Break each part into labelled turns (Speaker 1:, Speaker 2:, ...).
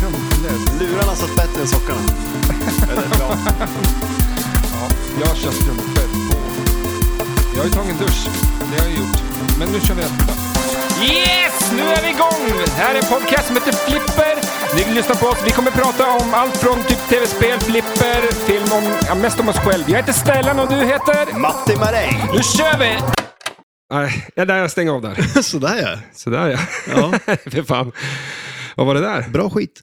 Speaker 1: det. Lurarna satt bättre än sockarna. Eller, ja.
Speaker 2: Ja, jag kör strumpor på. Jag har ju tagit en dusch. Det har jag gjort. Men nu kör vi detta. Yes! Nu är vi igång! Det här är en podcast som heter Flipper. Ni kan lyssna på oss. Vi kommer prata om allt från typ tv-spel, flipper, film, om, ja, mest om oss själv. Jag heter Stellan och du heter...
Speaker 1: Matti Maräng.
Speaker 2: Nu kör vi! Nej, ja, där jag stänger av där.
Speaker 1: Sådär ja.
Speaker 2: Sådär ja.
Speaker 1: Ja.
Speaker 2: Fy fan. Vad var det där?
Speaker 1: Bra skit.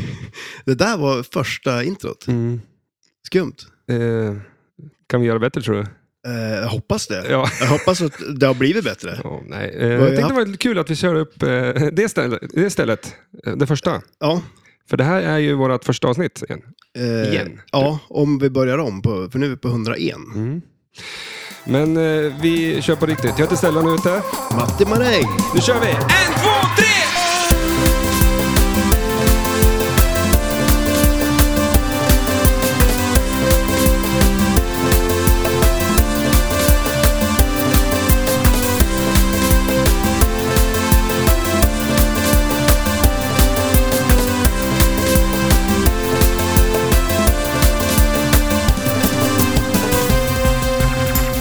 Speaker 1: det där var första introt. Skumt.
Speaker 2: Eh, kan vi göra bättre tror du?
Speaker 1: Eh, jag hoppas det.
Speaker 2: Ja.
Speaker 1: Jag hoppas att det har blivit bättre.
Speaker 2: Ja, nej. Eh,
Speaker 1: har
Speaker 2: jag
Speaker 1: vi
Speaker 2: tänkte
Speaker 1: haft?
Speaker 2: det var lite kul att vi kör upp eh, det, stället, det stället, eh, det första.
Speaker 1: Ja.
Speaker 2: För det här är ju vårt första avsnitt igen.
Speaker 1: Eh,
Speaker 2: Igen.
Speaker 1: Ja, om vi börjar om. På, för nu är vi på 101.
Speaker 2: Men eh, vi kör på riktigt. Jag heter Stellan och är ute.
Speaker 1: Matti Maräng.
Speaker 2: Nu kör vi! En, två, tre!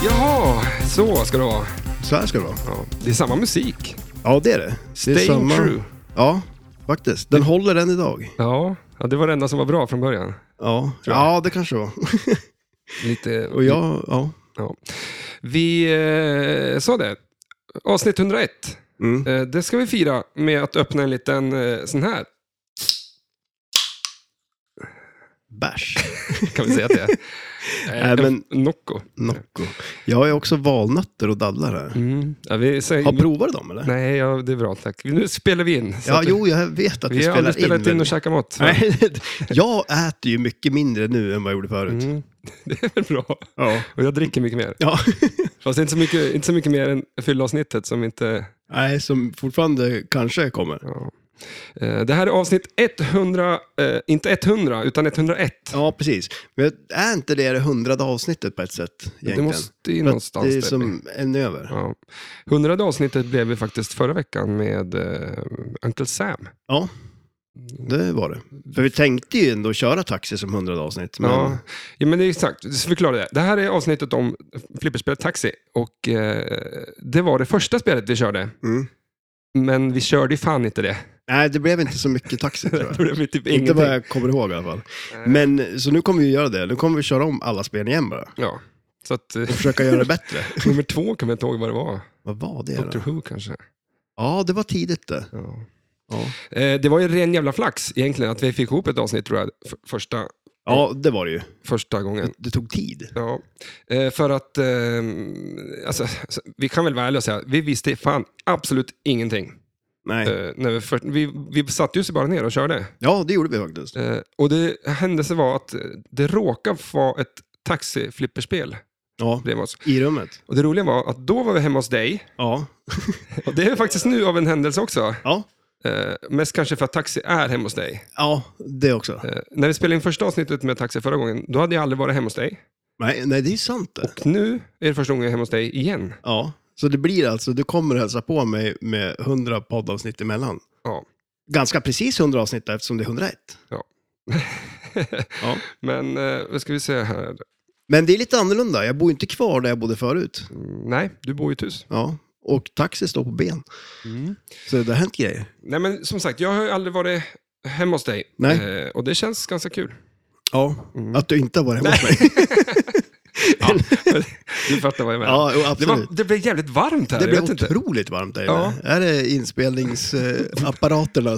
Speaker 2: Jaha, så ska det vara.
Speaker 1: Så här ska det vara.
Speaker 2: Ja, det är samma musik.
Speaker 1: Ja, det är det. det är
Speaker 2: Staying true.
Speaker 1: Ja, faktiskt. Den håller än idag.
Speaker 2: Ja, ja, det var det enda som var bra från början.
Speaker 1: Ja, ja det kanske var.
Speaker 2: Lite...
Speaker 1: Och jag, ja.
Speaker 2: Ja. Vi eh, sa det, avsnitt 101.
Speaker 1: Mm.
Speaker 2: Eh, det ska vi fira med att öppna en liten eh, sån här.
Speaker 1: Bärs.
Speaker 2: Kan vi säga att det är? Eh,
Speaker 1: Nej, men-
Speaker 2: En Nocco.
Speaker 1: Nocco. Jag har ju också valnötter och dadlar här.
Speaker 2: Mm. Ja, vi säger,
Speaker 1: Har provat dem eller?
Speaker 2: Nej, ja, det är bra tack. Nu spelar vi in. så
Speaker 1: Ja,
Speaker 2: att vi-
Speaker 1: jo, jag vet att vi,
Speaker 2: vi har aldrig
Speaker 1: spelar
Speaker 2: spelat in,
Speaker 1: men-
Speaker 2: och käkat mat. va?
Speaker 1: Nej, jag äter ju mycket mindre nu än vad jag gjorde förut.
Speaker 2: Mm. Det är väl bra.
Speaker 1: Ja.
Speaker 2: Och jag dricker mycket mer.
Speaker 1: ja.
Speaker 2: Fast inte så mycket, inte så mycket mer än fyllavsnittet som inte...
Speaker 1: Nej, som fortfarande kanske kommer.
Speaker 2: Ja. Eh, Det här är avsnitt 100, eh, inte 100, utan 101.
Speaker 1: Ja, precis. Men är inte det det hundrade avsnittet på ett sätt? Egentligen?
Speaker 2: Det måste ju
Speaker 1: För att
Speaker 2: någonstans
Speaker 1: Det är
Speaker 2: där.
Speaker 1: som en över.
Speaker 2: Ja. Hundrade avsnittet blev vi faktiskt förra veckan med eh, Uncle Sam.
Speaker 1: Ja,
Speaker 2: Mm.
Speaker 1: det var det. För vi tänkte ju ändå köra taxi som hundrade avsnitt. Men...
Speaker 2: Ja. ja, men det är exakt. Så Förklara det. Det här är avsnittet om flipperspelet Taxi. Och eh, det var det första spelet vi körde.
Speaker 1: Mm.
Speaker 2: Men vi körde ju fan inte det.
Speaker 1: Nej, det blev inte så mycket taxi tror jag.
Speaker 2: Det blev typ
Speaker 1: Inte
Speaker 2: ingenting.
Speaker 1: vad jag kommer ihåg i alla fall. Men, så nu kommer vi göra det. Nu kommer vi köra om alla spel igen bara.
Speaker 2: Ja. Så att, eh,
Speaker 1: Och försöka göra det bättre.
Speaker 2: nummer två kommer jag inte ihåg vad det var.
Speaker 1: Vad var det
Speaker 2: Doctor
Speaker 1: då?
Speaker 2: Who kanske.
Speaker 1: Ja, det var tidigt det.
Speaker 2: Ja.
Speaker 1: Ja,
Speaker 2: Eh, det var ju ren jävla flax egentligen att vi fick ihop ett avsnitt tror jag. f- Första,
Speaker 1: ja det var det ju.
Speaker 2: första gången.
Speaker 1: Det tog tid.
Speaker 2: Ja, eh, för att eh, alltså, alltså, vi kan väl vara ärliga och säga, vi visste fan absolut ingenting.
Speaker 1: Nej.
Speaker 2: Eh, när vi, för, vi, vi satte ju sig bara ner och körde.
Speaker 1: Ja, det gjorde vi faktiskt.
Speaker 2: Eh, och det händelse var att eh, det råkade vara ett taxiflipperspel
Speaker 1: Ja,
Speaker 2: bredvid oss.
Speaker 1: i rummet.
Speaker 2: Och det roliga var att då var vi hemma hos dig,
Speaker 1: Ja.
Speaker 2: och det är faktiskt nu av en händelse också.
Speaker 1: Ja,
Speaker 2: Eh, mest kanske för att taxi är hemma hos dig.
Speaker 1: ja det också.
Speaker 2: Eh, när vi spelade in första avsnittet med taxi förra gången, då hade jag aldrig varit hemma hos dig.
Speaker 1: Nej, nej, det är sant det.
Speaker 2: Och nu är det första gången jag är hemma hos dig igen.
Speaker 1: Ja, så det blir alltså, du kommer hälsa på mig med 100 poddavsnitt emellan.
Speaker 2: Ja.
Speaker 1: Ganska precis 100 avsnitt där, eftersom det är 101. Ja.
Speaker 2: Men eh, vad ska vi säga här?
Speaker 1: Men det är lite annorlunda, jag bor ju inte kvar där jag bodde förut.
Speaker 2: Mm, Nej, du bor i ett hus.
Speaker 1: Ja, och taxi står på ben.
Speaker 2: Mm.
Speaker 1: Så det har hänt grejer.
Speaker 2: Nej, men som sagt, jag har ju aldrig varit hemma hos dig.
Speaker 1: Nej.
Speaker 2: Eh, och det känns ganska kul.
Speaker 1: Ja, att du inte har varit hemma hos mig.
Speaker 2: Ja. du fattar vad jag menar.
Speaker 1: Ja, jo,
Speaker 2: det,
Speaker 1: absolut.
Speaker 2: var, det blev jävligt varmt här.
Speaker 1: Det
Speaker 2: jag
Speaker 1: blev
Speaker 2: vet inte.
Speaker 1: otroligt varmt där inne.
Speaker 2: Ja.
Speaker 1: Är det inspelningsapparaterna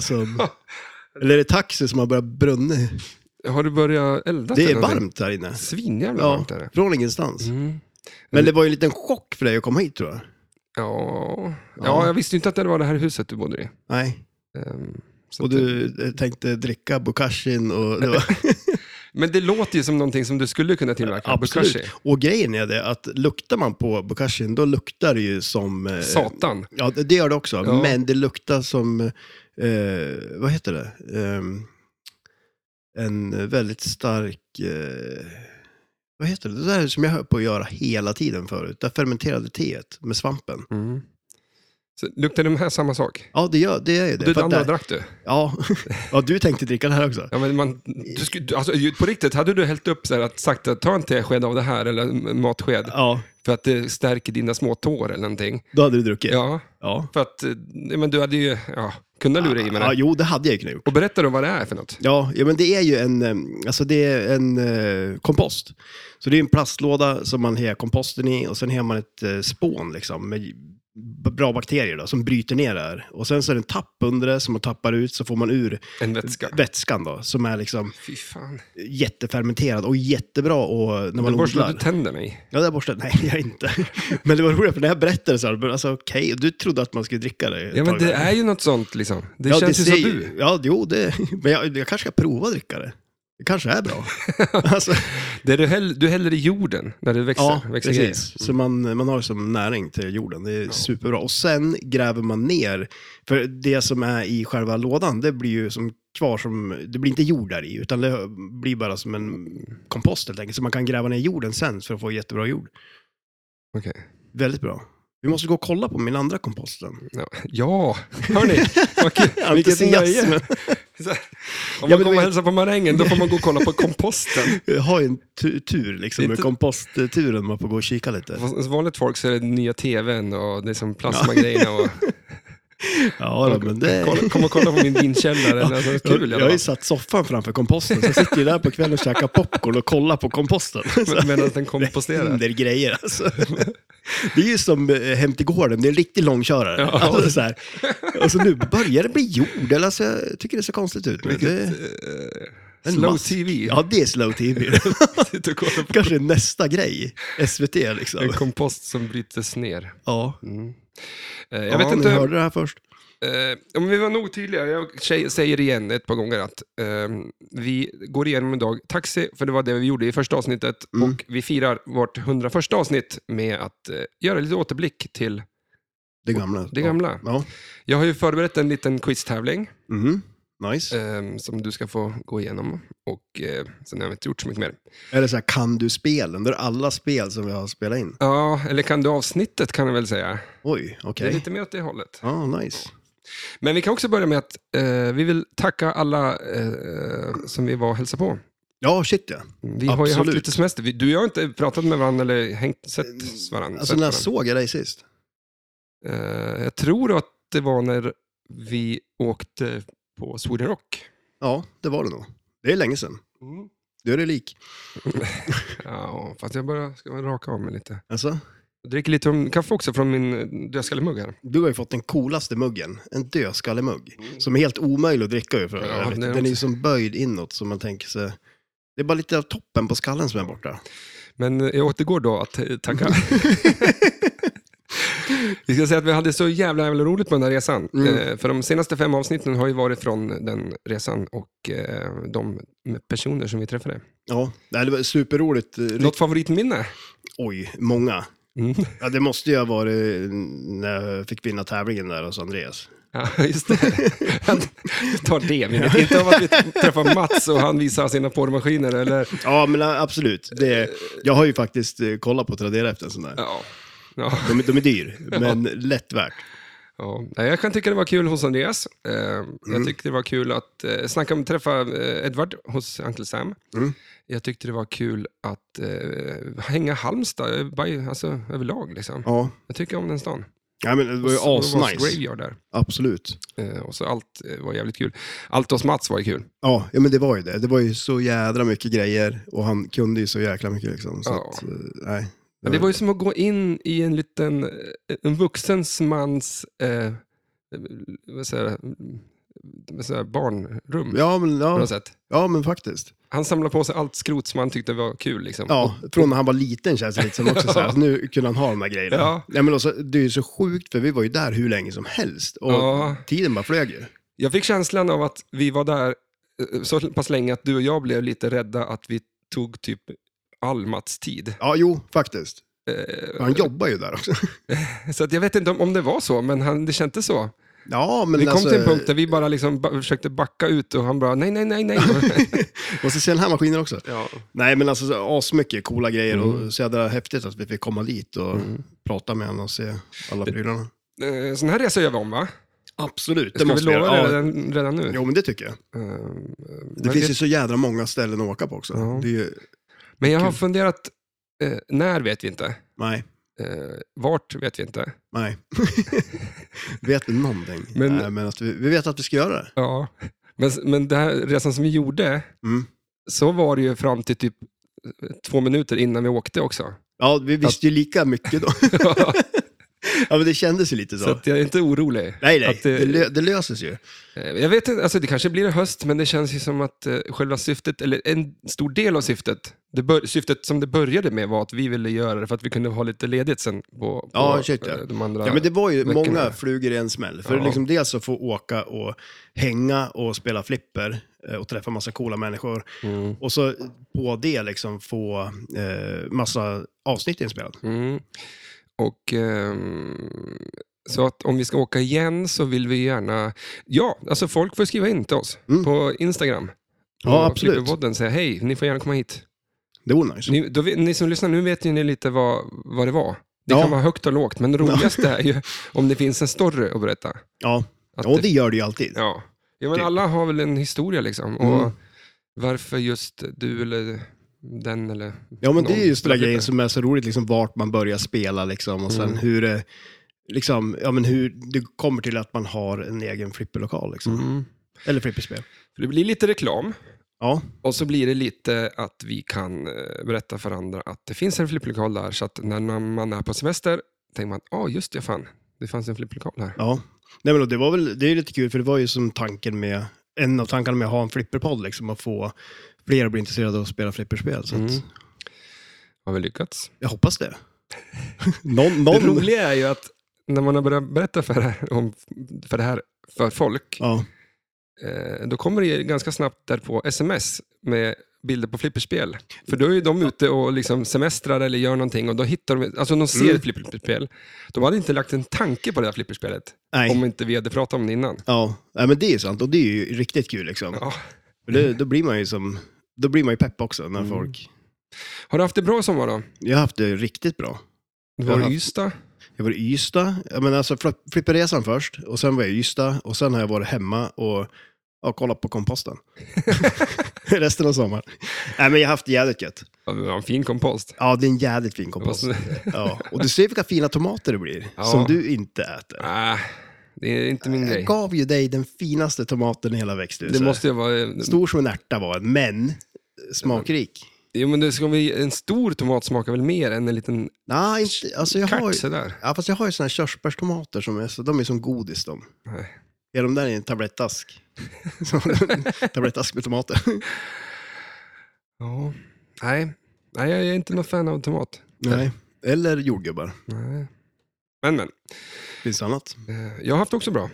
Speaker 1: som... Eller är det taxi som har börjat brunna?
Speaker 2: Har du börjat elda?
Speaker 1: Det
Speaker 2: till
Speaker 1: är
Speaker 2: någonting?
Speaker 1: varmt där inne.
Speaker 2: Svinjävla
Speaker 1: Ja,
Speaker 2: varmt är det.
Speaker 1: från ingenstans.
Speaker 2: Mm.
Speaker 1: Men det var ju en liten chock för dig att komma hit tror jag.
Speaker 2: Ja. Ja.
Speaker 1: Ja.
Speaker 2: jag visste ju inte att det var det här huset du bodde i.
Speaker 1: Nej.
Speaker 2: Ehm, så
Speaker 1: Och
Speaker 2: att-
Speaker 1: du eh, tänkte dricka bokashin och... Det var,
Speaker 2: Men det låter ju som någonting som du skulle kunna tillverka. Bokashi.
Speaker 1: Och grejen är det att luktar man på bokashin då luktar det ju som... eh,
Speaker 2: Satan.
Speaker 1: Ja, det det gör det också.
Speaker 2: Ja.
Speaker 1: Men det luktar som... Eh, vad heter det? Ehm, en väldigt stark... Eh, vad heter det? Det där som jag höll på att göra hela tiden förut. Det fermenterade teet med svampen.
Speaker 2: Mm. Så luktar de här samma sak?
Speaker 1: Ja, det gör det. Är ju det.
Speaker 2: Du,
Speaker 1: För
Speaker 2: det
Speaker 1: att
Speaker 2: andra
Speaker 1: där-
Speaker 2: drack du?
Speaker 1: ja. ja, du tänkte dricka det här också.
Speaker 2: Ja, men man, du skulle, du- alltså, ju- på riktigt, hade du hällt upp så här att sagt att ta en tesked av det här eller en matsked
Speaker 1: Ja,
Speaker 2: för att det stärker dina små tår eller någonting.
Speaker 1: då hade du druckit.
Speaker 2: Ja,
Speaker 1: ja.
Speaker 2: för att eh, nej, men du hade ju ja, kunnat lura i mig
Speaker 1: Ja,
Speaker 2: det.
Speaker 1: jo, det hade jag ju kunnat gjort.
Speaker 2: Och berätta då vad det är för något.
Speaker 1: Ja, ja, men det är ju en, eh, alltså det är en eh, kompost. Så det är en plastlåda som man har komposten i och sen har man ett eh, spån liksom, med b- bra bakterier då, som bryter ner det här. Och sen så är det en tapp under det som man tappar ut så får man ur
Speaker 2: En vätska.
Speaker 1: vätskan då, som är liksom
Speaker 2: Fy fan.
Speaker 1: jättefermenterad och jättebra och när man
Speaker 2: Då borstade du
Speaker 1: odlar.
Speaker 2: tänderna i.
Speaker 1: Ja, där borstade Nej, jag inte. Men det var roligt, för när jag berättade så här, men alltså okej, du trodde att man skulle dricka det. ett
Speaker 2: Ja, men
Speaker 1: tag
Speaker 2: det
Speaker 1: där.
Speaker 2: är ju något sånt liksom. Det känns ju
Speaker 1: ser-
Speaker 2: som du.
Speaker 1: Ja, jo, det, men jag, jag kanske ska prova att dricka det. Det kanske är bra. alltså,
Speaker 2: Det du, häll, du häller i jorden när det växer.
Speaker 1: ja,
Speaker 2: växer
Speaker 1: precis.
Speaker 2: grejer. Mm.
Speaker 1: Så man, man har som näring till jorden. Det är superbra. Och sen gräver man ner, för det som är i själva lådan, det blir ju som kvar som, det blir inte jord där i, utan det blir bara som en kompost helt enkelt. Så man kan gräva ner jorden sen för att få jättebra jord.
Speaker 2: Okej.
Speaker 1: Väldigt bra. Vi måste gå och kolla på min andra kompost sen.
Speaker 2: Ja, ja. hörni. Vad kul. Vilket
Speaker 1: Entusiasm.
Speaker 2: nöje. Så här, Om man
Speaker 1: Ja, men
Speaker 2: kommer
Speaker 1: du
Speaker 2: och
Speaker 1: vet-
Speaker 2: hälsar på marängen, då får man gå och kolla på komposten.
Speaker 1: Jag har ju en tu- tur,
Speaker 2: Det
Speaker 1: liksom,
Speaker 2: är
Speaker 1: med
Speaker 2: inte-
Speaker 1: kompostturen, man får gå och kika lite.
Speaker 2: Fast Hos vanligt folk så är det den nya tvn och det är som plasmagrejerna. Och,
Speaker 1: Ja, då, men det...
Speaker 2: kolla, kom och kolla på min vinkällare.
Speaker 1: Ja,
Speaker 2: Alltså, kul i
Speaker 1: jag
Speaker 2: alla
Speaker 1: har ju
Speaker 2: fall.
Speaker 1: satt soffan framför komposten, så jag sitter ju där på kvällen och käkar popcorn och kollar på komposten. Så
Speaker 2: Med- Medan den
Speaker 1: det
Speaker 2: komposterar.
Speaker 1: händer grejer alltså. Det är ju som eh, Hem till gården, det är en riktig långkörare.
Speaker 2: Ja.
Speaker 1: Alltså, så här. Och så nu börjar det bli jord, eller alltså, jag tycker det ser konstigt ut. Men
Speaker 2: Vilket,
Speaker 1: det,
Speaker 2: eh,
Speaker 1: en
Speaker 2: slow
Speaker 1: mask.
Speaker 2: tv.
Speaker 1: ja, det är slow tv.
Speaker 2: Sitter och kollar på
Speaker 1: Kanske nästa grej, SVT liksom.
Speaker 2: en kompost som brytes ner.
Speaker 1: Ja,
Speaker 2: Mm. Eh, Jag
Speaker 1: jag
Speaker 2: vet
Speaker 1: ja,
Speaker 2: inte,
Speaker 1: ni hörde det här först.
Speaker 2: eh, om vi var nog tydliga, jag tjej- säger igen ett par gånger att eh, vi går igenom en dag taxi, för det var det vi gjorde i första avsnittet,
Speaker 1: Mm.
Speaker 2: och vi firar vårt 101 avsnitt med att eh, göra lite återblick till
Speaker 1: Det gamla.
Speaker 2: det gamla.
Speaker 1: Ja.
Speaker 2: Jag har ju förberett en liten quiztävling
Speaker 1: ja. Mhm. Nice.
Speaker 2: eh, som du ska få gå igenom, och eh, sen har vi inte gjort så mycket mer.
Speaker 1: Eller så här, kan du spelen? Det är alla spel som vi har spelat in.
Speaker 2: Ja, eller kan du avsnittet kan jag väl säga.
Speaker 1: Oj,
Speaker 2: Det är
Speaker 1: okej.
Speaker 2: lite mer åt det hållet.
Speaker 1: Ja, nice.
Speaker 2: Men vi kan också börja med att eh, vi vill tacka alla eh, som vi var och hälsade på.
Speaker 1: Ja, shit ja.
Speaker 2: Vi har ju haft
Speaker 1: Absolut.
Speaker 2: lite semester. Vi, du och jag har inte pratat med varandra eller hängt, sett varandra.
Speaker 1: Alltså
Speaker 2: sett
Speaker 1: när
Speaker 2: varandra.
Speaker 1: jag såg jag dig sist?
Speaker 2: Eh, jag tror att det var när vi åkte på Sweden Rock.
Speaker 1: Ja, det var det nog. Det är länge sedan. Du är det lik.
Speaker 2: Ja, fast jag bara ska raka av mig lite.
Speaker 1: Alltså,
Speaker 2: Jag dricker lite om, kaffe också från min eh, dödskallemugg här.
Speaker 1: du har ju fått den coolaste muggen. En dödskallemugg. Som är helt omöjlig att dricka ur för
Speaker 2: Mm. Ja,
Speaker 1: övrigt.
Speaker 2: det är
Speaker 1: Den är ju
Speaker 2: också-
Speaker 1: som böjd inåt som man tänker sig. Det är bara lite av toppen på skallen som är borta.
Speaker 2: Men eh, jag återgår då att eh, tacka. vi ska säga att vi hade så jävla, jävla roligt på den här resan.
Speaker 1: Mm.
Speaker 2: Eh, för de senaste fem avsnitten har ju varit från den resan och eh, de personer som vi träffade.
Speaker 1: Ja, nej, det var superroligt. Eh,
Speaker 2: Något favoritminne?
Speaker 1: Oj, många.
Speaker 2: Mm.
Speaker 1: Ja, det måste ju ha varit eh, när jag fick vinna tävlingen där hos Andreas.
Speaker 2: Ja, just det. Vi tar det minnet. Inte av att vi träffar Mats och han visar sina porrmaskiner eller...
Speaker 1: Ja, men eh, absolut. Det, jag har ju faktiskt eh, kollat på Tradera efter en sån där.
Speaker 2: Ja. Ja,
Speaker 1: De, är- de är dyr, men lätt värt.
Speaker 2: ja. Nej, Jag kan tycka det var kul hos Andreas. Eh,
Speaker 1: Mm.
Speaker 2: Jag tyckte det var kul att eh, snacka om träffa eh, Edvard hos Uncle Sam.
Speaker 1: Mm.
Speaker 2: Jag tyckte det var kul att eh, hänga Halmstad eh, by- alltså, överlag. Liksom.
Speaker 1: Ja,
Speaker 2: Jag tycker om den stan.
Speaker 1: ja men eh, det var ju
Speaker 2: Och så- och det var
Speaker 1: asnice.
Speaker 2: Graveyard där.
Speaker 1: Absolut.
Speaker 2: Eh, Och så allt eh, var jävligt kul. Allt hos Mats var ju kul.
Speaker 1: Ja, ja, men det var ju det. Det var ju så jädra mycket grejer och han kunde ju så jäkla mycket. Liksom. Så
Speaker 2: Ja.
Speaker 1: att, eh, nej.
Speaker 2: Men det var ju som att gå in i en liten, eh, en vuxens mans, eh, vad säger jag, vad säger jag, barnrum.
Speaker 1: Ja, men,
Speaker 2: På
Speaker 1: ja,
Speaker 2: något sätt.
Speaker 1: ja, men faktiskt.
Speaker 2: Han samlade på sig allt skrot som han tyckte var kul. Liksom.
Speaker 1: Ja, från när han var liten känns det lite som också. Så här,
Speaker 2: Ja.
Speaker 1: att nu kunde han ha de här grejerna.
Speaker 2: Ja.
Speaker 1: Nej, men också, det är ju så sjukt, för vi var ju där hur länge som helst. Och
Speaker 2: Ja.
Speaker 1: tiden bara flög ju.
Speaker 2: Jag fick känslan av att vi var där eh, så pass länge att du och jag blev lite rädda att vi tog typ all Mats tid.
Speaker 1: Ja, jo, faktiskt.
Speaker 2: Eh,
Speaker 1: Han jobbar ju där också.
Speaker 2: Så att jag vet inte om, om det var så, men han, det kändes så.
Speaker 1: Ja, men
Speaker 2: vi kom
Speaker 1: alltså,
Speaker 2: till en punkt där vi bara liksom ba försökte backa ut och han bara nej, nej, nej, nej.
Speaker 1: Och så ser den här maskinen också.
Speaker 2: ja.
Speaker 1: Nej, men alltså så- asmycket coola grejer
Speaker 2: Mm.
Speaker 1: och så jädra häftigt att vi fick komma dit och
Speaker 2: Mm.
Speaker 1: prata med honom och se alla prylarna.
Speaker 2: Eh, Sån här resa gör vi om, va?
Speaker 1: Absolut, det
Speaker 2: Ska vi
Speaker 1: måste vi
Speaker 2: lova
Speaker 1: göra.
Speaker 2: det
Speaker 1: Ja,
Speaker 2: redan, redan nu?
Speaker 1: jo, men det tycker jag.
Speaker 2: Eh,
Speaker 1: Det
Speaker 2: men
Speaker 1: finns
Speaker 2: det-
Speaker 1: ju så jädra många ställen att åka på också.
Speaker 2: Ja.
Speaker 1: Det är ju,
Speaker 2: Men jag har
Speaker 1: kul.
Speaker 2: funderat, eh, när vet vi inte.
Speaker 1: nej,
Speaker 2: Eh, vart vet vi inte.
Speaker 1: nej. vet vi någonting?
Speaker 2: Men-
Speaker 1: nej, men att vi, vi vet att vi ska göra det.
Speaker 2: Ja. Men, men den här resan som vi gjorde,
Speaker 1: Mm.
Speaker 2: så var det ju fram till typ eh, två minuter innan vi åkte också.
Speaker 1: Ja, vi visste ju lika mycket då. ja, men det kändes ju lite så.
Speaker 2: så att jag är inte orolig.
Speaker 1: nej, nej,
Speaker 2: att
Speaker 1: det,
Speaker 2: det-
Speaker 1: lö, det löses ju.
Speaker 2: Eh, Jag vet inte, alltså det kanske blir i höst, men det känns ju som att eh, själva syftet, eller en stor del av syftet, det bör, syftet som det började med var att vi ville göra det för att vi kunde ha lite ledigt sen på, på
Speaker 1: Ja, shit, ja.
Speaker 2: eh, de andra.
Speaker 1: Ja, men det var ju
Speaker 2: veckorna.
Speaker 1: många flugor i en smäll. För
Speaker 2: Ja.
Speaker 1: liksom dels att få åka och hänga och spela flipper eh, och träffa massa coola människor.
Speaker 2: Mm.
Speaker 1: Och så på det liksom få eh, massa avsnitt inspelat.
Speaker 2: Mm. Och ehm, så att om vi ska åka igen så vill vi gärna, ja, alltså folk får skriva in till oss
Speaker 1: Mm.
Speaker 2: på Instagram.
Speaker 1: Ja,
Speaker 2: Och
Speaker 1: absolut.
Speaker 2: Flipperpodden säger hej, ni får gärna komma hit.
Speaker 1: Det vore nice.
Speaker 2: Ni, då, vet- ni som lyssnar nu vet ju ni lite vad, vad det var. Det
Speaker 1: Ja.
Speaker 2: kan vara högt och lågt, men det roligaste är ju om det finns en story att berätta.
Speaker 1: Ja,
Speaker 2: Att
Speaker 1: och det gör det ju alltid.
Speaker 2: ja. ja, men
Speaker 1: det-
Speaker 2: alla har väl en historia liksom.
Speaker 1: Mm.
Speaker 2: Och varför just du eller den eller...
Speaker 1: Ja, men det är just den där
Speaker 2: Någon-
Speaker 1: grejen som är så roligt, liksom vart man börjar spela liksom och sen
Speaker 2: Mm.
Speaker 1: hur det, liksom, ja men hur det kommer till att man har en egen flipperlokal liksom.
Speaker 2: Mm.
Speaker 1: Eller flipperspel.
Speaker 2: För det blir lite reklam
Speaker 1: Ja,
Speaker 2: och så blir det lite att vi kan eh, berätta för andra att det finns en flipplokal där. Så att när man är på semester tänker man, ja just det, fan, det fanns en flipplokal här.
Speaker 1: ja. Nej men och det var väl, det är ju lite kul för det var ju som tanken med, en av tankarna med att ha en flipperpodd liksom, att få fler att bli intresserade av att spela flipperspel. Så att,
Speaker 2: Mm. Har vi lyckats?
Speaker 1: jag hoppas det. någon,
Speaker 2: Det
Speaker 1: någon...
Speaker 2: roliga är ju att när man har börjat berätta för det här, om, för, det här för folk,
Speaker 1: Ja,
Speaker 2: eh, då kommer det ju ganska snabbt därpå sms med bilder på flipperspel. För då är ju de ute och liksom semestrar eller gör någonting och då hittar de, alltså de ser
Speaker 1: Mm.
Speaker 2: ett flipperspel. De hade inte lagt en tanke på det här flipperspelet
Speaker 1: nej.
Speaker 2: om inte vi hade pratat om det innan.
Speaker 1: Ja, nej, men det är ju sant och det är ju riktigt kul liksom.
Speaker 2: Ja.
Speaker 1: För Det, då blir man ju som, då blir man ju pepp också när
Speaker 2: Mm.
Speaker 1: folk...
Speaker 2: Har du haft det bra i sommar då?
Speaker 1: Jag har haft det riktigt bra.
Speaker 2: Du
Speaker 1: Jag har
Speaker 2: var
Speaker 1: haft-
Speaker 2: i Ystad?
Speaker 1: Jag var i Ystad, jag menar alltså fla- flipperresan först och sen var jag i Ystad och sen har jag varit hemma och, ja, kollat på komposten. Resten av sommaren. Nej men jag har haft det jävligt gött.
Speaker 2: Ja, det var En fin kompost.
Speaker 1: Ja, det är en jävligt fin
Speaker 2: Det var
Speaker 1: kompost.
Speaker 2: så-
Speaker 1: Ja. Och du ser vilka fina tomater det blir,
Speaker 2: Alltså. Ja.
Speaker 1: som du inte äter.
Speaker 2: Ah, det är inte min grej.
Speaker 1: Jag gav ju dig den finaste tomaten i hela växthuset.
Speaker 2: Det måste ju vara...
Speaker 1: Stor som en ärta var den, men smakrik.
Speaker 2: Jo, men det ska vi, en stor tomat smakar väl mer än en liten
Speaker 1: Nej, inte, alltså jag har
Speaker 2: kart
Speaker 1: ju,
Speaker 2: sådär?
Speaker 1: ja, fast jag har ju såna här körsbärstomater som är, så, de är som godis de.
Speaker 2: Nej.
Speaker 1: Ja, de där är en tablettask. Så, tablettask med tomater.
Speaker 2: Ja. Nej. Nej, jag är inte någon fan av tomat.
Speaker 1: Nej. Eller jordgubbar.
Speaker 2: Nej. Men, men.
Speaker 1: Finns det annat?
Speaker 2: Eh, Jag har haft också bra.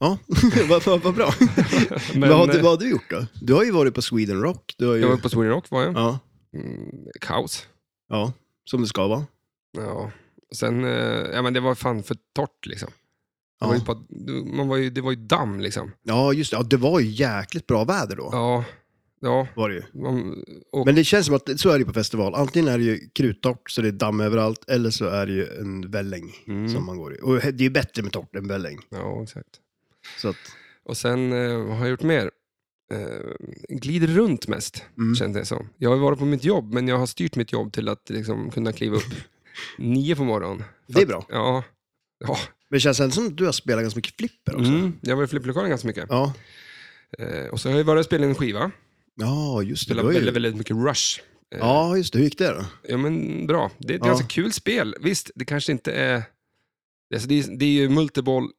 Speaker 1: Ja, vad vad- vad bra.
Speaker 2: Men,
Speaker 1: vad, har du,
Speaker 2: eh,
Speaker 1: vad har du gjort då? Du har ju varit på Sweden Rock. Du har ju,
Speaker 2: Jag var på Sweden Rock, var jag.
Speaker 1: ja,
Speaker 2: Mm, kaos.
Speaker 1: ja, som det ska vara.
Speaker 2: Ja. Sen, eh, ja men det var fan för torrt liksom. Det, var ju
Speaker 1: Ja,
Speaker 2: bara, du- man var ju, det var ju damm liksom.
Speaker 1: ja just det. Ja, det var ju jäkligt bra väder då.
Speaker 2: Ja. Ja.
Speaker 1: Var det ju.
Speaker 2: Man, och,
Speaker 1: Men det känns som att så är det ju på festival. Antingen är det ju kruttorrt så det är damm överallt, eller så är det ju en välling
Speaker 2: Mm.
Speaker 1: som man går i. Och det är ju bättre med torrt än välling.
Speaker 2: ja, exakt.
Speaker 1: Så att,
Speaker 2: Och sen, eh, vad har jag gjort mer? Eh, glider runt mest.
Speaker 1: mm.
Speaker 2: kände jag som. Jag har varit på mitt jobb, men jag har styrt mitt jobb till att liksom, kunna kliva upp nio på morgonen.
Speaker 1: Det är bra.
Speaker 2: Ja. ja.
Speaker 1: Men det känns ändå som att du har spelat ganska mycket flipper också.
Speaker 2: Mm. Jag var i flipplokalen ganska mycket.
Speaker 1: Ja.
Speaker 2: Eh, och så har jag varit och spelat en skiva.
Speaker 1: ja, just det. Du
Speaker 2: Spelat
Speaker 1: har
Speaker 2: väldigt,
Speaker 1: ju...
Speaker 2: väldigt mycket Rush. Eh,
Speaker 1: Ja, just det. Hur gick det då?
Speaker 2: ja, men bra. Det är ett
Speaker 1: Ja.
Speaker 2: ganska kul spel. Visst, det kanske inte är... Alltså, det, är det är ju multiboll.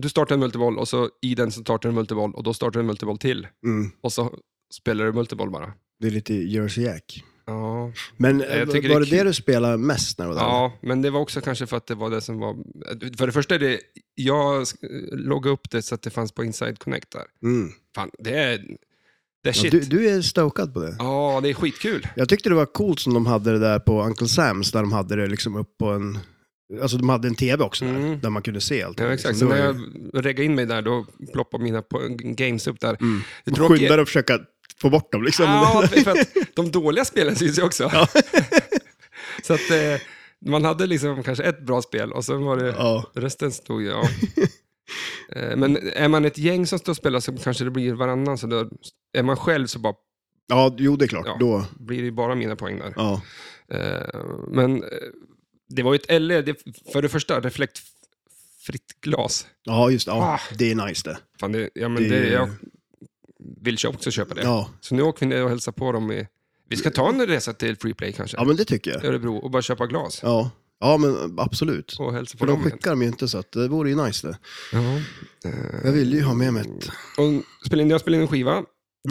Speaker 2: Du startar en multiboll och så i den så startar du en multiboll och då startar du en multiboll till.
Speaker 1: Mm.
Speaker 2: Och så spelar du multiboll bara.
Speaker 1: Det är lite Jersey Jack.
Speaker 2: Ja.
Speaker 1: Men
Speaker 2: Jag
Speaker 1: eh,
Speaker 2: tycker det är
Speaker 1: var det det
Speaker 2: kul.
Speaker 1: du spelade mest när du var där?
Speaker 2: Ja, men det var också kanske för att det var det som var... För det första, är det, jag sk- loggade upp det så att det fanns på Inside Connect där.
Speaker 1: Mm.
Speaker 2: Fan, det är, det är
Speaker 1: Ja,
Speaker 2: shit.
Speaker 1: du, du är stokad på det?
Speaker 2: Ja, det är skitkul.
Speaker 1: Jag tyckte det var coolt som de hade det där på Uncle Sams, där de hade det liksom upp på en... Alltså de hade en tv också där,
Speaker 2: Mm.
Speaker 1: där man kunde se allt.
Speaker 2: Ja, exakt. Så
Speaker 1: Liksom, det
Speaker 2: när
Speaker 1: var
Speaker 2: jag
Speaker 1: ju-
Speaker 2: reggade in mig där, då ploppade mina po- games upp där.
Speaker 1: Mm.
Speaker 2: Det
Speaker 1: Man
Speaker 2: tråkiga-
Speaker 1: skyndar och försöka få bort dem liksom.
Speaker 2: Ja, för för att de dåliga spelen syns ju också.
Speaker 1: Ja.
Speaker 2: Så att, eh, Man hade liksom kanske ett bra spel och sen var det...
Speaker 1: Ja.
Speaker 2: Resten stod ju av. Eh, Men är man ett gäng som står och spelar så kanske det blir varannan. Så då, är man själv så bara
Speaker 1: ja, jo det är klart.
Speaker 2: Ja.
Speaker 1: Då,
Speaker 2: blir det ju bara mina poäng där.
Speaker 1: ja.
Speaker 2: Eh, Men eh, det var ju ett, eller det, för det första, reflektfritt glas.
Speaker 1: ja, just det. Ja,
Speaker 2: Ah.
Speaker 1: det är nice det.
Speaker 2: Fan, det, ja, men
Speaker 1: Det-
Speaker 2: det, jag vill köpa- också köpa det.
Speaker 1: Ja.
Speaker 2: Så nu åker vi ner och hälsar på dem. I, vi ska ta en resa till Freeplay kanske,
Speaker 1: ja, men det tycker jag.
Speaker 2: Örebro, och bara köpa glas.
Speaker 1: Ja, ja men absolut.
Speaker 2: Och hälsa på
Speaker 1: För de
Speaker 2: dem. igen.
Speaker 1: skickar dem ju inte så att det vore ju nice det.
Speaker 2: Ja.
Speaker 1: Jag vill ju ha med mig ett...
Speaker 2: Och spela in, jag spelar in en skiva.
Speaker 1: Mm.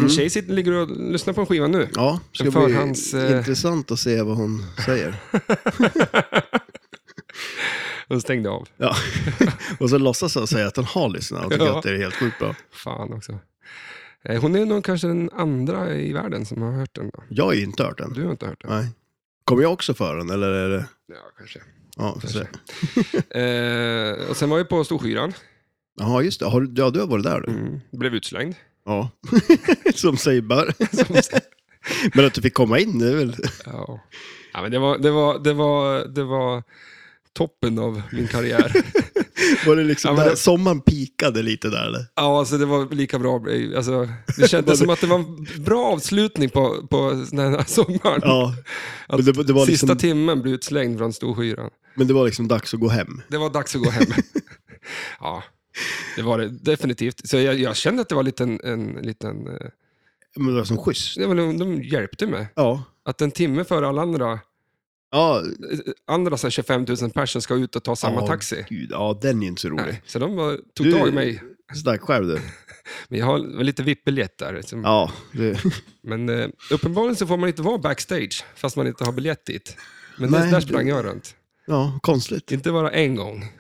Speaker 2: Min tjej sitter, ligger och lyssnar på en skiva nu.
Speaker 1: Ja, ska
Speaker 2: En
Speaker 1: bli
Speaker 2: förhands, eh,
Speaker 1: intressant att se vad hon säger.
Speaker 2: Hon stängde av.
Speaker 1: Ja. och så låtsas jag säga att hon har lyssnat och tycker
Speaker 2: Ja.
Speaker 1: att det är helt sjukt bra.
Speaker 2: Fan också. Eh, Hon är nog kanske den andra i världen som har hört den. Då.
Speaker 1: Jag har ju inte hört den.
Speaker 2: Du har inte hört den?
Speaker 1: Nej. Kommer jag också för den, eller är det...
Speaker 2: Ja, kanske.
Speaker 1: Ja, får se.
Speaker 2: Eh, och sen var jag på Storskyran.
Speaker 1: Jaha, just det. Har, du- ja, du har varit där du.
Speaker 2: Mm. Blev utslängd.
Speaker 1: Ja. Som sig bör. Men att du fick komma in, det är väl...
Speaker 2: ja. ja, men det var, det var, det var, det var toppen av min karriär.
Speaker 1: Var det liksom
Speaker 2: Ja, men
Speaker 1: där
Speaker 2: det-
Speaker 1: sommaren pikade lite där, eller?
Speaker 2: ja, alltså det var lika bra. Alltså, det kändes som att det var en bra avslutning på, på den här sommaren.
Speaker 1: Ja.
Speaker 2: Att
Speaker 1: Men det, det, var
Speaker 2: Sista
Speaker 1: liksom,
Speaker 2: timmen blev utslängd från Storskyran.
Speaker 1: men det var liksom dags att gå hem.
Speaker 2: Det var dags att gå hem. ja, det var det definitivt. Så jag, jag kände att det var lite en, en liten... eh,
Speaker 1: Men det var som schysst.
Speaker 2: det var- De, de hjälpte mig.
Speaker 1: Ja.
Speaker 2: Att en timme före alla andra,
Speaker 1: Ja,
Speaker 2: eh, andra så här 25 000 personer ska ut och ta samma
Speaker 1: Ja,
Speaker 2: taxi.
Speaker 1: Gud, ja, den är ju inte så rolig.
Speaker 2: Nej, så de var, tog
Speaker 1: Du-
Speaker 2: tag i mig.
Speaker 1: Stack själv du.
Speaker 2: Men jag har lite VIP-biljett där. Som,
Speaker 1: Ja, det,
Speaker 2: Men eh, uppenbarligen så får man inte vara backstage, fast man inte har biljett dit. Men
Speaker 1: Nej,
Speaker 2: där- där
Speaker 1: det-
Speaker 2: sprang jag runt.
Speaker 1: ja konstigt.
Speaker 2: Inte bara en gång.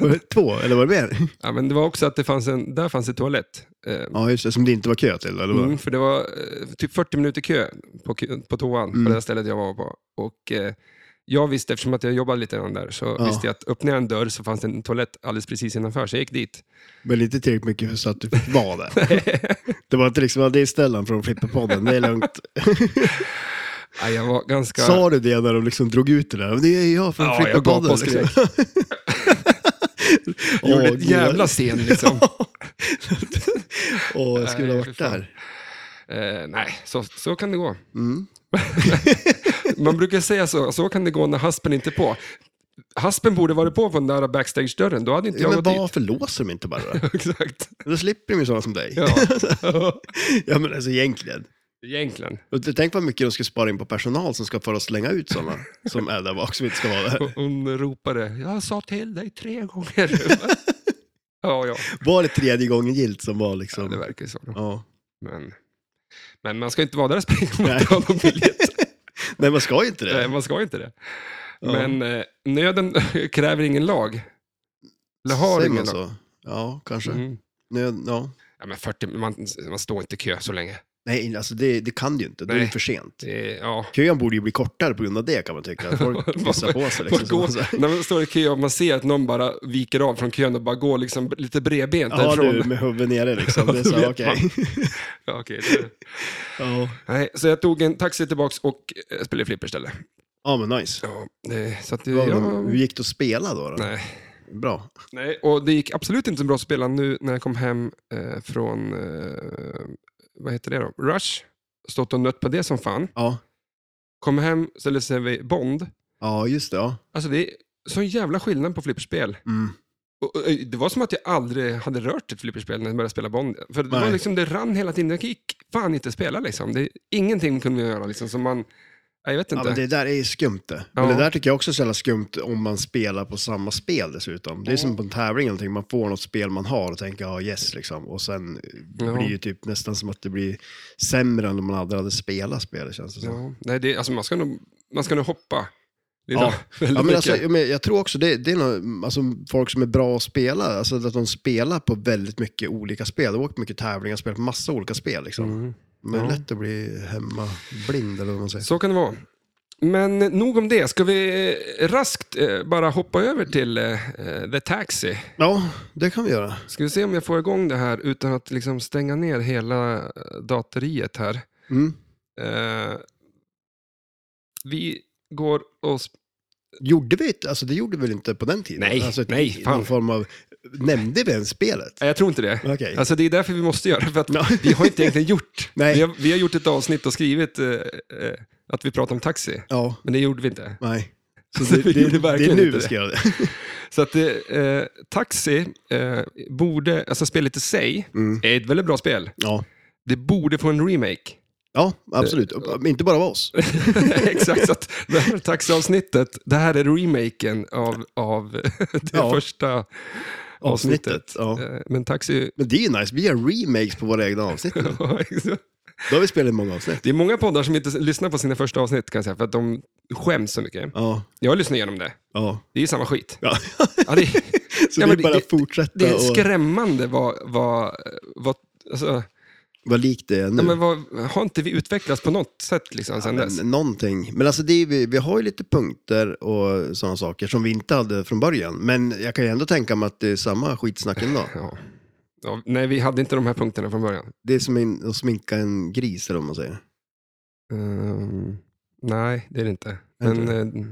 Speaker 1: Var det två, eller var det mer?
Speaker 2: Ja, men det var också att det fanns en, där fanns en toalett. Eh,
Speaker 1: Ja, just det, som det inte var kö till. Eller vad?
Speaker 2: Mm, för det var eh, typ 40 minuter kö på, kö- på toan
Speaker 1: Mm.
Speaker 2: på det där stället jag var på. Och eh, jag visste, eftersom att jag jobbade lite grann där, så
Speaker 1: Ja.
Speaker 2: visste jag att öppnade jag en dörr så fanns det en toalett alldeles precis innanför, så jag gick dit.
Speaker 1: Men inte tillräckligt mycket för så att du fick vara där. det var inte liksom, ja, det är Stellan från Flipperpodden, det är lugnt.
Speaker 2: Ja, jag var ganska...
Speaker 1: Sa du det när de liksom drog ut det där? Det är jag från
Speaker 2: Ja, jag
Speaker 1: Flipperpodden.
Speaker 2: gapade och skrek.
Speaker 1: liksom. Åh,
Speaker 2: Gjorde ett
Speaker 1: gud.
Speaker 2: jävla scen liksom.
Speaker 1: Åh, jag skulle ha
Speaker 2: Nej,
Speaker 1: varit
Speaker 2: fy fan.
Speaker 1: där.
Speaker 2: eh, nej, så, så kan det gå.
Speaker 1: Mm.
Speaker 2: Man brukar säga så, så kan det gå när haspen inte är på. Haspen borde varit på på den där backstage-dörren, då hade inte
Speaker 1: Ja,
Speaker 2: jag
Speaker 1: men
Speaker 2: gått dit.
Speaker 1: varför låser de inte bara då?
Speaker 2: Exakt.
Speaker 1: Då slipper de ju sådana som dig.
Speaker 2: Ja,
Speaker 1: ja, men alltså egentligen.
Speaker 2: egentligen.
Speaker 1: Och t- tänk vad mycket de ska spara in på personal som ska få oss slänga ut sådana som är där bak som inte ska vara där.
Speaker 2: Hon- Hon ropade, jag sa till dig tre gånger. ja, ja,
Speaker 1: Var det tredje gången gilt som var liksom...
Speaker 2: det verkar ju så. då.
Speaker 1: Ja.
Speaker 2: Men, men man ska inte vara där och springa om man
Speaker 1: Nej.
Speaker 2: inte har någon biljett.
Speaker 1: Nej, man ska ju inte det.
Speaker 2: Nej, man ska ju inte det.
Speaker 1: Ja.
Speaker 2: Men eh, nöden kräver ingen lag. Eller har
Speaker 1: Säger
Speaker 2: ingen
Speaker 1: man så? Ja, kanske.
Speaker 2: lag. Mm.
Speaker 1: Nej, ja.
Speaker 2: Ja, men 40, man, man står inte i kö så länge.
Speaker 1: Nej, alltså det, det kan du ju inte. Då är det
Speaker 2: Nej.
Speaker 1: för sent.
Speaker 2: Det, är- ja.
Speaker 1: Kön borde ju bli kortare på grund av det kan man tycka. Folk pissar på sig. Liksom,
Speaker 2: Man
Speaker 1: så
Speaker 2: går,
Speaker 1: man så här,
Speaker 2: när man står i kö och man ser att någon bara viker av från kön och bara går liksom lite bredbent
Speaker 1: ja,
Speaker 2: därifrån.
Speaker 1: du, med huvudet nere liksom.
Speaker 2: Ja,
Speaker 1: Det är
Speaker 2: då
Speaker 1: så, här,
Speaker 2: vet
Speaker 1: okej.
Speaker 2: man. Ja, okej, det,
Speaker 1: Ja.
Speaker 2: nej, så jag tog en taxi tillbaks och eh, spelade flipper istället.
Speaker 1: ja, men nice.
Speaker 2: Ja, det, så att det,
Speaker 1: Ja,
Speaker 2: ja,
Speaker 1: men Hur gick det att spela då? då?
Speaker 2: nej,
Speaker 1: Bra.
Speaker 2: nej, och det gick absolut inte så bra att spela nu när jag kom hem eh, från, eh, vad heter det då, Rush. Stått och nött på det som fan.
Speaker 1: Ja,
Speaker 2: Kom hem, ställde sig vid Bond.
Speaker 1: ja just det. Ja.
Speaker 2: Alltså det är sån jävla skillnad på flipperspel.
Speaker 1: Mm.
Speaker 2: Och, och, eh, det var som att jag aldrig hade rört ett flipperspel när jag började spela Bond. För det, var
Speaker 1: Nej.
Speaker 2: liksom, det rann hela tiden, jag gick fan inte spela liksom. Det, ingenting kunde jag göra liksom, som man, nej, jag vet
Speaker 1: Ja,
Speaker 2: inte.
Speaker 1: men det där är ju skumt det.
Speaker 2: Ja.
Speaker 1: Men det där tycker jag också är så jävla skumt om man spelar på samma spel dessutom. Det är som på en tävling eller någonting, man får något spel man har och tänker ja yes liksom. Och sen
Speaker 2: Ja.
Speaker 1: blir det ju typ nästan som att det blir sämre än om man aldrig hade spelat spelet känns det som.
Speaker 2: ja, nej, det alltså, man, ska nog, man ska nog hoppa. Lite,
Speaker 1: Ja.
Speaker 2: väldigt
Speaker 1: Ja, men
Speaker 2: mycket.
Speaker 1: alltså, jag, men jag tror också det, det är nog, alltså, folk som är bra att spela, alltså att de spelar på väldigt mycket olika spel. De har åkt mycket tävlingar, spelat på massa olika spel liksom.
Speaker 2: Mm.
Speaker 1: Men
Speaker 2: Ja.
Speaker 1: lätt att bli hemmablind eller vad man säger.
Speaker 2: Så kan det vara. Men nog om det. Ska vi eh, raskt eh, bara hoppa över till eh, eh, The Taxi?
Speaker 1: Ja, det kan vi göra.
Speaker 2: Ska vi se om jag får igång det här utan att liksom stänga ner hela eh, datoriet här.
Speaker 1: Mm.
Speaker 2: Eh, vi går och... sp-
Speaker 1: Gjorde vi ett, alltså det gjorde vi väl inte på den tiden?
Speaker 2: Nej,
Speaker 1: alltså ett-
Speaker 2: nej, fan.
Speaker 1: Någon form av, nämnde vi ens spelet?
Speaker 2: Nej, jag tror inte det.
Speaker 1: Okej.
Speaker 2: Alltså det är därför vi måste göra det, för att
Speaker 1: Ja.
Speaker 2: vi har inte egentligen gjort.
Speaker 1: Nej.
Speaker 2: Vi, har, vi har gjort ett avsnitt och skrivit eh, eh, att vi pratar om taxi,
Speaker 1: Ja,
Speaker 2: men det gjorde vi inte.
Speaker 1: nej.
Speaker 2: Så Alltså, vi gjorde
Speaker 1: det är
Speaker 2: verkligen
Speaker 1: nu
Speaker 2: inte
Speaker 1: vi ska
Speaker 2: det.
Speaker 1: göra det.
Speaker 2: Så att eh, eh, Taxi eh, borde, alltså spelet i sig,
Speaker 1: Mm.
Speaker 2: är ett väldigt bra spel.
Speaker 1: Ja.
Speaker 2: Det borde få en remake.
Speaker 1: ja, absolut. Men Inte bara av oss.
Speaker 2: Exakt, så att det här taxiavsnittet, det här är remaken av, av det
Speaker 1: Ja.
Speaker 2: första avsnittet.
Speaker 1: Avsnittet. Ja.
Speaker 2: Eh, Men Taxi...
Speaker 1: Men det är ju nice, vi gör remakes på våra egna avsnitt. nu. Då har vi spelat i många avsnitt.
Speaker 2: Det är många poddar som inte lyssnar på sina första avsnitt kan jag säga, för att de skäms så mycket.
Speaker 1: Ja,
Speaker 2: Jag lyssnar igenom det.
Speaker 1: ja.
Speaker 2: Det är ju samma skit.
Speaker 1: ja.
Speaker 2: Ja, det,
Speaker 1: Så
Speaker 2: Ja,
Speaker 1: det
Speaker 2: men
Speaker 1: är bara
Speaker 2: det-
Speaker 1: att fortsätta
Speaker 2: det är
Speaker 1: och
Speaker 2: skrämmande vad... vad, vad alltså,
Speaker 1: vad likt det är nu.
Speaker 2: ja, men vad, har inte vi utvecklats på något sätt liksom, sen
Speaker 1: Mm. Men
Speaker 2: dess?
Speaker 1: någonting. Men alltså det är, vi, vi har ju lite punkter och sådana saker som vi inte hade från början. Men jag kan ju ändå tänka mig att det är samma skitsnack ändå.
Speaker 2: Ja. Ja, nej, vi hade inte de här punkterna från början.
Speaker 1: Det är som en, att sminka en gris eller vad man säger.
Speaker 2: Ehm, nej, det är det inte.
Speaker 1: Inte?
Speaker 2: Men eh,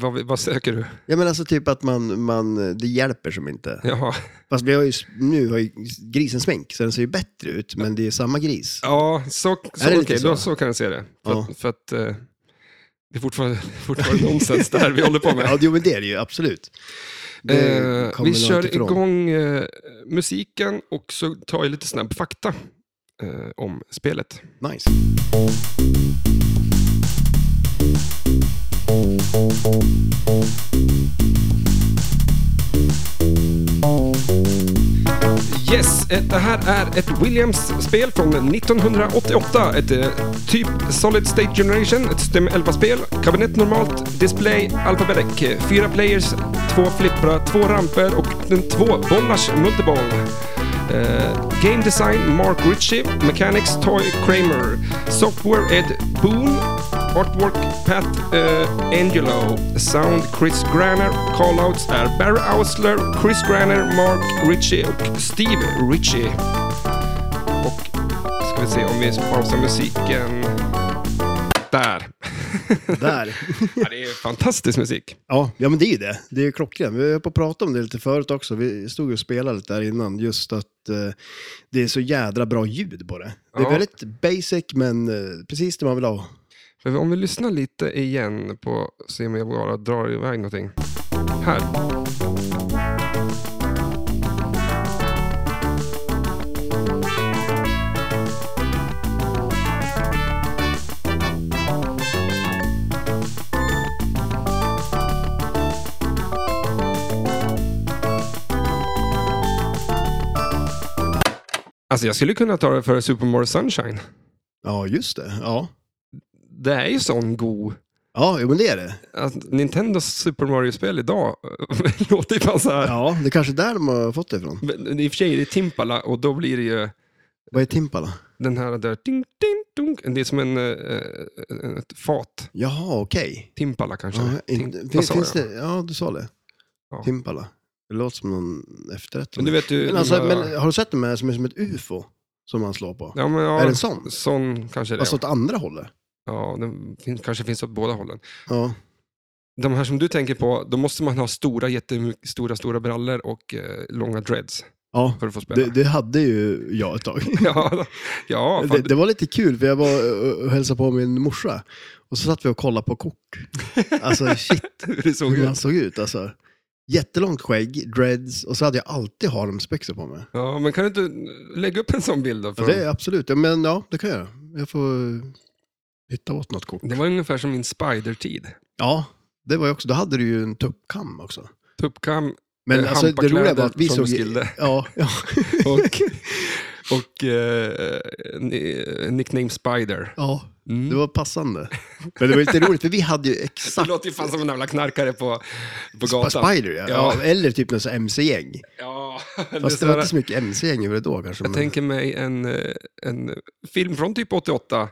Speaker 2: vad, vad söker du?
Speaker 1: Ja men alltså typ att man, man det hjälper som inte.
Speaker 2: Ja,
Speaker 1: Fast vi har ju, nu har ju grisen smink så den ser ju bättre ut. Men det är samma gris.
Speaker 2: ja så, så,
Speaker 1: Är det
Speaker 2: okej,
Speaker 1: lite
Speaker 2: då, så.
Speaker 1: så?
Speaker 2: kan jag se det. För,
Speaker 1: Ja.
Speaker 2: att- för att eh, det är fortfarande, fortfarande nonsens det här vi håller på med.
Speaker 1: Ja, jo, men det är det ju absolut. Det
Speaker 2: Eh,
Speaker 1: kommer
Speaker 2: vi
Speaker 1: nog
Speaker 2: kör
Speaker 1: inte ifrån.
Speaker 2: igång eh, musiken och så tar jag lite snabb fakta eh, om spelet.
Speaker 1: Nice.
Speaker 2: Yes, eh, det här är ett Williams-spel från 1988. Ett eh, typ Solid State Generation, ett system 11-spel. Kabinett normalt, display, alphabetic. eh, Fyra players, två flipprar, två ramper och en två bollars multiball. Eh, game design Mark Ritchie, Mechanics Toy Kramer, Software Ed Boon, Artwork Pat eh, Angelo, Sound Chris Granner, Callouts är Barry Ausler, Chris Granner, Mark Ritchie och Steve Ritchie. Och ska vi se om vi pausar musiken. Där!
Speaker 1: Där.
Speaker 2: Ja, det är fantastisk musik.
Speaker 1: Ja, ja, men det är ju det. Det är ju klockrent. Vi höll på att prata om det lite förut också. Vi stod ju och spelade lite där innan. Just att eh, det är så jädra bra ljud på det. Det är
Speaker 2: Ja.
Speaker 1: väldigt basic, men eh, precis det man vill ha.
Speaker 2: Men om vi lyssnar lite igen på, se om jag bara drar iväg någonting. Här. Alltså jag skulle kunna ta det för Super Mario Sunshine.
Speaker 1: Ja, just det. Ja,
Speaker 2: Det är ju sån god
Speaker 1: ja jo, men det är det.
Speaker 2: att Nintendos Super Mario-spel idag låter ju fan så här.
Speaker 1: Ja, det är kanske där de har fått det ifrån.
Speaker 2: Men I och för sig är det Timpala och då blir det ju
Speaker 1: Vad är timpala?
Speaker 2: den här där... Ding, ding, dunk. Det är som en, eh, ett fat.
Speaker 1: Jaha, okej.
Speaker 2: Timpala kanske.
Speaker 1: Ja,
Speaker 2: Tim-
Speaker 1: inte-
Speaker 2: vad
Speaker 1: fin-
Speaker 2: sa
Speaker 1: finns
Speaker 2: jag?
Speaker 1: det? Ja, du sa det.
Speaker 2: Ja.
Speaker 1: Timpala. Det låter som någon efterrätt.
Speaker 2: Men du vet ju...
Speaker 1: Men alltså,
Speaker 2: de här-
Speaker 1: men, har du sett de här som är som ett ufo? Som man slår på?
Speaker 2: ja, men, ja,
Speaker 1: Är det en sån?
Speaker 2: Sån kanske det är.
Speaker 1: Alltså åt andra hållet?
Speaker 2: ja, den fin, kanske finns åt båda hållen.
Speaker 1: Ja.
Speaker 2: De här som du tänker på, då måste man ha stora, jättestora, stora brallor och eh, långa dreads
Speaker 1: ja.
Speaker 2: för att få spela.
Speaker 1: Det, det hade ju jag ett tag.
Speaker 2: ja, ja,
Speaker 1: Det,
Speaker 2: fan,
Speaker 1: det var lite kul, för jag var och- och hälsade på min morsa. Och så satt vi och kollade på kort. Alltså shit,
Speaker 2: hur det såg
Speaker 1: hur han
Speaker 2: ut.
Speaker 1: såg ut. Alltså. Jättelångt skägg, dreads och så hade jag alltid haremsbyxor på mig.
Speaker 2: Ja, men kan du inte lägga upp en sån bild då? För
Speaker 1: Det är absolut, ja, men ja, det kan jag göra. Jag får hitta åt något kort.
Speaker 2: Det var ungefär som min Spider-tid.
Speaker 1: Ja, det var jag också. Då hade du ju en tuppkam också.
Speaker 2: Tuppkam
Speaker 1: Men
Speaker 2: Eh,
Speaker 1: alltså, det
Speaker 2: hampakläder
Speaker 1: roliga var att vi
Speaker 2: från
Speaker 1: såg...
Speaker 2: Roskilde.
Speaker 1: Ja, ja.
Speaker 2: och, och eh, ni- eh, nickname Spider.
Speaker 1: ja,
Speaker 2: Mm.
Speaker 1: det var passande. Men det var lite roligt, för vi hade ju
Speaker 2: Det
Speaker 1: exakt...
Speaker 2: låter ju fan som en jävla knarkare på, på
Speaker 1: Sp-
Speaker 2: gatan.
Speaker 1: Spider, ja.
Speaker 2: Ja.
Speaker 1: ja. Eller typ något sånt här MC-gäng.
Speaker 2: Ja, det är
Speaker 1: Fast det
Speaker 2: sådär-
Speaker 1: var inte så mycket MC-gäng över det då kanske.
Speaker 2: jag
Speaker 1: men-
Speaker 2: tänker mig en, eh, en film från typ 88.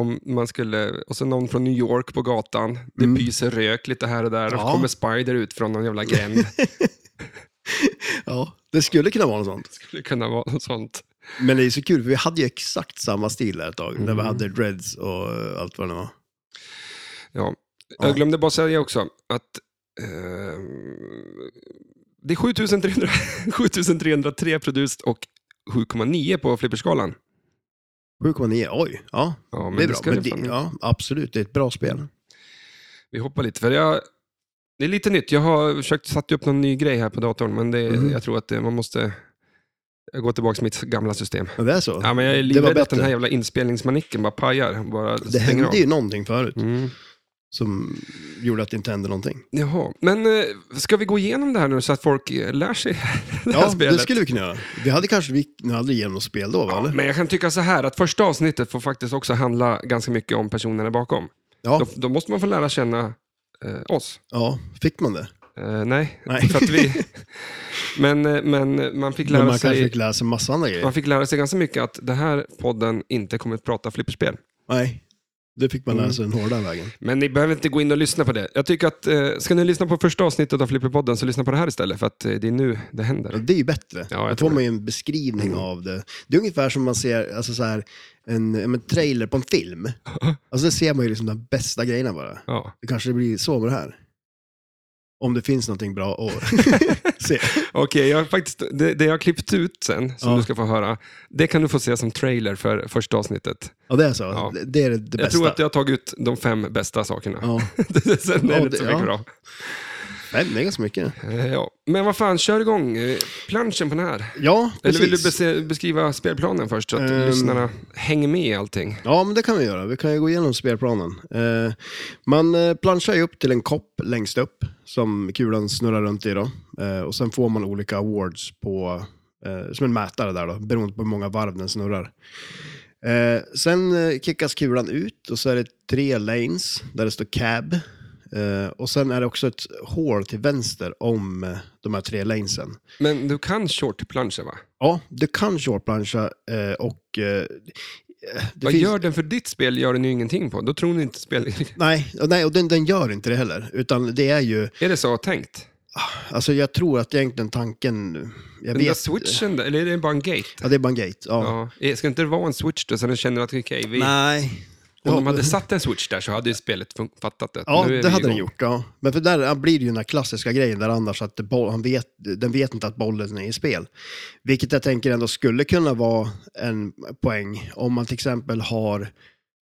Speaker 2: Om man skulle, och så någon från New York på gatan. Det
Speaker 1: Mm.
Speaker 2: pyser rök lite här och där och så
Speaker 1: Ja.
Speaker 2: kommer Spider ut från någon jävla gränd.
Speaker 1: Ja, det skulle kunna vara något sånt.
Speaker 2: det skulle kunna vara något sånt.
Speaker 1: Men det är så kul, för vi hade ju exakt samma stil där ett tag. När
Speaker 2: Mm.
Speaker 1: vi hade dreads och eh, allt vad det var.
Speaker 2: Ja.
Speaker 1: Ja.
Speaker 2: Jag glömde bara säga också att Eh, det är 7300 7303 produced och 7,9 på flipperskalan.
Speaker 1: 7,9, oj. Ja,
Speaker 2: Ja, men
Speaker 1: det är
Speaker 2: det
Speaker 1: bra.
Speaker 2: ska
Speaker 1: Men
Speaker 2: det fan
Speaker 1: det, ja, absolut, det är ett bra spel.
Speaker 2: Vi hoppar lite, för jag, det är lite nytt. Jag har försökt sätta upp någon ny grej här på datorn, men det,
Speaker 1: Mhm.
Speaker 2: jag tror att det, man måste gå tillbaka till mitt gamla system.
Speaker 1: Ja, det är så.
Speaker 2: Ja, men jag är
Speaker 1: det var
Speaker 2: livrädd att
Speaker 1: bättre.
Speaker 2: den här jävla inspelningsmanicken bara pajar. Bara
Speaker 1: det
Speaker 2: stänger av.
Speaker 1: hände ju någonting förut
Speaker 2: Mm.
Speaker 1: som gjorde att det inte hände någonting.
Speaker 2: Jaha, men eh, ska vi gå igenom det här nu så att folk eh, lär sig det här
Speaker 1: Ja,
Speaker 2: spelet?
Speaker 1: det skulle vi kunna göra. Vi hade kanske, vi nu hade igenom något spel då, va?
Speaker 2: Ja,
Speaker 1: Eller?
Speaker 2: men jag kan tycka så här att första avsnittet får faktiskt också handla ganska mycket om personerna bakom.
Speaker 1: Ja,
Speaker 2: Då, då måste man få lära känna eh, oss.
Speaker 1: ja, fick man det?
Speaker 2: Eh, nej,
Speaker 1: Nej.
Speaker 2: för att vi... men, eh, men man fick lära
Speaker 1: Men man kanske
Speaker 2: sig...
Speaker 1: fick läsa en massa andra grejer.
Speaker 2: Man fick lära sig ganska mycket att det här podden inte kommer att prata flipperspel.
Speaker 1: Nej, det fick man
Speaker 2: Mm.
Speaker 1: läsa den hårda vägen.
Speaker 2: Men ni behöver inte gå in och lyssna på det. Jag tycker att, eh, ska ni lyssna på första avsnittet av flipperpodden så lyssna på det här istället för att eh, det är nu det
Speaker 1: Ja,
Speaker 2: händer.
Speaker 1: det är ju bättre.
Speaker 2: Ja, jag
Speaker 1: Då
Speaker 2: tror
Speaker 1: får
Speaker 2: det.
Speaker 1: man ju en beskrivning
Speaker 2: Mm.
Speaker 1: av det. Det är ungefär som man ser alltså så här, en, en trailer på en film. Alltså där ser man ju liksom de bästa grejerna bara.
Speaker 2: Ja.
Speaker 1: Det kanske blir så med det här. Om det finns någonting bra att se.
Speaker 2: Okej, jag har faktiskt, det, det jag har klippt ut sen, som
Speaker 1: Ja.
Speaker 2: du ska få höra, det kan du få se som trailer för första avsnittet.
Speaker 1: Ja, det är så.
Speaker 2: Ja.
Speaker 1: Det- Det är det, det
Speaker 2: Jag
Speaker 1: bästa.
Speaker 2: tror att jag har tagit ut de fem bästa sakerna.
Speaker 1: Ja,
Speaker 2: sen är
Speaker 1: Ja,
Speaker 2: det inte så
Speaker 1: det-
Speaker 2: mycket
Speaker 1: ja.
Speaker 2: bra.
Speaker 1: Nej, men det är ganska mycket.
Speaker 2: Eh, Ja. Men vad fan, kör igång eh, planschen på den här.
Speaker 1: Ja,
Speaker 2: Eller
Speaker 1: precis.
Speaker 2: vill du bese- beskriva spelplanen först så att
Speaker 1: Ehm.
Speaker 2: lyssnarna hänger med i allting?
Speaker 1: Ja, men det kan vi göra. Vi kan ju gå igenom spelplanen. Eh, man eh, planchar ju upp till en kopp längst upp som kulan snurrar runt i. Då. Eh, och sen får man olika awards på, eh, som en mätare där då, beroende på hur många varv den snurrar. Eh, sen eh, kickas kulan ut och så är det tre lanes där det står cab. Eh, och sen är det också ett hål till vänster om eh, de här tre planesen.
Speaker 2: Men du kan shortplanscha va?
Speaker 1: Ja, du kan shortplancha eh, och... Eh, det
Speaker 2: Vad gör den för ditt spel gör den ju ingenting på. Då tror ni inte spel...
Speaker 1: Nej, och nej och den, den gör inte det heller. Utan det är ju,
Speaker 2: är det så tänkt?
Speaker 1: alltså jag tror att egentligen tanken, jag
Speaker 2: Den där
Speaker 1: vet,
Speaker 2: switchen, där, eller är det bara en gate?
Speaker 1: ja det är bara en gate. Ja.
Speaker 2: Ja. Eh, Ska inte det vara en switch då, så den känner att okej, vi...
Speaker 1: Nej.
Speaker 2: om de
Speaker 1: Ja,
Speaker 2: hade satt en switch där så hade ju spelet fun- fattat det.
Speaker 1: Ja,
Speaker 2: Nu är
Speaker 1: det
Speaker 2: vi
Speaker 1: hade den
Speaker 2: igång.
Speaker 1: gjort. Ja. Men för där blir det ju den här klassiska grejen där annars att boll, han vet, den vet inte att bollen är i spel. Vilket jag tänker ändå skulle kunna vara en poäng om man till exempel har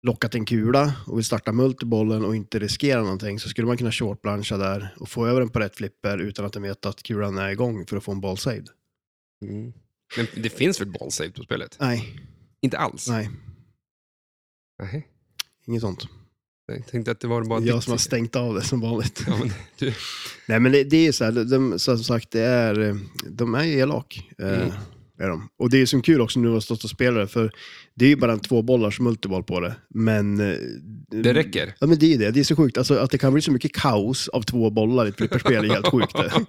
Speaker 1: lockat en kula och vill starta multibollen och inte riskera någonting så skulle man kunna shortplancha där och få över den på rätt flipper utan att den vet att kulan är igång för att få en ball saved.
Speaker 2: Mm. Men det finns väl ballsave på spelet?
Speaker 1: Nej,
Speaker 2: Inte alls?
Speaker 1: nej,
Speaker 2: Nej.
Speaker 1: inget sånt.
Speaker 2: Jag tänkte att det var bara
Speaker 1: Jag
Speaker 2: ditt-
Speaker 1: som har stängt av det som vanligt.
Speaker 2: ja, men, du...
Speaker 1: Nej, men det, det är ju så här, de- de, som sagt, det är, eh, de är ju elak. eh,
Speaker 2: Mm.
Speaker 1: Är de. Och det är ju som kul också nu att ha stått och spelat det, för det är ju bara en tvåbollars multiboll på det. Men... eh,
Speaker 2: Det räcker.
Speaker 1: Ja, men det är ju det. Det är så sjukt. Alltså, att det kan bli så mycket kaos av två bollar i ett flipperspel är helt sjukt. det. Med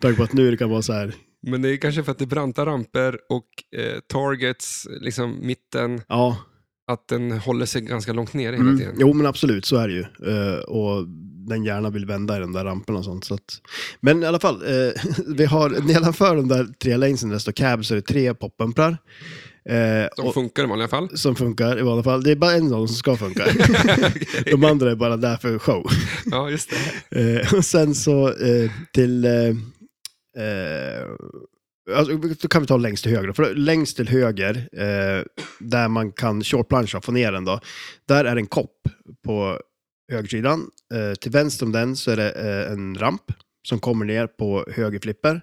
Speaker 1: tanke på att nu det kan vara så här,
Speaker 2: Men det är kanske för att det är branta ramper och eh, targets, liksom mitten,
Speaker 1: ja,
Speaker 2: att den håller sig ganska långt ner hela
Speaker 1: Mm.
Speaker 2: tiden.
Speaker 1: Jo, men absolut, så är det ju. Eh, och den gärna vill vända i den där rampen och sånt. Så att... Men i alla fall, eh, vi har nedanför de där tre lanesen där det står cab så är det tre poppumprar. Eh,
Speaker 2: Som
Speaker 1: och-
Speaker 2: funkar i vanliga fall.
Speaker 1: som funkar i alla fall. Det är bara en av dem som ska funka. de andra är bara där för show.
Speaker 2: Ja, just det.
Speaker 1: Eh, och sen så eh, till... Eh, eh, alltså, då kan vi ta längst till höger. då. För längst till höger, eh, där man kan shortplancha, få ner den då. Där är en kopp på högersidan. Eh, till vänster om den så är det eh, en ramp som kommer ner på höger flipper.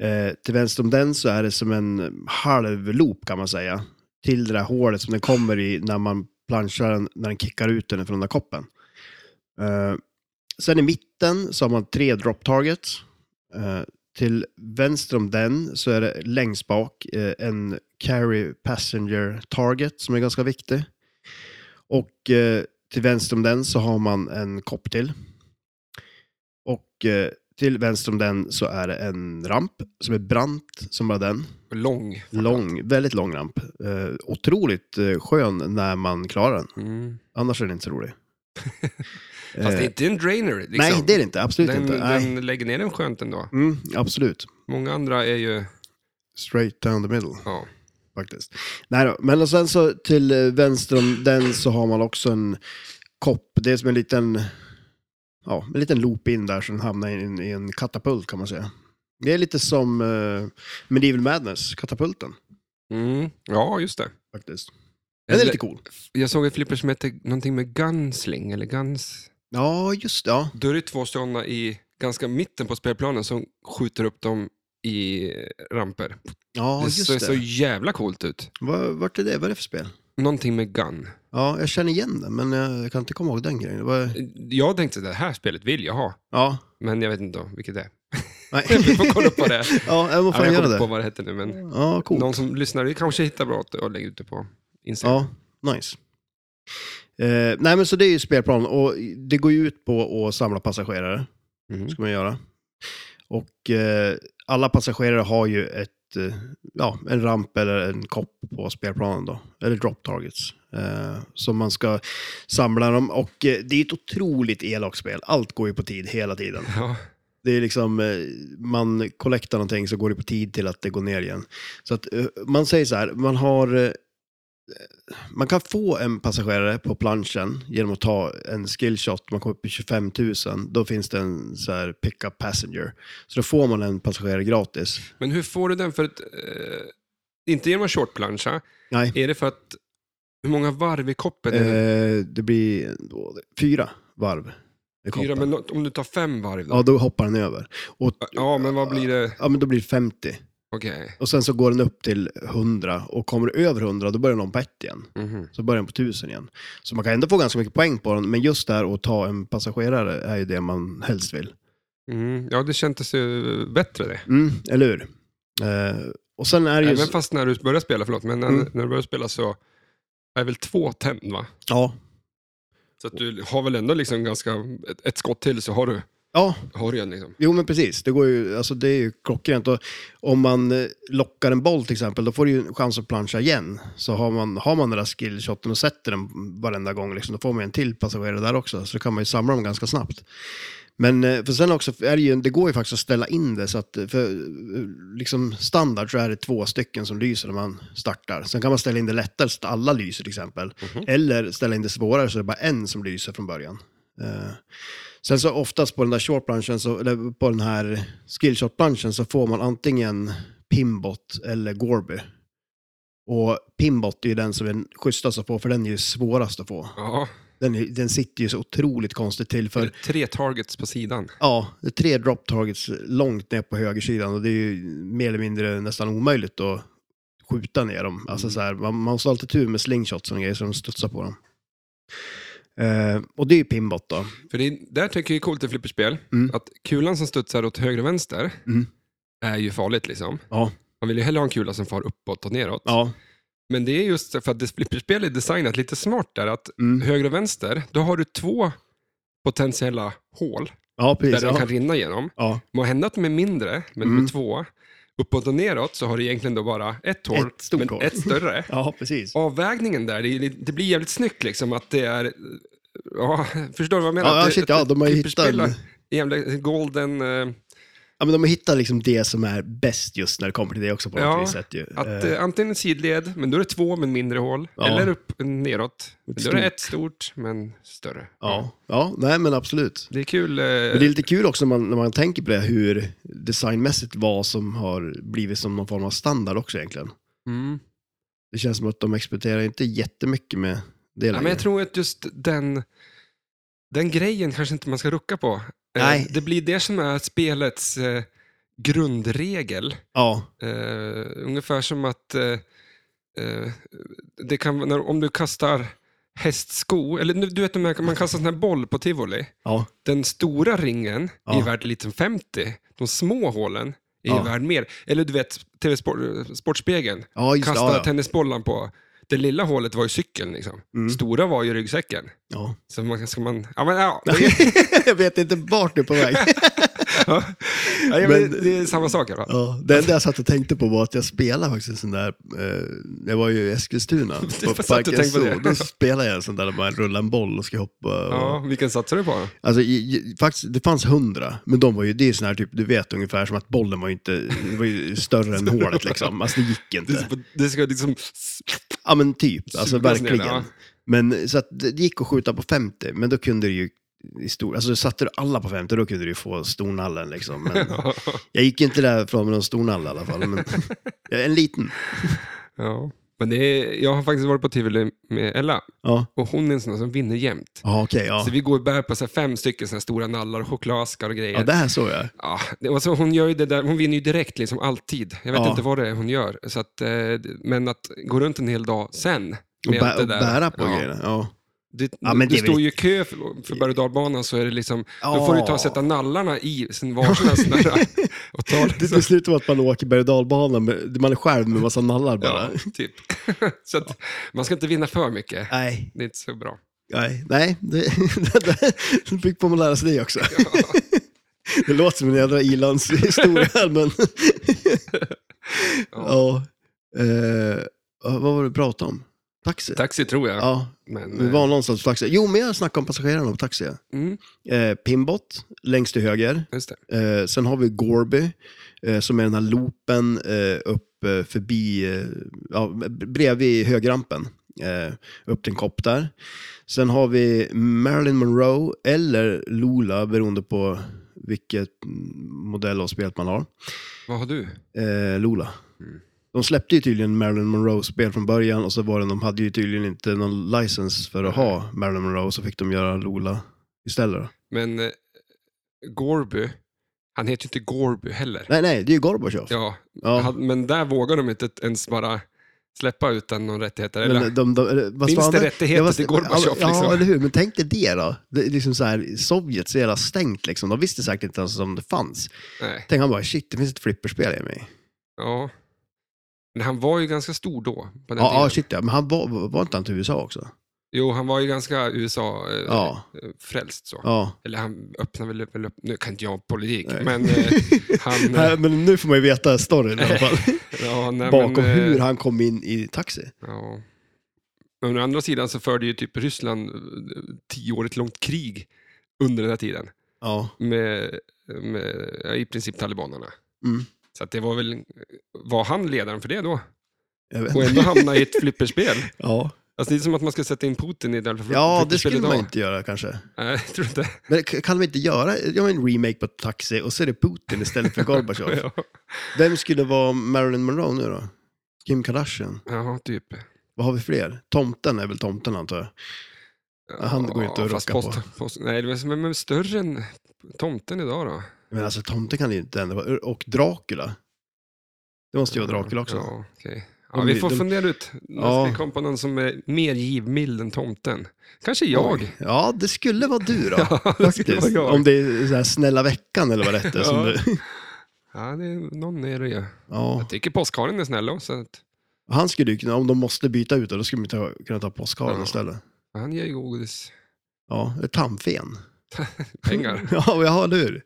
Speaker 1: Eh, till vänster om den så är det som en halv loop kan man säga. Till det där hålet som den kommer i när man planchar den, när den kickar ut den från den där koppen. Eh, sen i mitten så har man tre drop targets. Eh, till vänster om den så är det längst bak eh, en carry passenger target som är ganska viktig. Och eh, till vänster om den så har man en kopp till. Och eh, till vänster om den så är det en ramp som är brant som bara den.
Speaker 2: Lång.
Speaker 1: Lång, väldigt lång ramp. Eh, otroligt eh, skön när man klarar den.
Speaker 2: Mm.
Speaker 1: Annars är den inte så rolig.
Speaker 2: Fast det är
Speaker 1: Eh,
Speaker 2: inte en drainer. Liksom.
Speaker 1: Nej, det är det inte. Absolut
Speaker 2: den,
Speaker 1: inte. Nej.
Speaker 2: den lägger ner den skönt ändå.
Speaker 1: Mm, absolut.
Speaker 2: Många andra är ju...
Speaker 1: Straight down the middle.
Speaker 2: Ja.
Speaker 1: faktiskt. Nej då, men och sen så till eh, vänster om den så har man också en kopp. Det är som en liten, ja, en liten loop in där så den hamnar i en, i en katapult kan man säga. Det är lite som eh, Medieval Madness, katapulten
Speaker 2: Mm. Ja, just det.
Speaker 1: faktiskt. Den är
Speaker 2: Eller-
Speaker 1: lite cool.
Speaker 2: Jag såg ett flipper som hette någonting med Gunsling, eller Guns...
Speaker 1: Ja, just det. Ja.
Speaker 2: Då är det två sådana i ganska mitten på spelplanen som skjuter upp dem i ramper.
Speaker 1: Ja,
Speaker 2: det
Speaker 1: just
Speaker 2: ser
Speaker 1: det.
Speaker 2: så jävla coolt ut.
Speaker 1: Va- Vart är det? Vad är det för spel?
Speaker 2: Någonting med Gun.
Speaker 1: Ja, jag känner igen den, men jag kan inte komma ihåg den grejen. Det var...
Speaker 2: Jag tänkte det här spelet vill jag ha,
Speaker 1: Ja,
Speaker 2: men jag vet inte om vilket det är.
Speaker 1: nej.
Speaker 2: Vi får kolla på det.
Speaker 1: ja, jag
Speaker 2: Ja,
Speaker 1: måste
Speaker 2: men
Speaker 1: fan
Speaker 2: jag kommer inte
Speaker 1: göra
Speaker 2: på
Speaker 1: det.
Speaker 2: vad det hette nu, men
Speaker 1: Ja, coolt.
Speaker 2: någon som lyssnar vi kanske hittar bra och lägger ut det på Instagram.
Speaker 1: Ja, nice. Eh, nej, men så det är ju spelplan och det går ju ut på att samla passagerare,
Speaker 2: Mhm.
Speaker 1: ska man göra. Och eh, alla passagerare har ju ett, eh, ja, en ramp eller en kopp på spelplanen då, eller drop targets. Eh, som man ska samla dem och eh, det är ju ett otroligt elakt spel. Allt går ju på tid hela tiden.
Speaker 2: Ja.
Speaker 1: Det är liksom, eh, man collectar någonting så går det på tid till att det går ner igen. Så att eh, man säger så här, man har... eh, Man kan få en passagerare på planschen genom att ta en skillshot, man kommer upp i 25 000, då finns det en så här pick-up passenger. Så då får man en passagerare gratis.
Speaker 2: Men hur får du den för att... Eh, inte genom att shortplancha.
Speaker 1: Nej.
Speaker 2: Är det för att... Hur många varv i koppen är det?
Speaker 1: Eh, det blir då, fyra varv. i
Speaker 2: Fyra,
Speaker 1: koppen.
Speaker 2: men om du tar fem varv då?
Speaker 1: Ja, då hoppar den över. Och,
Speaker 2: Ja, men vad blir det?
Speaker 1: ja, men då blir det 50.
Speaker 2: Okej.
Speaker 1: Och sen så går den upp till 100 och kommer du över 100 då börjar den om på ett igen.
Speaker 2: Mhm.
Speaker 1: Så börjar den på 1000 igen. Så man kan ändå få ganska mycket poäng på den, men just där att ta en passagerare är ju det man helst vill.
Speaker 2: Mm. Ja, det kändes ju bättre det.
Speaker 1: Mm, eller hur? Eh, och sen är det ju...
Speaker 2: Även fast när du började spela, förlåt, men när,
Speaker 1: Mm.
Speaker 2: när du började spela så är väl två tänd va?
Speaker 1: Ja,
Speaker 2: Så att du har väl ändå liksom ganska, ett, ett skott till så har du,
Speaker 1: ja,
Speaker 2: har du en liksom.
Speaker 1: jo men precis. Det, går ju, alltså det är ju klockrent. Och om man eh, lockar en boll till exempel, då får du ju en chans att plancha igen. Så har man, har man den där skillshoten och sätter den varenda gång, liksom, då får man ju en till passagerare där också. Så då kan man ju samla dem ganska snabbt. Men eh, för sen också, är det, ju, det går ju faktiskt att ställa in det så att eh, för eh, liksom standard så är det två stycken som lyser när man startar. Sen kan man ställa in det lättare så att alla lyser till exempel. Eller ställa in det svårare så det är bara en som lyser från början. Eh, Sen så oftast på den där shortbranschen, så, eller på den här skillshotbranschen så får man antingen pimbot eller gorby. Och pimbot är ju den som är den schysstaste att få för den är ju svårast att få.
Speaker 2: Ja,
Speaker 1: Den, är- den sitter ju så otroligt konstigt till för
Speaker 2: för... tre targets på sidan.
Speaker 1: Ja, det är tre drop targets långt ner på högersidan och det är ju mer eller mindre nästan omöjligt att skjuta ner
Speaker 2: Mm.
Speaker 1: dem. Alltså så här, man, man måste alltid tur med slingshots och grejer så de studsar på dem. Eh, och det är ju pinbot då.
Speaker 2: För det är, där tycker jag är coolt i flipperspel,
Speaker 1: Mm.
Speaker 2: att kulan som studsar åt höger och vänster
Speaker 1: Mm.
Speaker 2: är ju farligt liksom.
Speaker 1: Ja,
Speaker 2: Man vill ju hellre ha en kula som far uppåt och neråt.
Speaker 1: ja.
Speaker 2: Men det är just för att det- flipperspel är designat lite smart där, att
Speaker 1: Mm.
Speaker 2: höger och vänster, då har du två potentiella hål
Speaker 1: ja
Speaker 2: där
Speaker 1: precis.
Speaker 2: den kan
Speaker 1: Ja.
Speaker 2: rinna genom.
Speaker 1: Ja.
Speaker 2: Må hända att de är mindre, men de
Speaker 1: Mm.
Speaker 2: är två. Uppåt och neråt så har du egentligen då bara ett hål,
Speaker 1: Ett stort
Speaker 2: men
Speaker 1: hål.
Speaker 2: ett större.
Speaker 1: ja, precis.
Speaker 2: Avvägningen där, det, är, lite- det blir jävligt snyggt liksom att det är... Ja, förstår du vad jag menar?
Speaker 1: Ja,
Speaker 2: Att
Speaker 1: ja,
Speaker 2: det-
Speaker 1: shit, ja, de har ju hittat,
Speaker 2: flipperspel är Jävla golden... eh,
Speaker 1: ja, men de har hittat liksom det som är bäst just när det kommer till det också på något
Speaker 2: Ja,
Speaker 1: vis sätt. Ju.
Speaker 2: Att
Speaker 1: Eh,
Speaker 2: eh, antingen en sidled, men då är det två men mindre hål.
Speaker 1: Ja.
Speaker 2: Eller upp neråt. Men då är
Speaker 1: stort.
Speaker 2: det ett stort men större.
Speaker 1: ja. ja, nej men absolut.
Speaker 2: Det är kul. eh,
Speaker 1: Men det är lite kul också när man, när man tänker på det, hur designmässigt vad som har blivit som någon form av standard också egentligen.
Speaker 2: mm.
Speaker 1: Det känns som att de experimenterar inte jättemycket med det
Speaker 2: ja,
Speaker 1: längre.
Speaker 2: men jag tror att just den, den grejen kanske inte man ska rucka på. Eh,
Speaker 1: Nej.
Speaker 2: Det blir det som är spelets eh, grundregel.
Speaker 1: Ja,
Speaker 2: Eh, ungefär som att eh, eh, det kan, vara- när, om du kastar hästsko, eller nu- du vet de här, man kastar sån här boll på tivoli.
Speaker 1: ja,
Speaker 2: Den stora ringen
Speaker 1: Ja.
Speaker 2: är värd lite 50. De små hålen är
Speaker 1: Ja.
Speaker 2: värd mer. Eller du vet, eh, TV-sportspegeln.
Speaker 1: ja just det.
Speaker 2: Kasta
Speaker 1: Ja, ja.
Speaker 2: tennisbollen på... Det lilla hålet var ju cykeln. Liksom.
Speaker 1: Mm.
Speaker 2: Stora var ju ryggsäcken.
Speaker 1: ja.
Speaker 2: Så man, ska man... Ja, men, ja, det,
Speaker 1: jag vet inte vart du är på väg.
Speaker 2: ja, ja, men,
Speaker 1: Men-
Speaker 2: det, det är samma sak i alla fall.
Speaker 1: ja, det enda jag satt och tänkte på var att jag spelade faktiskt en sån där, eh, jag var ju i Eskilstuna, på
Speaker 2: satt och
Speaker 1: Parken
Speaker 2: tänkte på det.
Speaker 1: Zoo. Då spelade jag en sån där där man rullar en boll och ska hoppa. Och,
Speaker 2: Ja, vilken satsar du på?
Speaker 1: Alltså, i, i, faktiskt, det fanns hundra, men de var ju, det är sån här typ, du vet ungefär som att bollen var ju inte, det var ju större än hålet liksom. Alltså det gick
Speaker 2: Det,
Speaker 1: inte.
Speaker 2: ska- det ska liksom...
Speaker 1: Ja men typ, alltså
Speaker 2: Sugas ner,
Speaker 1: verkligen.
Speaker 2: ja.
Speaker 1: Men så att det det gick att skjuta på 50, men då kunde det ju i stor, alltså satte du alla på 50 då kunde du ju få stornallen liksom. Men jag gick inte därifrån med någon stornalle i alla fall. Men, en liten.
Speaker 2: ja. Men det är, jag har faktiskt varit på tivoli med Ella
Speaker 1: Ja,
Speaker 2: och hon är en sån där som vinner jämt.
Speaker 1: ja okej. ja.
Speaker 2: Så vi går och bär på så här fem stycken så här stora nallar och chokladaskar och grejer.
Speaker 1: ja, det här såg jag.
Speaker 2: Ja, det, alltså hon, gör ju det där, hon vinner ju direkt, liksom alltid. Jag vet
Speaker 1: Ja.
Speaker 2: inte vad det är hon gör. Så att, eh, men att gå runt en hel dag sen med
Speaker 1: Och,
Speaker 2: allt det
Speaker 1: bä, och
Speaker 2: där.
Speaker 1: bära på
Speaker 2: ja.
Speaker 1: grejerna. Ja.
Speaker 2: Du,
Speaker 1: Ja, men
Speaker 2: du
Speaker 1: det är väl-
Speaker 2: står ju i kö för, för berg och dalbanan så är det liksom, då
Speaker 1: Ja.
Speaker 2: får du ta och sätta nallarna i sin varsina sån där och ta
Speaker 1: Det,
Speaker 2: liksom.
Speaker 1: det slutar med att man åker berg och dalbana, med- man är själv med massa nallar bara.
Speaker 2: Ja, typ. så att, man ska inte vinna för mycket.
Speaker 1: Nej,
Speaker 2: Det är inte så bra.
Speaker 1: nej, nej. Det, det, det fick man lära sig det också. Det låter som en jädra ilandshistoria, men... ja. Eh, vad var det du pratade om? Taxi?
Speaker 2: Taxi tror jag.
Speaker 1: Ja,
Speaker 2: Men,
Speaker 1: vi
Speaker 2: eh,
Speaker 1: var någonstans på taxi. Jo, men jag snackade om passagerarna på taxi.
Speaker 2: mm,
Speaker 1: Eh, Pimbot, längst till höger.
Speaker 2: just det.
Speaker 1: Eh, sen har vi Gorby, eh, som är den här loopen eh, upp eh, förbi, eh, ja, bredvid högrampen. Eh, upp till en kopp där. Sen har vi Marilyn Monroe eller Lola, beroende på vilket modell av spelet man har.
Speaker 2: Vad har du?
Speaker 1: Eh, Lola.
Speaker 2: Mm.
Speaker 1: De släppte ju tydligen Marilyn Monroe-spel från början och så var det, de hade ju tydligen inte någon license för att ha Marilyn Monroe, så fick de göra Lola istället.
Speaker 2: Men eh, Gorby, han heter ju inte Gorby heller.
Speaker 1: Nej, nej, det är ju Gorbachev.
Speaker 2: Ja,
Speaker 1: Ja.
Speaker 2: han- men där vågar de inte ens bara släppa utan någon rättigheter. Eller?
Speaker 1: Men de, de, eller, vad
Speaker 2: Finns
Speaker 1: sa han
Speaker 2: det
Speaker 1: där?
Speaker 2: rättigheter
Speaker 1: Jag var-
Speaker 2: till Gorbatjov,
Speaker 1: Ja,
Speaker 2: liksom?
Speaker 1: eller hur. Men tänk dig det då. Det, är liksom så här, Sovjet så jävla stängt. Liksom. De visste säkert inte ens om det fanns.
Speaker 2: Nej.
Speaker 1: Tänk han bara, shit, det finns ett flipperspel i mig.
Speaker 2: Ja. Men han var ju ganska stor då. På den
Speaker 1: Ja, ja,
Speaker 2: tiden.
Speaker 1: shit ja. Men han var, var inte han till USA också?
Speaker 2: Jo, han var ju ganska USA-frälst.
Speaker 1: Ja,
Speaker 2: så.
Speaker 1: ja.
Speaker 2: Eller han öppnade väl upp, väl upp nu kan inte jag politik,
Speaker 1: Nej.
Speaker 2: men eh, han... eh,
Speaker 1: Nej, men nu får man ju veta storyn i alla fall.
Speaker 2: ja, nej,
Speaker 1: Bakom
Speaker 2: men, eh,
Speaker 1: hur han kom in i taxi.
Speaker 2: Ja. Men å andra sidan så förde ju typ Ryssland eh, tioårigt långt krig under den här tiden
Speaker 1: Ja.
Speaker 2: med, med ja, i princip talibanerna.
Speaker 1: Mm.
Speaker 2: Så att det var väl, var han ledaren för det då?
Speaker 1: Jag vet.
Speaker 2: Och ändå hamna i ett flipperspel.
Speaker 1: Ja.
Speaker 2: Alltså det är som att man ska sätta in Putin i ett jävla
Speaker 1: ja, det
Speaker 2: flipperspel
Speaker 1: skulle
Speaker 2: idag.
Speaker 1: man inte göra kanske.
Speaker 2: Nej, jag tror inte.
Speaker 1: Men k- kan de inte göra göra en remake på Taxi och så är det Putin istället för Gorbatjov?
Speaker 2: Ja,
Speaker 1: Vem skulle vara Marilyn Monroe nu då? Kim Kardashian?
Speaker 2: ja typ.
Speaker 1: Vad har vi fler? Tomten är väl tomten antar jag. Han går ju inte att
Speaker 2: fast
Speaker 1: rucka på.
Speaker 2: Post, nej, det är men större än tomten idag då.
Speaker 1: Men alltså tomten kan det ju inte ändå vara. Och Dracula. Det måste ju vara Dracula också. Ja.
Speaker 2: Ja, okej. ja,
Speaker 1: Om
Speaker 2: vi
Speaker 1: vi-
Speaker 2: får
Speaker 1: de-
Speaker 2: fundera ut. Ja.
Speaker 1: Ja.
Speaker 2: Vi kom på någon som är mer givmild än tomten. Kanske jag.
Speaker 1: Ja, det skulle vara du då.
Speaker 2: Ja, det skulle vara
Speaker 1: Faktiskt.
Speaker 2: jag.
Speaker 1: Om det är så här snälla veckan eller vad det är. som
Speaker 2: Ja.
Speaker 1: du...
Speaker 2: Ja, det är, någon är det ju.
Speaker 1: ja.
Speaker 2: Jag tycker påskharen är snäll också. så att-
Speaker 1: Han skulle ju kunna, om de måste byta ut det, då skulle man ta, kunna ta påskharen
Speaker 2: Ja.
Speaker 1: istället.
Speaker 2: Han ger ju godis.
Speaker 1: Ja, ett tandfen.
Speaker 2: Pengar.
Speaker 1: ja, vi har hur?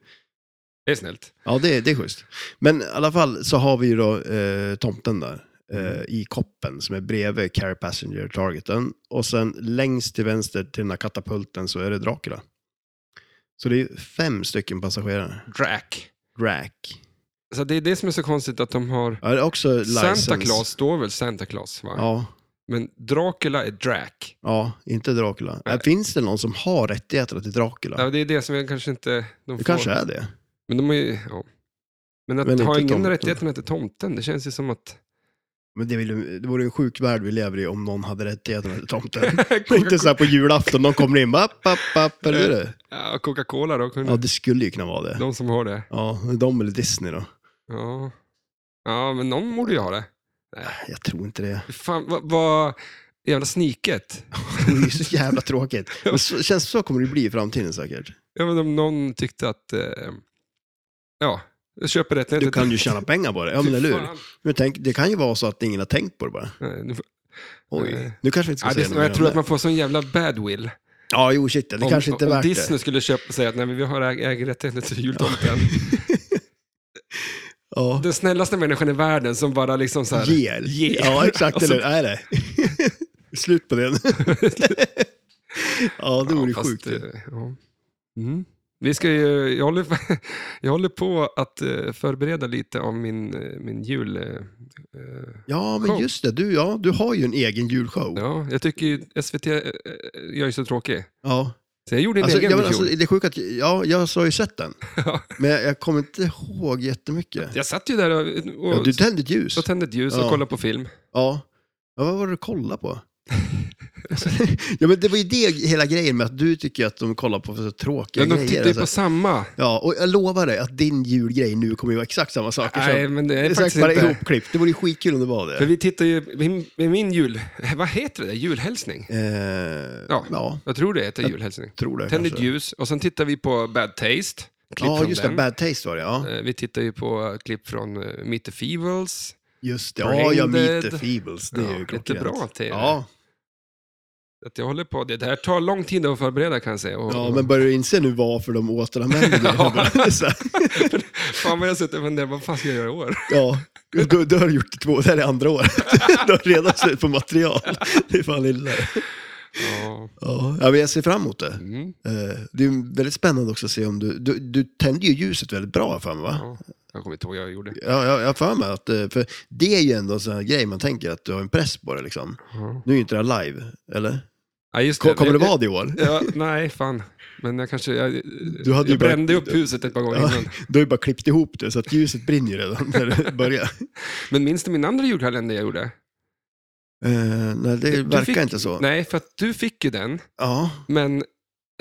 Speaker 2: Det är snällt.
Speaker 1: Ja, det, det är schysst. Men i alla fall så har vi ju då eh, tomten där
Speaker 2: Mm.
Speaker 1: eh, i koppen som är bredvid Care Passenger Targeten. Och sen längst till vänster till den här katapulten så är det Dracula. Så det är ju fem stycken passagerare.
Speaker 2: Drac.
Speaker 1: Drac.
Speaker 2: Så det är det som är så konstigt att de har...
Speaker 1: Ja, det är också license.
Speaker 2: Santa Claus står väl Santa Claus? Va?
Speaker 1: Ja,
Speaker 2: Men Dracula är Drac.
Speaker 1: ja, inte Dracula.
Speaker 2: Nej.
Speaker 1: Äh, finns det någon som har rättigheterna till Dracula?
Speaker 2: Ja. Det är det som jag kanske inte... De
Speaker 1: det
Speaker 2: får.
Speaker 1: kanske är det.
Speaker 2: Men de har ju... Ja. Men att
Speaker 1: Men
Speaker 2: ha
Speaker 1: inte
Speaker 2: ingen
Speaker 1: tomten.
Speaker 2: rättighet med till tomten, det känns ju som att...
Speaker 1: Men det, vill, ju- det vore ju en sjuk värld vi lever i om någon hade rättigheterna till tomten. inte så här på julafton, någon kommer in bara, app, app, app, eller hur är
Speaker 2: Eh,
Speaker 1: det?
Speaker 2: Ja, Coca-Cola då, kunde...
Speaker 1: Ja, det skulle ju kunna vara det.
Speaker 2: de som har det.
Speaker 1: Ja, de eller Disney då?
Speaker 2: Ja. ja, men någon borde ju ha det.
Speaker 1: Jag tror inte det.
Speaker 2: Fan, vad... vad jävla sniket.
Speaker 1: Det är ju så jävla tråkigt. Men så, känns det så kommer det bli i framtiden säkert.
Speaker 2: Ja, men om någon tyckte att... Eh, ja, jag köper rättigheter.
Speaker 1: Du kan ju tjäna pengar på det. Ja, men eller hur?
Speaker 2: Fan.
Speaker 1: Men tänk, det kan ju vara så att ingen har tänkt på det bara.
Speaker 2: Nej, nu får- Nej.
Speaker 1: Oj, nu kanske vi inte ska
Speaker 2: Ja,
Speaker 1: säga
Speaker 2: det,
Speaker 1: något
Speaker 2: jag
Speaker 1: mer
Speaker 2: tror
Speaker 1: om
Speaker 2: att man får sån jävla badwill.
Speaker 1: det. Ja, jo shit, ja, det kanske inte är
Speaker 2: om
Speaker 1: värt
Speaker 2: Disney
Speaker 1: det.
Speaker 2: skulle köpa och säga att nej, men vi har äg- äger rättigheter till jultomten.
Speaker 1: Ja.
Speaker 2: Den snällaste människan i världen som bara liksom så här...
Speaker 1: Ger.
Speaker 2: Ger.
Speaker 1: Ja, exakt.
Speaker 2: Och så-
Speaker 1: Eller hur? Nej, nej. Slut på det nu. Ja, det vore
Speaker 2: Ja,
Speaker 1: sjukt.
Speaker 2: eh, ja. mm. Vi ska ju, jag, håller, jag håller på att eh, förbereda lite av min, eh, min jul... eh, eh,
Speaker 1: Ja, men
Speaker 2: show.
Speaker 1: just det. Du, ja, du har ju en egen julshow.
Speaker 2: Ja, jag tycker ju SVT, eh, jag är eh, så tråkig.
Speaker 1: Ja.
Speaker 2: Så jag gjorde en
Speaker 1: Alltså,
Speaker 2: egen
Speaker 1: jag, men,
Speaker 2: version.
Speaker 1: alltså, det är sjukt att, ja, jag har ju sett den.
Speaker 2: Ja.
Speaker 1: Men jag, jag kommer inte ihåg jättemycket.
Speaker 2: Jag satt ju där och, och
Speaker 1: Ja, du tände ett ljus.
Speaker 2: och tände ett ljus och
Speaker 1: Ja.
Speaker 2: kollade på film.
Speaker 1: Ja. ja. Vad var det du kollade på? Alltså, ja, men det var ju det hela grejen med att du tycker att de kollar på så tråkiga
Speaker 2: Ja, de
Speaker 1: grejer.
Speaker 2: tittar ju
Speaker 1: alltså.
Speaker 2: på samma.
Speaker 1: Ja, och jag lovar dig att din julgrej nu kommer ju vara exakt samma saker. som-
Speaker 2: Nej, men det
Speaker 1: det
Speaker 2: är
Speaker 1: är
Speaker 2: faktiskt
Speaker 1: säkert bara
Speaker 2: inte...
Speaker 1: ihopklippt. Det vore ju skitkul om det var
Speaker 2: För
Speaker 1: det.
Speaker 2: vi tittar ju, min, min jul, vad heter det där? Julhälsning?
Speaker 1: Eh,
Speaker 2: Ja.
Speaker 1: ja.
Speaker 2: Jag tror det heter julhälsning.
Speaker 1: tror det.
Speaker 2: Tände ett
Speaker 1: kanske.
Speaker 2: ljus och sen tittar vi på Bad Taste. Klipp
Speaker 1: Ja,
Speaker 2: från
Speaker 1: just det.
Speaker 2: den.
Speaker 1: Bad taste var det, ja.
Speaker 2: Eh, Vi tittar ju på klipp från eh, Meet the Feebles.
Speaker 1: Just det. Ja, jag
Speaker 2: Branded.
Speaker 1: meet the feebles. Det är
Speaker 2: Ja,
Speaker 1: ju
Speaker 2: lite
Speaker 1: klockrent.
Speaker 2: bra tv.
Speaker 1: Ja,
Speaker 2: Att jag håller på. Det här tar lång tid att förbereda kan jag säga. Och,
Speaker 1: ja, men börjar du inse nu varför de återanvänder
Speaker 2: Ja.
Speaker 1: det? Så här,
Speaker 2: Fan vad jag suttit och funderat, vad fan ska jag göra i år?
Speaker 1: ja. Du, du har gjort det två, det här är andra året. Du har redan slut på material. Det är fan illa.
Speaker 2: Ja.
Speaker 1: Ja, ja, men jag ser fram emot det.
Speaker 2: Mm.
Speaker 1: Eh, Det är ju väldigt spännande också att se om du... Du, du tände ju ljuset väldigt bra för mig, va?
Speaker 2: Ja. Jag kommer inte ihåg vad jag gjorde.
Speaker 1: Ja, jag jag har för mig att, eh, för det är ju ändå en sån här grej man tänker att du har en press på det liksom.
Speaker 2: Ja.
Speaker 1: Nu är ju inte det här live, eller?
Speaker 2: Ja, just
Speaker 1: Ko- Kommer det
Speaker 2: Jag-
Speaker 1: vara det i år?
Speaker 2: Ja, nej, fan. Men jag kanske... Jag,
Speaker 1: Du hade ju
Speaker 2: jag brände
Speaker 1: bara-
Speaker 2: upp huset ett par gånger
Speaker 1: Ja.
Speaker 2: innan.
Speaker 1: Du har ju bara klippt ihop det så att ljuset brinner ju redan när det börjar.
Speaker 2: Men minns du min andra julkalender jag gjorde?
Speaker 1: Eh, nej, det
Speaker 2: Du
Speaker 1: verkar
Speaker 2: fick-
Speaker 1: inte så.
Speaker 2: Nej, för att du fick ju den,
Speaker 1: Ja,
Speaker 2: men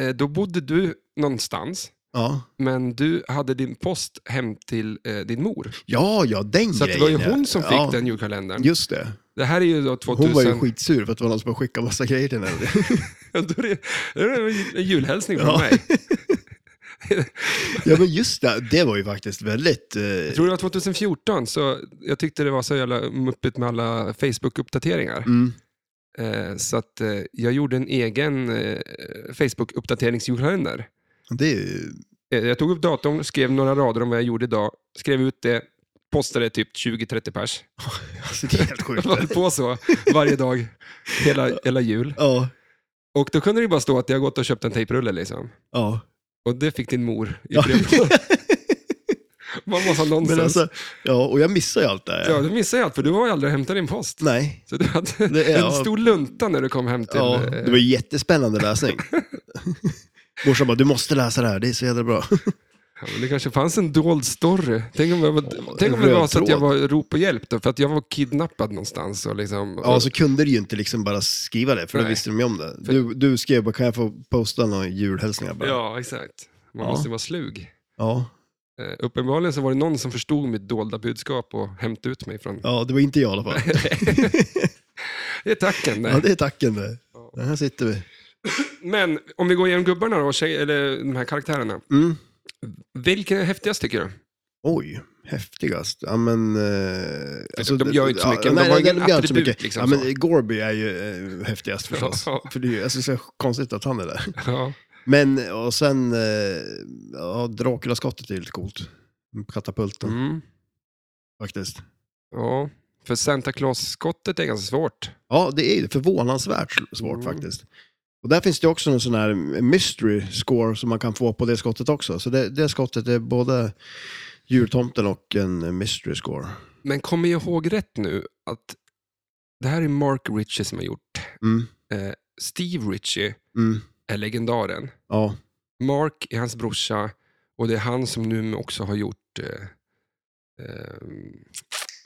Speaker 2: eh, då bodde du någonstans.
Speaker 1: ja.
Speaker 2: Men du hade din post hem till eh, din mor.
Speaker 1: Ja, ja, den
Speaker 2: Så att det
Speaker 1: grejen.
Speaker 2: var ju
Speaker 1: ja.
Speaker 2: hon som fick
Speaker 1: ja,
Speaker 2: den julkalendern.
Speaker 1: Just det.
Speaker 2: Det här är ju då
Speaker 1: Hon
Speaker 2: 2000...
Speaker 1: var ju skitsur för att det var någon som skickade massa grejer till henne.
Speaker 2: Ja, då är det, då är det en julhälsning från
Speaker 1: Ja.
Speaker 2: mig.
Speaker 1: ja, men just det. Det var ju faktiskt väldigt... Eh,
Speaker 2: Jag tror det var 2014, så jag tyckte det var så jävla muppigt med alla Facebook-uppdateringar.
Speaker 1: mm,
Speaker 2: Eh, så att eh, jag gjorde en egen eh, Facebook-uppdateringsjulkalender.
Speaker 1: det är ju...
Speaker 2: Eh, Jag tog upp datorn, skrev några rader om vad jag gjorde idag, skrev ut det, postade typ 20-30 pers.
Speaker 1: Alltså, det är helt
Speaker 2: Jag
Speaker 1: sjukt.
Speaker 2: höll på så varje dag, hela, hela jul.
Speaker 1: ja,
Speaker 2: Och då kunde det ju bara stå att jag har gått och köpt en tejprulle liksom.
Speaker 1: ja.
Speaker 2: Och det fick din mor i
Speaker 1: Ja.
Speaker 2: brevlådan. Man måste ha nonsens.
Speaker 1: Men alltså, ja, och jag missar ju allt det här.
Speaker 2: ja, du missade ju allt, för du var ju aldrig och hämtade din post.
Speaker 1: Nej.
Speaker 2: Så du hade
Speaker 1: Det är-
Speaker 2: en stor lunta när du kom hem till...
Speaker 1: Ja,
Speaker 2: eh,
Speaker 1: det var ju jättespännande läsning. Morsan bara, du måste läsa det här, det är så jävla bra.
Speaker 2: Ja, men det kanske fanns en dold story. Tänk om, jag var, tänk om det
Speaker 1: röd
Speaker 2: var så att jag
Speaker 1: tråd.
Speaker 2: var rop på hjälp då, för att jag var kidnappad någonstans. Och liksom,
Speaker 1: Ja,
Speaker 2: och,
Speaker 1: så kunde du ju inte liksom bara skriva det, för då
Speaker 2: Nej.
Speaker 1: visste de ju om det. Du, du skrev bara, kan jag få posta några julhälsningar bara?
Speaker 2: ja, exakt. Man
Speaker 1: Ja.
Speaker 2: måste ju vara slug.
Speaker 1: ja.
Speaker 2: Eh, uppenbarligen så var det någon som förstod mitt dolda budskap och hämtade ut mig från...
Speaker 1: Ja, det var inte jag i alla fall.
Speaker 2: Det är tacken.
Speaker 1: ja,
Speaker 2: där.
Speaker 1: det är tacken det.
Speaker 2: Ja.
Speaker 1: Här sitter vi.
Speaker 2: Men om vi går igenom gubbarna då, och tjej, eller de här karaktärerna.
Speaker 1: Mm.
Speaker 2: Vilken är häftigast tycker du?
Speaker 1: Oj, häftigast. Ja, men, eh,
Speaker 2: Alltså, de gör ju inte så
Speaker 1: ja,
Speaker 2: mycket, de
Speaker 1: nej,
Speaker 2: har ju
Speaker 1: nej,
Speaker 2: ingen
Speaker 1: de gör inte så
Speaker 2: attribut,
Speaker 1: mycket.
Speaker 2: liksom
Speaker 1: ja, men
Speaker 2: så.
Speaker 1: eh, Gorby är ju eh, häftigast förstås.
Speaker 2: Ja.
Speaker 1: För det är ju alltså, så konstigt att han är där.
Speaker 2: Ja.
Speaker 1: Men, och sen, eh, ja, Dracula-skottet är ju lite coolt. Katapulten,
Speaker 2: Mm.
Speaker 1: faktiskt.
Speaker 2: ja. För Santa Claus-skottet är ganska svårt.
Speaker 1: Ja, det är ju förvånansvärt svårt
Speaker 2: Mm.
Speaker 1: faktiskt. Och där finns det också en sån här mystery score som man kan få på det skottet också. Så det, det skottet är både jultomten och en mystery score.
Speaker 2: Men kommer jag ihåg rätt nu att det här är Mark Ritchie som har gjort.
Speaker 1: Mm,
Speaker 2: Eh, Steve Ritchie
Speaker 1: mm,
Speaker 2: är legendaren.
Speaker 1: ja.
Speaker 2: Mark är hans brorsa och det är han som nu också har gjort eh, eh,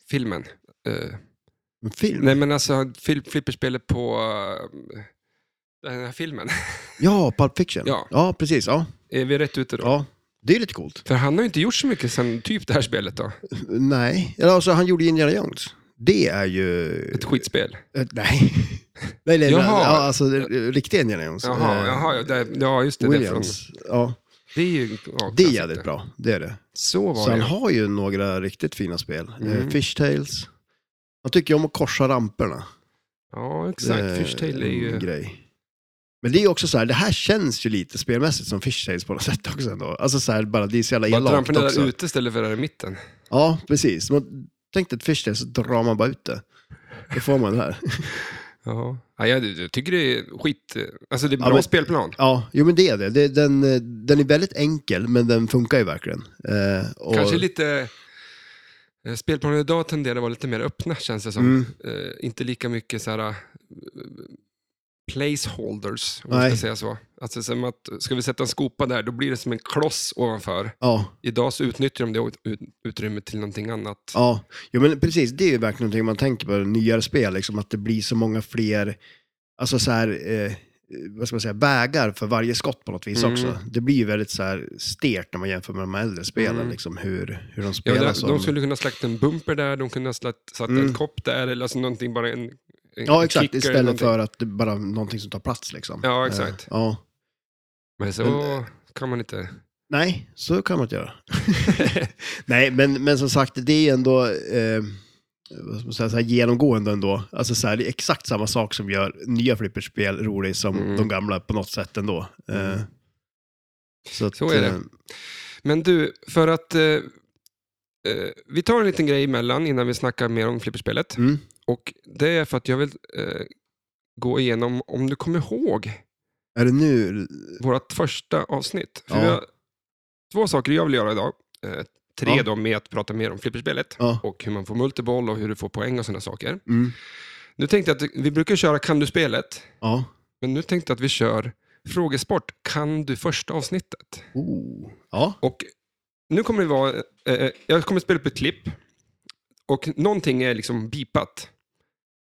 Speaker 2: filmen. Eh,
Speaker 1: En film?
Speaker 2: nej men alltså fil, flipperspelet på eh, den här filmen.
Speaker 1: Ja, Pulp Fiction.
Speaker 2: Ja.
Speaker 1: precis. Ja.
Speaker 2: är vi rätt ute då?
Speaker 1: ja. Det är lite coolt.
Speaker 2: För han har ju inte gjort så mycket sen typ det här spelet då.
Speaker 1: Nej, Eller, alltså han gjorde Indiana Jones. Det är ju...
Speaker 2: Ett skitspel.
Speaker 1: Eh, Nej. nej, nej,
Speaker 2: Jaha.
Speaker 1: nej. Ja, alltså eh, riktiga Indiana Jones.
Speaker 2: Jaha,
Speaker 1: Eh,
Speaker 2: jaha ja, det, ja just det. det är från-
Speaker 1: Williams. Ja,
Speaker 2: Det är ju... Ja,
Speaker 1: det är jävligt bra. Det är det.
Speaker 2: Så var
Speaker 1: Så han
Speaker 2: det.
Speaker 1: har ju några riktigt fina spel.
Speaker 2: Mm.
Speaker 1: Mm. Fishtails. Han tycker ju om att korsa ramperna.
Speaker 2: Ja, exakt.
Speaker 1: Eh,
Speaker 2: Fishtail är
Speaker 1: en
Speaker 2: ju...
Speaker 1: grej. Men det är ju också så här, det här känns ju lite spelmässigt som Fishtails på något sätt också ändå. Alltså så här, bara det är så jävla
Speaker 2: Bara
Speaker 1: elakt
Speaker 2: tramporna
Speaker 1: också.
Speaker 2: där ute istället för där i mitten.
Speaker 1: Ja, precis. Man tänkte ett fishtail så drar man bara ut det. Då får man det här.
Speaker 2: Ja. Ja, jag, jag tycker det är skit... Alltså det är bra
Speaker 1: Ja, men-
Speaker 2: spelplan.
Speaker 1: Ja, jo men det är det. det den, eh, den är väldigt enkel, men den funkar ju verkligen. Eh, och,
Speaker 2: Kanske lite... eh, Spelplanen idag Eh, tenderar att vara lite mer öppna känns det som.
Speaker 1: Mm.
Speaker 2: Eh, inte lika mycket så här, eh, placeholders, om man
Speaker 1: Nej.
Speaker 2: ska säga så. Alltså som att, ska vi sätta en skopa där, då blir det som en kloss ovanför.
Speaker 1: Ja,
Speaker 2: Idag så utnyttjar de det ut- ut- utrymmet till någonting annat.
Speaker 1: ja. Jo, men precis. Det är ju verkligen någonting man tänker på i nyare spel, liksom, att det blir så många fler alltså, så här, eh, vad ska man säga, vägar för varje skott på något vis
Speaker 2: Mm.
Speaker 1: också. Det blir ju väldigt så här, stert när man jämför med de här äldre spelen,
Speaker 2: Mm.
Speaker 1: liksom, hur, hur de
Speaker 2: Ja,
Speaker 1: spelar.
Speaker 2: där,
Speaker 1: som...
Speaker 2: de skulle kunna slakta en bumper där, de kunde ha slakt- satt
Speaker 1: Mm.
Speaker 2: en kopp där, eller alltså någonting, bara en, en
Speaker 1: ja exakt.
Speaker 2: kicker
Speaker 1: Istället
Speaker 2: någonting.
Speaker 1: för att det bara är någonting som tar plats. Liksom.
Speaker 2: Ja, exakt.
Speaker 1: Eh, ja.
Speaker 2: Men så
Speaker 1: Men-
Speaker 2: kan man inte.
Speaker 1: Nej, så kan man inte göra. Nej, men, men som sagt, det är ju ändå eh, vad ska man säga, så här genomgående ändå. Alltså så här, det är exakt samma sak som gör nya flipperspel roligt som
Speaker 2: Mm.
Speaker 1: de gamla på något sätt ändå.
Speaker 2: Mm.
Speaker 1: Eh, så att,
Speaker 2: Så är det.
Speaker 1: eh,
Speaker 2: Men du, för att... Eh, eh, vi tar en liten grej emellan innan vi snackar mer om flipperspelet.
Speaker 1: Mm.
Speaker 2: Och det är för att jag vill eh, gå igenom, om du kommer ihåg,
Speaker 1: Är det nu?
Speaker 2: vårt första avsnitt. För
Speaker 1: Ja.
Speaker 2: vi har två saker jag vill göra idag. Eh, tre
Speaker 1: Ja.
Speaker 2: då med att prata mer om flipperspelet.
Speaker 1: Ja.
Speaker 2: Och hur man får multiboll och hur du får poäng och sådana saker.
Speaker 1: Mm.
Speaker 2: Nu tänkte jag att vi brukar köra Kan du-spelet.
Speaker 1: Ja.
Speaker 2: Men nu tänkte jag att vi kör Frågesport. Kan du första avsnittet?
Speaker 1: Oh. Ja.
Speaker 2: Och nu kommer det vara, eh, jag kommer spela upp ett klipp och någonting är liksom bipat.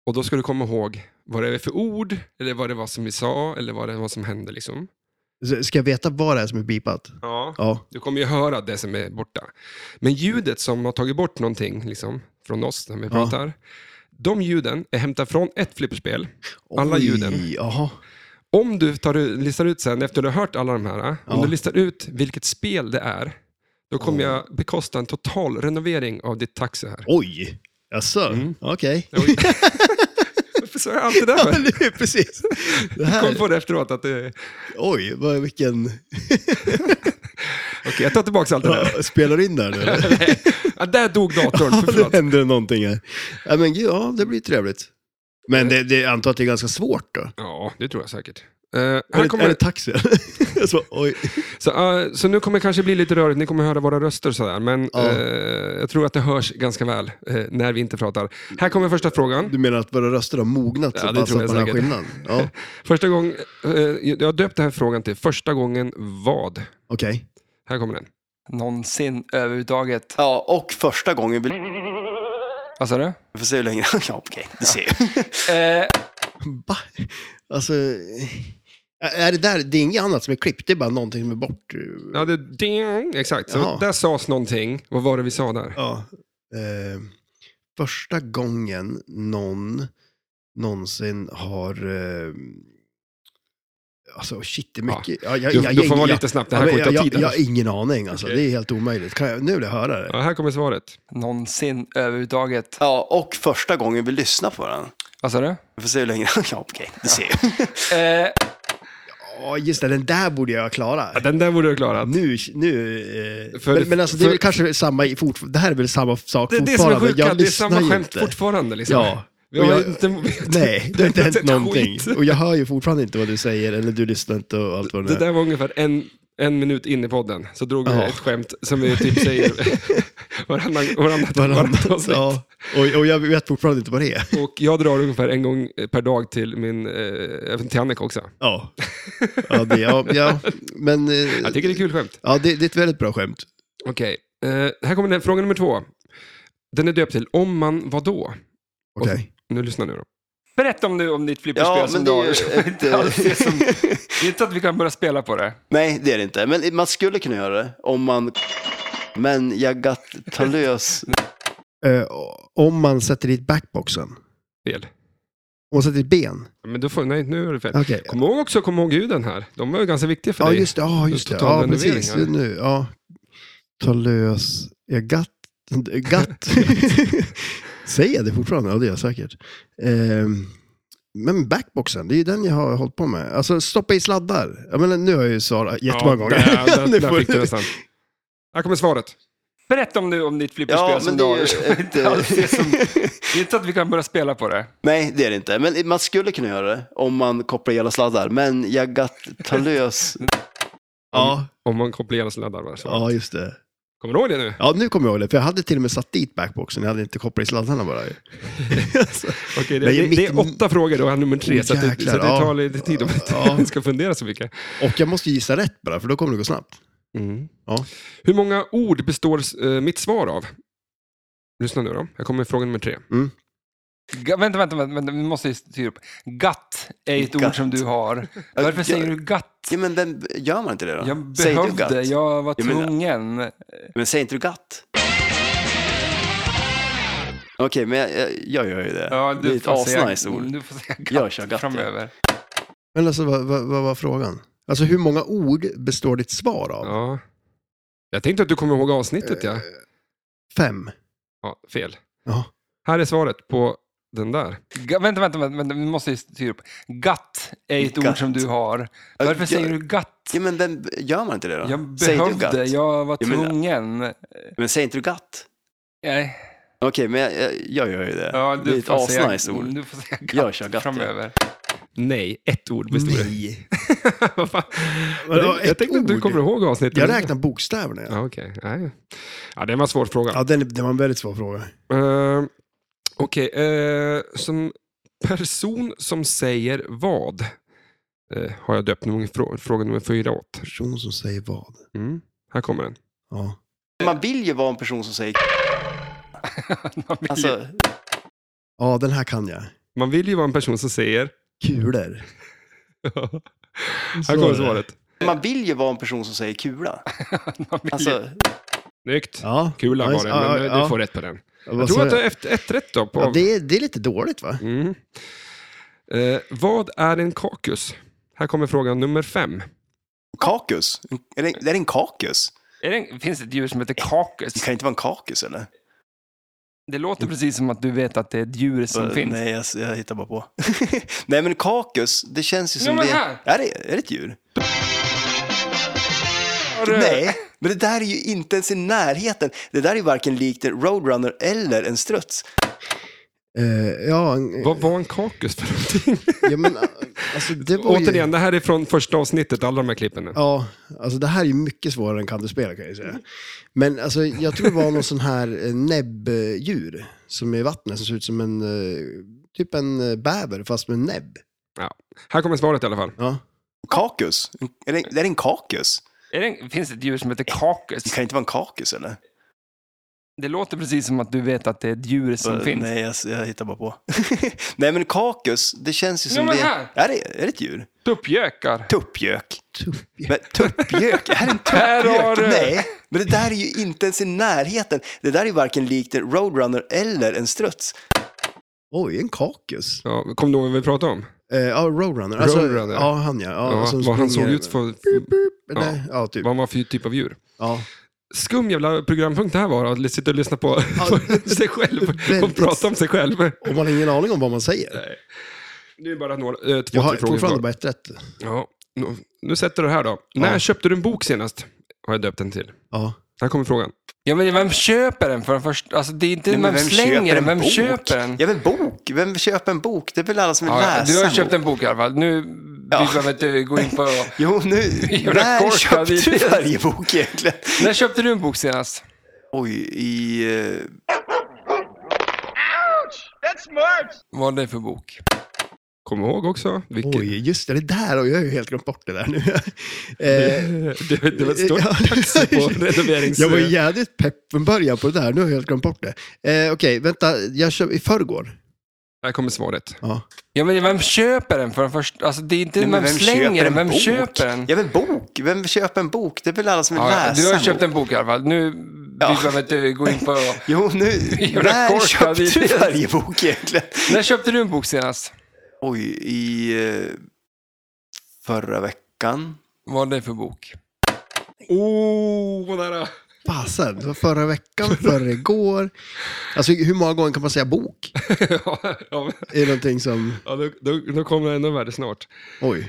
Speaker 2: Och då ska du komma ihåg vad det är för ord, eller vad det var som vi sa, eller vad det var som hände. Liksom.
Speaker 1: Så Ska jag veta vad det är som är bipat?
Speaker 2: Ja.
Speaker 1: Ja.
Speaker 2: Du kommer ju höra det som är borta. Men ljudet som har tagit bort någonting liksom, från oss när vi pratar, de ljuden är hämtade från ett flipperspel. Alla ljuden.
Speaker 1: Jaha.
Speaker 2: Om du tar, listar ut sen, efter du har hört alla de här, eh, om
Speaker 1: Ja.
Speaker 2: du listar ut vilket spel det är, då kommer
Speaker 1: Ja.
Speaker 2: jag bekosta en total renovering av ditt taxi här.
Speaker 1: Oj. Jaså?
Speaker 2: Mm.
Speaker 1: Okej.
Speaker 2: Oj. Varför sa jag alltid det
Speaker 1: Ja,
Speaker 2: där?
Speaker 1: det är precis. Det
Speaker 2: Jag kom
Speaker 1: här,
Speaker 2: på det efteråt. Att det...
Speaker 1: oj, vad, vilken...
Speaker 2: Okej, jag tar tillbaka allt det där.
Speaker 1: Ja, spelar du in där nu? eller?
Speaker 2: Ja, där dog datorn,
Speaker 1: Ja,
Speaker 2: för
Speaker 1: nu
Speaker 2: förlåt.
Speaker 1: händer det någonting här. Ja, men gud, ja, det blir trevligt. Men det, det, jag antar att det är ganska svårt då.
Speaker 2: Ja, det tror jag säkert. Eh, här
Speaker 1: Är det,
Speaker 2: kommer...
Speaker 1: är det taxi? jag så, oj.
Speaker 2: så, eh, så nu kommer det kanske bli lite rörigt, ni kommer höra våra röster och sådär, men
Speaker 1: Ja.
Speaker 2: eh, jag tror att det hörs ganska väl eh, när vi inte pratar. Här kommer första frågan.
Speaker 1: Du menar att våra röster har mognat
Speaker 2: Ja,
Speaker 1: så
Speaker 2: det
Speaker 1: pass
Speaker 2: tror
Speaker 1: att
Speaker 2: jag
Speaker 1: man har
Speaker 2: säkert.
Speaker 1: skillnad? Ja,
Speaker 2: Första gång, eh, jag har döpt den här frågan till Första gången vad?
Speaker 1: okej.
Speaker 2: Här kommer den.
Speaker 3: någonsin överhuvudtaget.
Speaker 4: Ja, och första gången vi...
Speaker 3: Vad sa du?
Speaker 4: Vi får se hur länge... Ja, okej. Du ser.
Speaker 3: Eh,
Speaker 1: Va? Alltså, är det där, det är inget annat som är klippt, det är bara någonting som är bort. eh,
Speaker 2: Ja, det, ding, exakt. Så
Speaker 1: Jaha.
Speaker 2: där sades någonting. Vad var det vi sa där?
Speaker 1: Ja. Eh, första gången någon någonsin har... Eh, alltså shit, det är mycket. Ja, jag,
Speaker 2: Du,
Speaker 1: jag-
Speaker 2: du får
Speaker 1: jag-
Speaker 2: vara
Speaker 1: jag-
Speaker 2: lite snabb, det
Speaker 1: Ja,
Speaker 2: här
Speaker 1: men
Speaker 2: kommer ta
Speaker 1: jag,
Speaker 2: tid.
Speaker 1: jag, jag
Speaker 2: annars.
Speaker 1: har ingen aning alltså.
Speaker 2: Okej.
Speaker 1: Det är helt omöjligt. Kan jag, nu vill jag höra det.
Speaker 2: Ja, här kommer svaret.
Speaker 3: någonsin överhuvudtaget.
Speaker 4: Ja, och första gången vi lyssnar på den.
Speaker 3: Vad sa du?
Speaker 4: Vi får se hur länge... Ja, okej. Du ser.
Speaker 3: Eh,
Speaker 1: Ja, just det. Den där borde jag ha
Speaker 2: Ja,
Speaker 1: klarat.
Speaker 2: den där borde du ha klarat.
Speaker 1: Nu, nu eh,
Speaker 2: För-
Speaker 1: men, men alltså det är
Speaker 2: för-
Speaker 1: väl kanske samma, i fort, det här är väl samma sak
Speaker 2: Det är det som är
Speaker 1: fortfarande.
Speaker 2: sjuka,
Speaker 1: jag
Speaker 2: det är
Speaker 1: lyssnar
Speaker 2: samma
Speaker 1: ju
Speaker 2: skämt
Speaker 1: inte.
Speaker 2: fortfarande. Liksom.
Speaker 1: Ja.
Speaker 2: Vi har
Speaker 1: Och jag-
Speaker 2: ju inte, vi har
Speaker 1: Nej, det har inte hänt
Speaker 2: sett
Speaker 1: någonting.
Speaker 2: skit.
Speaker 1: Och jag hör ju fortfarande inte vad du säger, eller du lyssnar inte och allt vad
Speaker 2: Det
Speaker 1: det är.
Speaker 2: där var ungefär en, en minut in i podden, så drog vi
Speaker 1: Ja.
Speaker 2: ett skämt som vi typ säger varannan, varannan, varannat
Speaker 1: Varannat,
Speaker 2: avsnitt.
Speaker 1: ja. och, och jag vet fortfarande inte vad det är.
Speaker 2: Och jag drar ungefär en gång per dag till, min, eh, till Annika också.
Speaker 1: Ja, ja, det, ja, ja. men eh,
Speaker 2: Jag tycker det är kul skämt.
Speaker 1: ja, det, det är ett väldigt bra skämt.
Speaker 2: Okej, eh, här kommer den, fråga nummer två. Den är döpt till Om man vad då?
Speaker 1: Okej.
Speaker 2: Nu lyssnar nu då.
Speaker 3: berätta om, nu, om ditt flipperspel
Speaker 4: Ja,
Speaker 3: som
Speaker 4: men
Speaker 3: du
Speaker 4: det
Speaker 3: har.
Speaker 4: är ju ett...
Speaker 3: inte alls det
Speaker 4: eh,
Speaker 3: som- Det är inte så att vi kan börja spela på det.
Speaker 4: Nej, det är det inte. Men man skulle kunna göra det om man... Men jag got talös...
Speaker 1: Eh, om man sätter dit backboxen, om
Speaker 2: Fel.
Speaker 1: man sätter dit ben.
Speaker 2: Men då får, nej, nu är det fel.
Speaker 1: Okej.
Speaker 2: Kom ihåg också, kom ihåg ljuden här. De var ju ganska viktiga för
Speaker 1: Ja,
Speaker 2: dig.
Speaker 1: just det. Ja, just det. Ja,
Speaker 2: Totalrenovering,
Speaker 1: precis.
Speaker 2: eller?
Speaker 1: Nu, ja. Ta lös... Ja, gatt. Gatt. Säger jag det fortfarande? Ja, det gör jag säkert. Ehm, men backboxen, det är ju den jag har hållit på med. Alltså stoppa i sladdar. Jag menar, nu har jag ju svarat jättemånga gånger.
Speaker 2: Ja, där,
Speaker 1: Nu
Speaker 2: där, där
Speaker 1: får-
Speaker 2: fick du nästan. Här kommer svaret.
Speaker 3: Berätta om, nu, om ditt flipperspel
Speaker 4: Ja,
Speaker 3: som
Speaker 4: men
Speaker 3: du
Speaker 4: det
Speaker 3: har. Det
Speaker 4: är ju ett...
Speaker 3: är inte alls det
Speaker 4: eh,
Speaker 3: som- det är inte så att vi kan börja spela på det.
Speaker 4: Nej, det är det inte. Men man skulle kunna göra det om man kopplar hela sladdar. Men jag got talös...
Speaker 1: Ja,
Speaker 2: Om man kopplar ihjäl sladdar. va? Så.
Speaker 1: ja, just det.
Speaker 2: Kommer du ihåg det nu?
Speaker 1: Ja, nu kommer jag ihåg det, för jag hade till och med satt dit backboxen. Jag hade inte kopplat i sladdarna bara. ju.
Speaker 2: Okej, det,
Speaker 1: Nej,
Speaker 2: det,
Speaker 1: mitt-
Speaker 2: det är åtta frågor och han nummer tre,
Speaker 1: Oh,
Speaker 2: så, att det, så
Speaker 1: jäklar,
Speaker 2: att det
Speaker 1: ja.
Speaker 2: tar lite tid om att
Speaker 1: Ja.
Speaker 2: man ska fundera så mycket.
Speaker 1: Och jag måste gissa rätt bara, för då kommer det gå snabbt. Mm. Ja.
Speaker 2: Hur många ord består eh, mitt svar av? Lyssna nu då, jag kommer med fråga nummer tre.
Speaker 1: Mm.
Speaker 3: Ga- Vänta, vänta, vänta, vänta, vi måste ju styra upp. Gatt är ett
Speaker 4: Gatt.
Speaker 3: ord som du har. Varför
Speaker 4: jag-
Speaker 3: säger du gatt?
Speaker 4: Ja, men den, gör man inte det då?
Speaker 3: Jag
Speaker 4: Säger du
Speaker 3: behövde,
Speaker 4: gatt?
Speaker 3: jag var
Speaker 4: Ja, men-
Speaker 3: tvungen.
Speaker 4: Men säg inte du gatt? Okej, men jag, jag, jag gör ju det. det är ett
Speaker 3: får säga-
Speaker 4: asnice ord.
Speaker 3: Mm, Du får säga gatt
Speaker 4: Jag kör gatt, ja.
Speaker 3: framöver.
Speaker 1: Men alltså, vad, vad, vad var frågan? Alltså, hur många ord består ditt svar av?
Speaker 2: Ja. Jag tänkte att du kommer ihåg avsnittet,
Speaker 4: Eh.
Speaker 2: ja.
Speaker 1: Fem.
Speaker 2: ja fel.
Speaker 1: Ja.
Speaker 2: Här är svaret på den där.
Speaker 3: Ga- Vänta, vänta, vänta, vänta, vi måste ju styra upp. Gatt är ett ord
Speaker 4: Gatt.
Speaker 3: som du har.
Speaker 4: Ja,
Speaker 3: Varför
Speaker 4: jag-
Speaker 3: säger du gatt?
Speaker 4: Ja, men den, gör man inte det då?
Speaker 3: Jag
Speaker 4: säg du gatt?
Speaker 3: behövde, jag var
Speaker 4: Ja, men-
Speaker 3: tvungen.
Speaker 4: Men säg inte du gatt?
Speaker 3: Nej,
Speaker 4: Okej, men jag, jag, jag gör ju det.
Speaker 3: ja,
Speaker 4: det är
Speaker 3: du,
Speaker 4: ett
Speaker 3: får säga, Mm.
Speaker 4: asnice ord.
Speaker 3: du får säga gatt
Speaker 4: Jag kör gatt, ja.
Speaker 3: framöver.
Speaker 2: Nej, ett ord bestod det.
Speaker 1: Nej.
Speaker 2: Vad fan?
Speaker 1: Vadå,
Speaker 2: jag
Speaker 1: ett
Speaker 2: tänkte att du
Speaker 1: ord?
Speaker 2: kommer ihåg avsnittet.
Speaker 1: Jag räknar bokstäverna. Ja.
Speaker 2: Ja, okej. Nej. Ja, det var en svår fråga.
Speaker 1: Ja, den, den var en väldigt svår fråga.
Speaker 2: Eh, Okej, eh, som person som säger vad eh, har jag döpt nummer, frå, fråga nummer fyra åt.
Speaker 1: Person som säger vad.
Speaker 2: Mm. Här kommer den.
Speaker 1: Ja.
Speaker 4: Man vill ju vara en person som säger
Speaker 3: Man vill ju-
Speaker 4: alltså,
Speaker 1: ja, den här kan jag.
Speaker 2: Man vill ju vara en person som säger...
Speaker 1: Kulor.
Speaker 2: här
Speaker 1: är
Speaker 2: kommer
Speaker 1: det.
Speaker 2: svaret.
Speaker 4: Man vill ju vara en person som säger kula.
Speaker 3: man vill ju-
Speaker 4: Alltså,
Speaker 2: Snyggt.
Speaker 1: Ja.
Speaker 2: Kulan var
Speaker 1: Nice.
Speaker 2: det,
Speaker 1: Ja,
Speaker 2: men eh,
Speaker 1: ja,
Speaker 2: du
Speaker 1: ja.
Speaker 2: får rätt på den.
Speaker 1: Vad
Speaker 2: Jag tror
Speaker 1: sa
Speaker 2: att du har ett, ett rätt då. På,
Speaker 1: Ja, det, är, det är lite dåligt va?
Speaker 2: mm. eh, vad är en kakus? Här kommer fråga nummer fem.
Speaker 4: kakus? Är det, är det en kakus?
Speaker 3: Är det, en- finns det ett djur som heter kakus?
Speaker 4: Det kan inte vara en kakus eller?
Speaker 3: Det låter precis som att du vet att det är ett djur som
Speaker 1: Äh,
Speaker 4: Eh,
Speaker 3: finns.
Speaker 4: Nej, jag, jag hittar bara på. Nej, men kakus, det känns ju
Speaker 3: Jo,
Speaker 4: som
Speaker 3: men
Speaker 4: det...
Speaker 3: här!
Speaker 4: Är det, är det ett djur?
Speaker 3: Har du-
Speaker 4: Nej, men det där är ju inte ens i närheten. Det där är ju varken likt en roadrunner eller en struts.
Speaker 1: Eh, ja, en-
Speaker 2: Vad var en kakus för någonting?
Speaker 1: ja, men alltså det var ju...
Speaker 2: Återigen, det här är från första avsnittet, alla de här klippen nu.
Speaker 1: Ja, alltså det här är ju mycket svårare än kan du spela kan jag ju säga. Men alltså, jag tror det var någon sån här eh, näbbdjur som är i vattnet som ser ut som en, eh, typ en eh, bäver fast med näbb.
Speaker 2: Här kommer svaret i alla fall.
Speaker 1: Ja.
Speaker 4: Kakus? Är det, är det en kakus?
Speaker 3: Är det, en- finns det ett djur som heter kakus?
Speaker 4: Det kan inte vara en kakus eller?
Speaker 3: Det låter precis som att du vet att det är ett djur som
Speaker 1: Äh,
Speaker 4: Eh,
Speaker 3: finns.
Speaker 4: Nej, jag, jag hittar bara på. Nej, men kakus, det känns ju
Speaker 3: Jo,
Speaker 4: som
Speaker 3: men
Speaker 4: det...
Speaker 3: här!
Speaker 4: Är det, är det ett djur?
Speaker 3: Tuppjökar.
Speaker 4: Tuppjök. Men tuppjök? Är det en
Speaker 3: Här har
Speaker 4: tuppjök?
Speaker 3: du-
Speaker 4: Nej, men det där är ju inte ens i närheten. Det där är ju varken likt en roadrunner eller en struts.
Speaker 1: Oj, en kakus.
Speaker 2: Ja, kom du ihåg vad vi pratade om?
Speaker 1: Eh, Ja, Roadrunner. Alltså,
Speaker 2: Roadrunner.
Speaker 1: Ja, han ja.
Speaker 2: Ja,
Speaker 1: ja, som
Speaker 2: vad han såg
Speaker 1: springer-
Speaker 2: ut för,
Speaker 1: Ja. Nej, ja, typ.
Speaker 2: vad han var för typ av djur.
Speaker 1: Ja.
Speaker 2: Skum jävla programpunkt det här var, att sitta och lyssna på,
Speaker 1: Ja,
Speaker 2: på sig själv och
Speaker 1: väldigt-
Speaker 2: prata om sig själv.
Speaker 1: Och man har ingen aning om vad man säger.
Speaker 2: Nej. Nu är bara några, eh, två,
Speaker 1: Jag har
Speaker 2: tre frågor
Speaker 1: fortfarande
Speaker 2: kvar.
Speaker 1: bara ett rätt.
Speaker 2: Ja, nu, nu sätter du det här då. När köpte du en bok senast? Har jag döpt den till.
Speaker 1: Ja.
Speaker 2: Här kommer frågan.
Speaker 3: Ja, men vem köper den för den första? Alltså, det är inte
Speaker 4: Nej, men
Speaker 3: vem, slänger den, vem
Speaker 4: bok?
Speaker 3: köper den?
Speaker 4: Ja, men bok? Vem köper en bok? Det är väl alla som vill
Speaker 3: Ja, ja,
Speaker 4: läsa
Speaker 3: du har
Speaker 4: en
Speaker 3: köpt
Speaker 4: bok.
Speaker 3: en bok i alla fall. Nu vi
Speaker 4: Ja.
Speaker 3: behöver inte gå in på...
Speaker 4: Jo, nu...
Speaker 3: Gör en
Speaker 4: När
Speaker 3: korkad
Speaker 4: köpte
Speaker 3: idé.
Speaker 4: du varje bok egentligen?
Speaker 3: När köpte du en bok senast?
Speaker 4: Oj, i... eh,
Speaker 3: Vad är det för bok?
Speaker 2: Kom ihåg också. Vilket,
Speaker 1: Oj, just det. Det där och jag har ju helt glömt bort det där nu. eh,
Speaker 2: det, det var ett stort
Speaker 1: Ja.
Speaker 2: taxi på renoverings...
Speaker 1: Jag var ju jävligt pepp från början på det där. Nu har jag helt glömt bort det. Eh, Okej, vänta. Jag kör i förrgår.
Speaker 2: Här kommer svaret.
Speaker 1: Ja.
Speaker 3: Ja, men vem köper den för den första? Alltså, det är inte
Speaker 4: nej, men
Speaker 3: vem, slänger den, vem
Speaker 4: bok?
Speaker 3: köper den?
Speaker 4: Ja, men bok? Vem köper en bok? Det är väl alla som vill
Speaker 3: Ja, ja,
Speaker 4: läsa
Speaker 3: du har
Speaker 4: en
Speaker 3: köpt
Speaker 4: bok.
Speaker 3: en bok i alla fall. Nu
Speaker 4: Ja.
Speaker 3: vi behöver inte gå in på...
Speaker 4: Jo, nu...
Speaker 3: Gör en
Speaker 4: När
Speaker 3: korkad
Speaker 4: köpte
Speaker 3: idé.
Speaker 4: du varje bok egentligen?
Speaker 3: När köpte du en bok senast?
Speaker 4: Oj, i eh, förra veckan.
Speaker 3: Vad är det för bok?
Speaker 2: Åh, vad nära!
Speaker 1: Fasen, det var förra veckan, förrgår. Alltså hur många gånger kan man säga bok?
Speaker 2: ja, ja,
Speaker 1: Är det någonting som...
Speaker 2: ja, då, då, då kommer det ännu värre snart.
Speaker 1: Oj.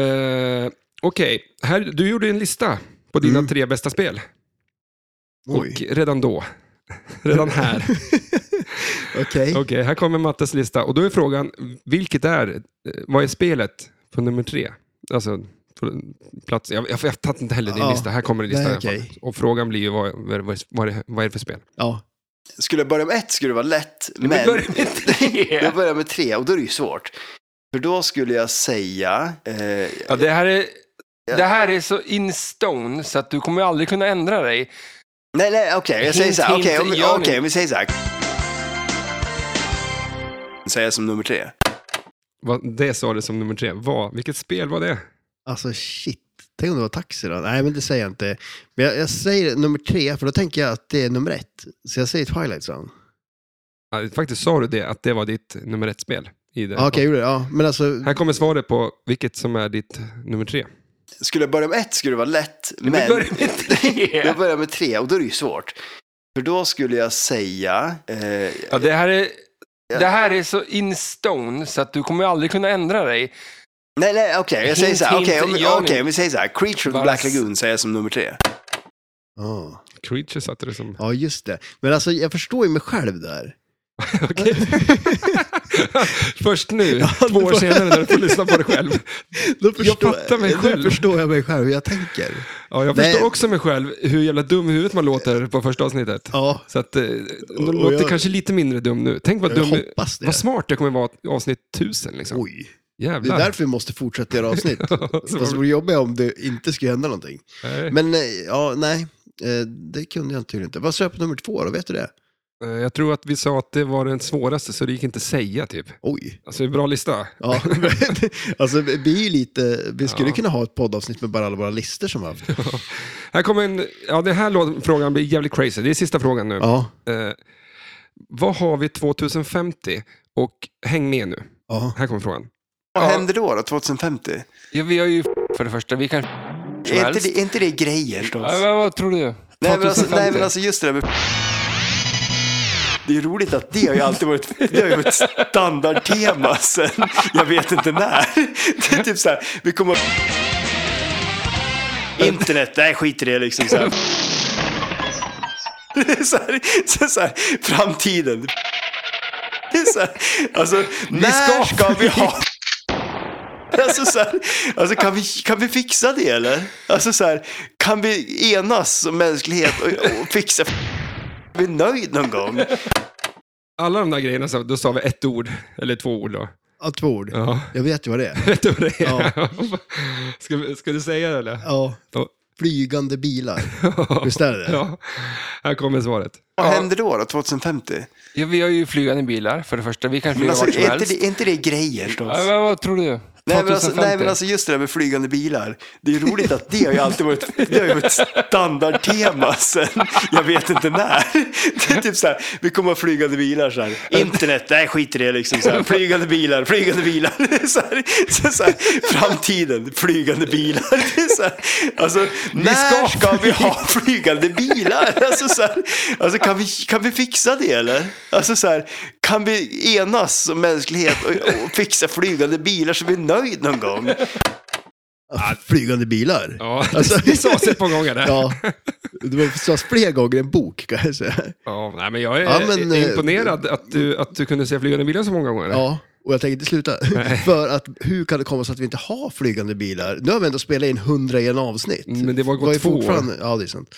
Speaker 2: Eh, Okej, Här- du gjorde en lista på dina
Speaker 1: Mm.
Speaker 2: tre bästa spel.
Speaker 1: Oj.
Speaker 2: Och redan då, redan här.
Speaker 1: Okej.
Speaker 2: Okej, här kommer Mattes lista. Och då är frågan, vilket är, eh, vad är spelet på nummer tre? Alltså På Plats, jag, jag, jag tagit inte heller din
Speaker 1: Ja.
Speaker 2: lista. Här kommer en lista.
Speaker 1: Nej,
Speaker 2: i alla fall.
Speaker 1: okej.
Speaker 2: Och frågan blir ju vad, vad, vad, vad, är det- vad är det för spel?
Speaker 1: Ja.
Speaker 4: Skulle jag börja med ett skulle det vara lätt, men...
Speaker 3: Vi börjar med
Speaker 4: Jag
Speaker 3: tre.
Speaker 4: börjar med tre och då är det ju svårt. För då skulle jag säga... Eh,
Speaker 3: Ja, det, här är, det här är så in stone så att du kommer aldrig kunna ändra dig.
Speaker 4: nej, nej, okej, jag säger
Speaker 3: Hint,
Speaker 4: så här. Okej,
Speaker 3: hint,
Speaker 4: om,
Speaker 3: gör
Speaker 4: okej,
Speaker 3: ni.
Speaker 4: om vi säger så här. Säger jag som nummer tre.
Speaker 2: Vad, det sa du som nummer tre. Vad, vilket spel var det?
Speaker 1: Alltså shit. Tänk om det var taxi då? Nej, men det säger jag inte. Men jag, jag säger nummer tre, för då tänker jag att det är nummer ett. Så jag säger Twilight Zone.
Speaker 2: Ja, faktiskt sa du det, att det var ditt nummer ett-spel. I det.
Speaker 1: Ja, Ah, okej, jag gjorde det. Ja, men alltså...
Speaker 2: Här kommer svaret på vilket som är ditt nummer tre.
Speaker 4: Skulle jag börja med ett skulle det vara lätt, men...
Speaker 3: Vi börjar med tre.
Speaker 4: Jag börjar med tre och då är det ju svårt. För då skulle jag säga... Eh,
Speaker 3: Ja, det, här är, det här är så in stone så att du kommer aldrig kunna ändra dig.
Speaker 4: nej, nej, okej, jag
Speaker 3: Hint,
Speaker 4: säger så här.
Speaker 3: hint,
Speaker 4: Okej, om,
Speaker 3: gör ni.
Speaker 4: okej, om vi säger så här. Creature of the
Speaker 3: Bara
Speaker 4: Black
Speaker 3: s-
Speaker 4: Lagoon säger jag som nummer tre.
Speaker 1: Ja.
Speaker 2: Creature satte det som...
Speaker 1: Ah, Ja, just det. Men alltså, jag förstår ju mig själv där.
Speaker 2: Okej. Först nu,
Speaker 1: Ja,
Speaker 2: två år
Speaker 1: det-
Speaker 2: senare, när du får lyssna på dig själv.
Speaker 1: Då förstår,
Speaker 2: fattar mig
Speaker 1: då
Speaker 2: själv.
Speaker 1: förstår jag mig själv hur jag tänker.
Speaker 2: Ja, jag
Speaker 1: Nej.
Speaker 2: förstår också mig själv, hur jävla dum i huvudet man låter på första avsnittet.
Speaker 1: Ja,
Speaker 2: Så att, eh,
Speaker 1: Och
Speaker 2: de låter
Speaker 1: jag-
Speaker 2: kanske lite mindre dum nu. Tänk vad
Speaker 1: jag
Speaker 2: dum...
Speaker 1: hoppas det.
Speaker 2: Vad smart jag kommer vara i avsnitt tusen liksom.
Speaker 1: Oj, det
Speaker 2: Jävlar.
Speaker 1: är därför vi måste fortsätta göra avsnitt.
Speaker 2: Så-
Speaker 1: Fast det vore jobbigt om det inte skulle hända någonting.
Speaker 2: Nej.
Speaker 1: Men eh, ja, nej, eh, det kunde jag tydligen inte. Vad sa jag på nummer två då? Vet du det?
Speaker 2: Eh, Jag tror att vi sa att det var den svåraste, så det gick inte att säga typ.
Speaker 1: Oj.
Speaker 2: Alltså, det är en bra lista.
Speaker 1: Ja, men, alltså vi är ju lite, vi skulle
Speaker 2: Ja.
Speaker 1: kunna ha ett poddavsnitt med bara alla våra listor som vi har haft.
Speaker 2: Här kommer en... Ja, den här lå- frågan blir jävligt crazy. Det är sista frågan nu.
Speaker 1: Ja,
Speaker 2: Eh, vad har vi 2050? Och häng med nu.
Speaker 1: ja.
Speaker 2: Här kommer frågan.
Speaker 4: Vad
Speaker 3: Ja.
Speaker 4: händer då, då, 2050?
Speaker 3: Ja, vi har ju för det första, vi kan som
Speaker 4: Är inte,
Speaker 3: helst.
Speaker 4: det, är inte det grejer? då?
Speaker 3: Ja, men vad tror du?
Speaker 4: Nej men, alltså,
Speaker 3: 2050.
Speaker 4: nej men alltså just det där med det är roligt att det har ju alltid varit, det har ju varit standardtema sen, jag vet inte när. Det är typ så här, vi kommer... Internet, nej skit i det liksom. Så här. Det är så här, så så här framtiden. Det är så här, alltså, när
Speaker 2: ska-
Speaker 4: ska vi ha... Alltså, så här, alltså kan, vi, kan vi fixa det eller? Alltså så här, kan vi enas som mänsklighet och, och fixa... Är vi nöjd någon gång?
Speaker 2: Alla de där grejerna, så, då sa vi ett ord, eller två ord då.
Speaker 1: ja två ord.
Speaker 2: Ja,
Speaker 1: Jag vet ju vad det är.
Speaker 2: vet du vad det är?
Speaker 1: Ja.
Speaker 2: Ska, vi- ska du säga det eller?
Speaker 1: Ja,
Speaker 2: Ja.
Speaker 1: flygande bilar. Visst är det det?
Speaker 2: Ja. Här kommer svaret.
Speaker 4: Vad
Speaker 3: Ja.
Speaker 4: händer då, då, 2050?
Speaker 3: Ja, vi har ju flygande bilar för det första, vi kan
Speaker 4: Men
Speaker 3: flyga
Speaker 4: alltså,
Speaker 3: vart som
Speaker 4: är inte,
Speaker 3: helst.
Speaker 4: det, är inte det grejer? Då?
Speaker 3: Ja, men vad tror du? 2050?
Speaker 4: Nej men, alltså, nej men alltså just det där med flygande bilar. Det är roligt att det har ju alltid varit, det har ju varit standardtema sen, jag vet inte när. Det är typ så här, vi kommer ha flygande bilar så här. Internet, nej skit i det liksom. Så här, flygande bilar, flygande bilar. Det är Så här, så så här, framtiden, flygande bilar. Det är så här, alltså, när
Speaker 2: ska
Speaker 4: ska vi ha flygande bilar? Alltså, så här, alltså kan, vi, kan vi fixa det eller? Alltså så här, kan vi enas som mänsklighet och, och fixa flygande bilar så vi är nöjd någon gång?
Speaker 1: Ja, Flygande bilar.
Speaker 2: Ja,
Speaker 1: Alltså-
Speaker 2: det sades ett par gånger där. Ja.
Speaker 1: Ja, det var sades fler gånger än bok kan jag säga.
Speaker 2: nej, men jag är
Speaker 1: Ja, men, eh,
Speaker 2: imponerad att du, att du kunde se flygande bilar så många gånger.
Speaker 1: Ja, och jag tänker inte sluta. För att hur kan det komma sig att vi inte har flygande bilar? Nu har vi ändå spelat in 101 avsnitt.
Speaker 2: Mm, Men det var gått
Speaker 1: Vad är
Speaker 2: två år.
Speaker 1: fortfarande... Ja, det är sant.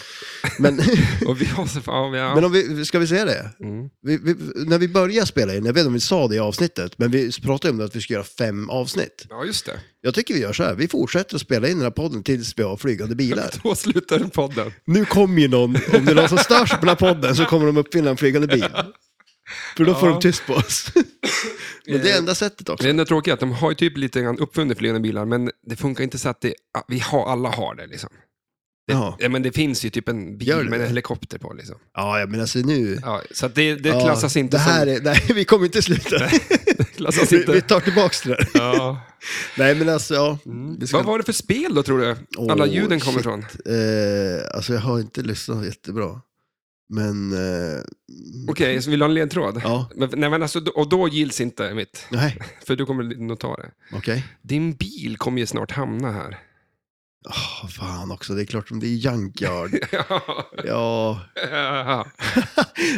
Speaker 1: Men,
Speaker 2: Och vi har så, ja, vi har,
Speaker 1: men om vi, ska vi säga det?
Speaker 2: Mm.
Speaker 1: Vi, vi, när vi började spela in, jag vet inte om vi sa det i avsnittet, men vi pratade om det att vi ska göra fem avsnitt.
Speaker 2: ja, just det.
Speaker 1: Jag tycker vi gör så här, vi fortsätter att spela in den här podden tills vi har flygande bilar.
Speaker 2: Då slutar podden.
Speaker 1: Nu kommer ju någon, om det är någon som stör sig på den här podden så kommer de uppfinna en flygande bil. För då
Speaker 2: Ja.
Speaker 1: får
Speaker 2: Eh,
Speaker 1: de tyst på oss. Men det är enda sättet också.
Speaker 2: Det enda tråkiga är att de har ju typ lite grann uppfunnit flygande bilar, men det funkar inte så att det, ah, vi har, alla har det. Liksom.
Speaker 1: Jaha.
Speaker 2: Ja, men det finns ju typ en bil
Speaker 1: Gör det
Speaker 2: med
Speaker 1: det?
Speaker 2: en helikopter på. Liksom.
Speaker 1: Ja, ja, men alltså nu...
Speaker 2: Ja, så att det, det
Speaker 1: Ja,
Speaker 2: klassas inte
Speaker 1: det här
Speaker 2: som...
Speaker 1: Är, nej, vi kommer inte sluta.
Speaker 2: Klassas
Speaker 1: vi,
Speaker 2: inte.
Speaker 1: vi tar tillbaka det där.
Speaker 2: ja. Mm.
Speaker 1: Nej, men alltså, ja. Vi ska,
Speaker 2: Vad var det för spel då, tror du? Alla
Speaker 1: Åh,
Speaker 2: ljuden kommer
Speaker 1: shit.
Speaker 2: ifrån.
Speaker 1: eh, alltså, jag har inte lyssnat jättebra. Men... Eh,
Speaker 2: Okej, så vill du ha en ledtråd?
Speaker 1: Ja.
Speaker 2: Men, nej, men alltså, och då gills inte mitt,
Speaker 1: Nej,
Speaker 2: för du kommer nog ta det.
Speaker 1: okej.
Speaker 2: Din bil kommer ju snart hamna här.
Speaker 1: Åh, fan också, det är klart som det är Junkyard. ja,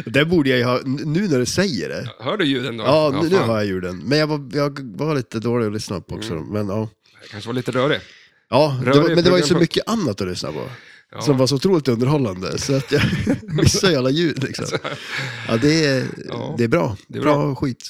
Speaker 1: det borde jag ju ha, n- nu när du säger det.
Speaker 2: Hör du ljuden då?
Speaker 1: Ja, nu, nu
Speaker 2: fan.
Speaker 1: har jag ljuden. Men jag var, jag var lite dålig att lyssna på också. Men ja,
Speaker 2: Jag kanske var lite rörig.
Speaker 1: Ja, det
Speaker 2: Rör
Speaker 1: var,
Speaker 2: i
Speaker 1: men det var ju så
Speaker 2: pluggen
Speaker 1: mycket annat att lyssna på.
Speaker 2: Ja.
Speaker 1: Som var så otroligt underhållande, så att jag missade ju alla ljud. Liksom. Ja, det, är,
Speaker 2: Ja.
Speaker 1: det är bra.
Speaker 2: Det är
Speaker 1: bra.
Speaker 2: bra.
Speaker 1: skit.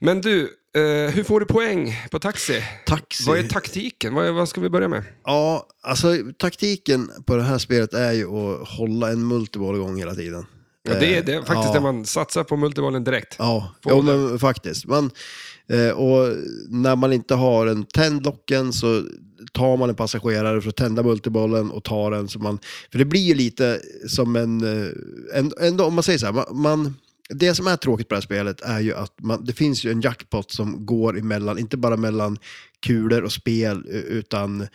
Speaker 2: Men du, eh, hur får du poäng på taxi?
Speaker 1: Taxi.
Speaker 2: Vad är taktiken? Vad, vad ska vi börja med?
Speaker 1: Ja, alltså taktiken på det här spelet är ju att hålla en multiboll igång hela tiden.
Speaker 2: Ja, det är det, är faktiskt
Speaker 1: Eh, ja.
Speaker 2: det man satsar på multibollen direkt.
Speaker 1: Ja,
Speaker 2: Får
Speaker 1: jo,
Speaker 2: det.
Speaker 1: men faktiskt. Man, eh, och när man inte har en tänd locken så tar man en passagerare för att tända multibollen och tar den. Så man, för det blir ju lite som en... eh, en ändå, om man säger så här, man, man, det som är tråkigt på det här spelet är ju att man, det finns ju en jackpot som går emellan, inte bara mellan kulor och spel, eh, utan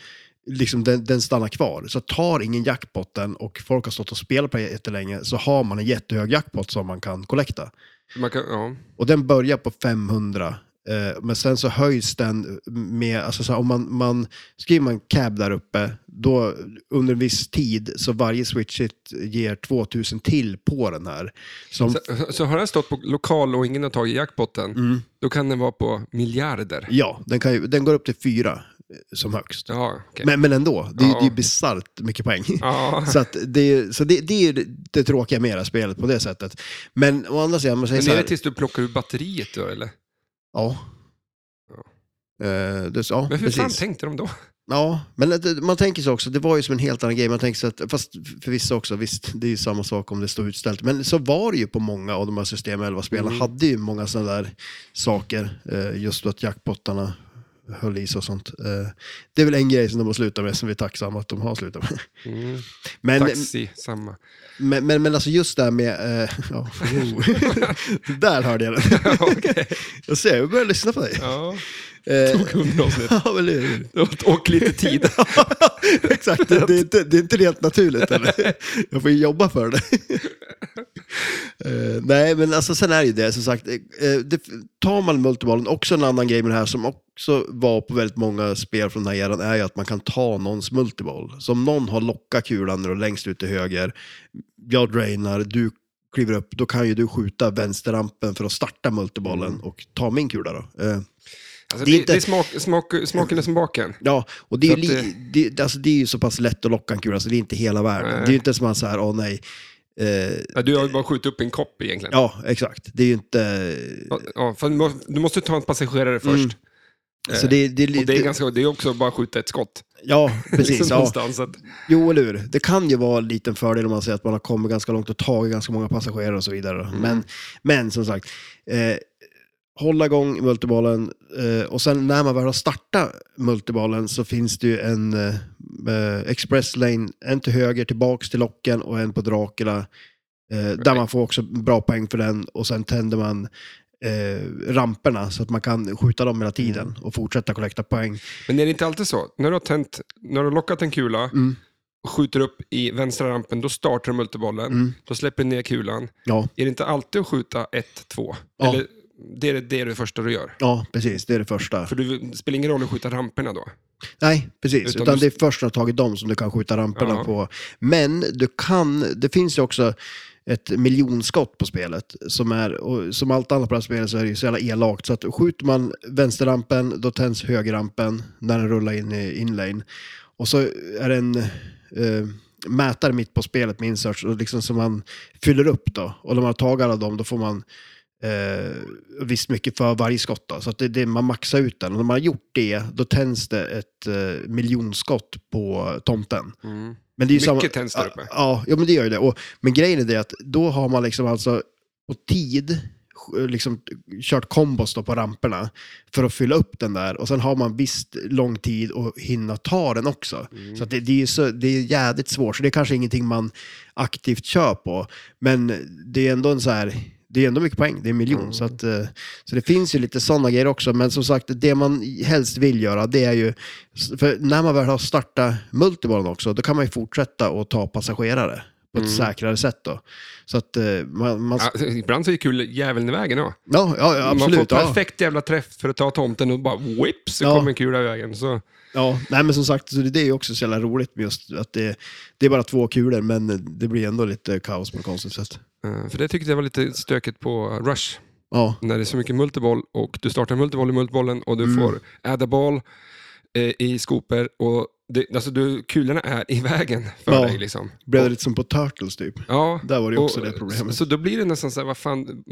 Speaker 1: liksom den, den stannar kvar. Så tar ingen jackpotten och folk har stått och spelat på det jättelänge så har man en jättehög jackpot som man kan kollekta.
Speaker 2: Man kan, ja.
Speaker 1: Och den börjar på 500. eh, Men sen så höjs den med, alltså så här, om man, man skriver man cab där uppe, då under en viss tid så varje switch hit ger 2000 till på den här. Som,
Speaker 2: Så, så har den stått på lokal och ingen har tagit jackpotten,
Speaker 1: Mm.
Speaker 2: då kan den vara på miljarder.
Speaker 1: ja, den, kan ju, den går upp till fyra eh, som högst.
Speaker 2: Ja, okej.
Speaker 1: Men, men ändå, det, är ju-
Speaker 2: Ja.
Speaker 1: det är ju bisarrt mycket poäng.
Speaker 2: ja.
Speaker 1: Så, att det, är- så det, det är ju det- det tråkiga med det här spelet på det sättet. Men å andra sidan, man säger
Speaker 2: Men
Speaker 1: så
Speaker 2: är det
Speaker 1: här,
Speaker 2: tills du plockar ur batteriet då eller?
Speaker 1: ja. Eh, det, ja,
Speaker 2: Men hur fan
Speaker 1: precis.
Speaker 2: tänkte de då?
Speaker 1: Ja, men det- man tänker sig också, det var ju som en helt annan grej. Man tänker sig att, fast för vissa också, visst, det är ju samma sak om det står utställt. Men så var det ju på många av de här System 11-spelen,
Speaker 2: Mm.
Speaker 1: hade ju många sådana där saker. Eh, just att jackpottarna höll i sig och sånt. Eh, det är väl en grej som de har slutat med, som vi är tacksamma att de har slutat med.
Speaker 2: Mm.
Speaker 1: Men,
Speaker 2: Taxi, samma.
Speaker 1: men, men, men alltså just det här med... Eh, ja, jo. där hörde jag den.
Speaker 2: Okej.
Speaker 1: Jag ser, jag börjar lyssna på dig.
Speaker 2: Ja.
Speaker 1: Eh,
Speaker 2: Tog hundra avsnitt.
Speaker 1: ja, eller hur?
Speaker 2: Och lite tid.
Speaker 1: Exakt, det, det, är inte, det är inte helt naturligt. Eller? Jag får ju jobba för det. Eh, nej, men alltså, sen är det ju det, som sagt. eh, det, tar man multibollen, också en annan grej med det här som också var på väldigt många spel från den här eran, är ju att man kan ta någons multiboll. Så om någon har lockat kulan och längst ut till höger, jag drainar, du kliver upp, då kan ju du skjuta vänsterrampen för att starta multibollen
Speaker 2: Mm.
Speaker 1: och ta min kula då. Eh,
Speaker 2: Alltså, det
Speaker 1: Det är
Speaker 2: är,
Speaker 1: inte-
Speaker 2: det är smak, smak, smaken är som baken.
Speaker 1: Ja, och det är, ju
Speaker 2: Så att
Speaker 1: li, det, alltså det är ju så pass lätt att locka en kula, så det är inte hela världen.
Speaker 2: Nej.
Speaker 1: Det är ju inte som att så här, åh nej. Eh,
Speaker 2: Ja, Du har ju bara skjutit upp en kopp egentligen.
Speaker 1: ja, exakt. Det är ju inte...
Speaker 2: Ja, för du må- du måste ta en
Speaker 1: Mm.
Speaker 2: passagerare först.
Speaker 1: Så det, det,
Speaker 2: Eh, Och det är, ganska, det är också bara att skjuta ett skott.
Speaker 1: Ja, precis.
Speaker 2: liksom
Speaker 1: ja.
Speaker 2: någonstans. Att,
Speaker 1: Jo, eller hur. Det kan ju vara en liten fördel om man säger att man har kommit ganska långt och tagit ganska många passagerare och så vidare. Men, men som sagt, eh, hålla igång multibollen eh, och sen när man väl har startat multibollen så finns det ju en eh, eh, express lane, en till höger tillbaks till locken och en på Dracula. Eh, där man får också bra poäng för den och sen tänder man eh, ramperna så att man kan skjuta dem hela tiden och fortsätta kollekta poäng.
Speaker 2: men är det inte alltid så? När du har, tänt, när du har lockat en kula
Speaker 1: Mm.
Speaker 2: och skjuter upp i vänstra rampen, då startar du multibollen.
Speaker 1: Mm.
Speaker 2: Då släpper du ner kulan.
Speaker 1: Ja.
Speaker 2: Är det inte alltid att skjuta ett, två?
Speaker 1: Ja.
Speaker 2: Eller, det är det, det är det första du gör.
Speaker 1: ja, precis. Det är det första.
Speaker 2: För det spelar ingen roll att skjuta ramperna då.
Speaker 1: Nej, precis. Utan,
Speaker 2: Utan du-
Speaker 1: det är först när du har tagit dem som du kan skjuta ramperna
Speaker 2: Ja.
Speaker 1: på. Men du kan, det finns ju också ett miljonskott på spelet. Som, är, och som allt annat på det här spelet så är det ju så jävla elakt. Så att skjuter man vänsterrampen, då tänds högerrampen när den rullar in i inlane. Och så är det en eh, mätare mitt på spelet med inserts och liksom som man fyller upp då. Och när man har tagit alla dem, då får man eh, visst mycket för varje skott. Då. Så att det, det, man maxar ut den. Och när man har gjort det, då tänds det ett eh, miljonskott på tomten.
Speaker 2: Mm.
Speaker 1: Men det är ju
Speaker 2: Mycket
Speaker 1: samma,
Speaker 2: tänds där uppe.
Speaker 1: Ja, ja, men det gör ju det. Och, men grejen är det att då har man liksom alltså på tid eh, liksom kört kombos då på ramperna för att fylla upp den där och sen har man visst lång tid att hinna ta den också.
Speaker 2: Mm.
Speaker 1: Så att det, det är ju så, det är jävligt svårt, så det är kanske ingenting man aktivt kör på. Men det är ändå en så här, det är ändå mycket poäng, det är en miljon.
Speaker 2: Mm.
Speaker 1: Så, att, eh, så det finns ju lite sådana grejer också, men som sagt, det man helst vill göra det är ju, för när man väl har startat multibollen också, då kan man ju fortsätta och ta passagerare på
Speaker 2: Mm.
Speaker 1: ett säkrare sätt då. Så att eh, man, man
Speaker 2: Ja, ibland så är kul jäveln i vägen då.
Speaker 1: Ja, ja, ja absolut.
Speaker 2: Man får
Speaker 1: ja.
Speaker 2: perfekt jävla träff för att ta tomten och bara whips, så
Speaker 1: Ja.
Speaker 2: kommer en kula i vägen. Så,
Speaker 1: Ja, nej, men som sagt, så det, det är ju också så jävla roligt med just att det, det är bara två kulor, men det blir ändå lite kaos på något konstigt sätt.
Speaker 2: eh, för det tyckte jag var lite stökigt på Rush.
Speaker 1: Ja,
Speaker 2: När det är så mycket multiboll
Speaker 1: Mm.
Speaker 2: och du startar en multiboll i multibollen och du får adda ball eh, i skoper och det, alltså du, kulorna är i vägen för
Speaker 1: Ja.
Speaker 2: dig. Liksom.
Speaker 1: Blev det lite som på Turtles typ?
Speaker 2: Ja,
Speaker 1: Där var det ju också
Speaker 2: och- eh,
Speaker 1: det problemet.
Speaker 2: Så, så då blir det nästan så här, vad fan,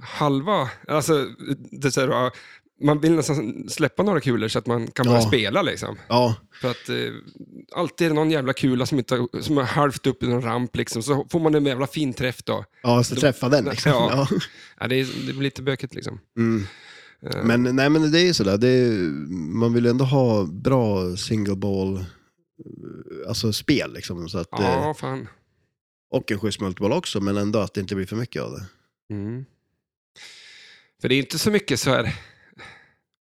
Speaker 2: halva, alltså, det är så här, ja, man vill nästan släppa några kulor så att man kan börja
Speaker 1: Ja.
Speaker 2: spela. Liksom.
Speaker 1: Ja,
Speaker 2: För att eh, alltid är det någon jävla kula som, inte, har- som är halvt upp i någon ramp, liksom, så får man en jävla fin träff då.
Speaker 1: ja så träffa den liksom.
Speaker 2: Ja.
Speaker 1: Ja.
Speaker 2: Ja, det, är, det blir lite bökigt liksom.
Speaker 1: Men, nej, men det är ju sådär, det är, man vill ju ändå ha bra single ball, eh, alltså spel liksom. Så att, eh,
Speaker 2: Ja, fan.
Speaker 1: Och en schysst multiboll också, men ändå att det inte blir för mycket av det.
Speaker 2: Mm. För det är inte så mycket så här,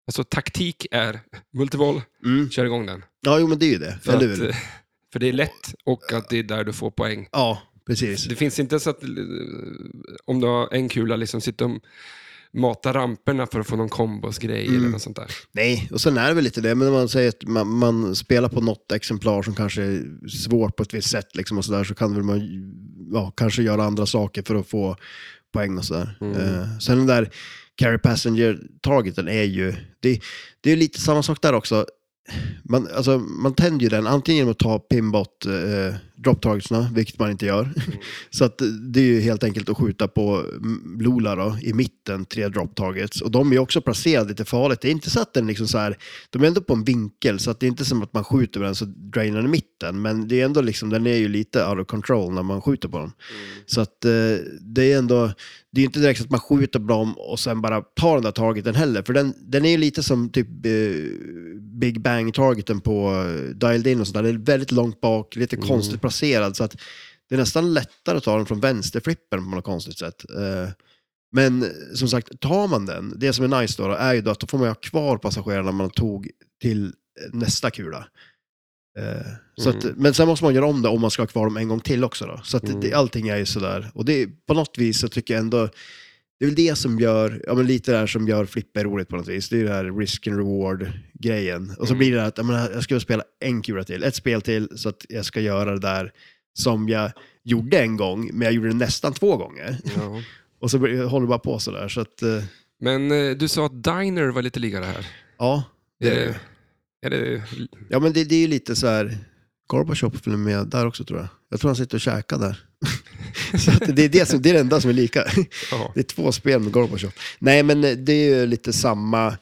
Speaker 2: alltså taktik är multivoll,
Speaker 1: Mm.
Speaker 2: kör igång den.
Speaker 1: Ja, jo men det är ju det,
Speaker 2: För,
Speaker 1: eller
Speaker 2: att,
Speaker 1: hur?
Speaker 2: eh, för det är lätt och att det är där du får poäng.
Speaker 1: Ja, precis.
Speaker 2: Det finns inte så att eh, om du har en kula, liksom sitta och mata ramperna för att få någon kombosgrej
Speaker 1: Mm.
Speaker 2: eller något sånt där.
Speaker 1: Nej, och sen är det väl lite det, men om man säger att man, man spelar på något exemplar som kanske är svårt på ett visst sätt liksom och sådär, så kan väl man ja, kanske göra andra saker för att få poäng och sådär. Eh, sen den där carry passenger-targeten är ju, det, det är lite samma sak där också. Man, alltså, man tänder ju den antingen genom att ta pinbot eh, drop targetsna, vilket man inte gör. Så att eh, det är ju helt enkelt att skjuta på mm, Lola då, i mitten, tre drop targets. Och de är ju också placerade lite farligt. Det är inte så att den liksom så här, de är ändå på en vinkel så att det är inte som att man skjuter på den så drainar den i mitten. Men det är ändå liksom, den är ju lite out of control när man skjuter på dem. Så att eh, det är ändå, det är ju inte direkt så att man skjuter på dem och sen bara tar den där targeten heller. För den, den är ju lite som typ eh, Big Bang-targeten på eh, Dialed In och sådär. Den är väldigt långt bak, lite konstigt placerad. Så att det är nästan lättare att ta den från vänsterflippen på något konstigt sätt. Eh, Men som sagt, tar man den, det som är nice då, då är ju då att då får man ju ha kvar passagerarna man tog till eh, nästa kula. Eh, Så att,
Speaker 2: Mm.
Speaker 1: Men sen måste man göra om det om man ska ha kvar dem en gång till också. Då. Så att det,
Speaker 2: Mm.
Speaker 1: allting är ju sådär. Och det, på något vis så tycker jag ändå, det är väl det som gör, ja men lite det här som gör flipper roligt på något vis. Det är ju det här risk and reward-grejen. Och så
Speaker 2: Mm.
Speaker 1: blir det här att jag, menar, jag ska spela en kula till, ett spel till, så att jag ska göra det där som jag gjorde en gång, men jag gjorde det nästan två gånger.
Speaker 2: Ja.
Speaker 1: Och så blir- håller det bara på sådär. Så att, eh,
Speaker 2: Men eh, du sa att Diner var lite likare här.
Speaker 1: ja, det,
Speaker 2: Är det- Är det,
Speaker 1: ja, men det, det är ju lite så här. Gorbatjov är med där också tror jag. Jag tror han sitter och käkar där. så att det, är det, som, det är det enda som är lika.
Speaker 2: ja.
Speaker 1: Det är två spel med Gorbatjov. Nej, men det är ju lite samma...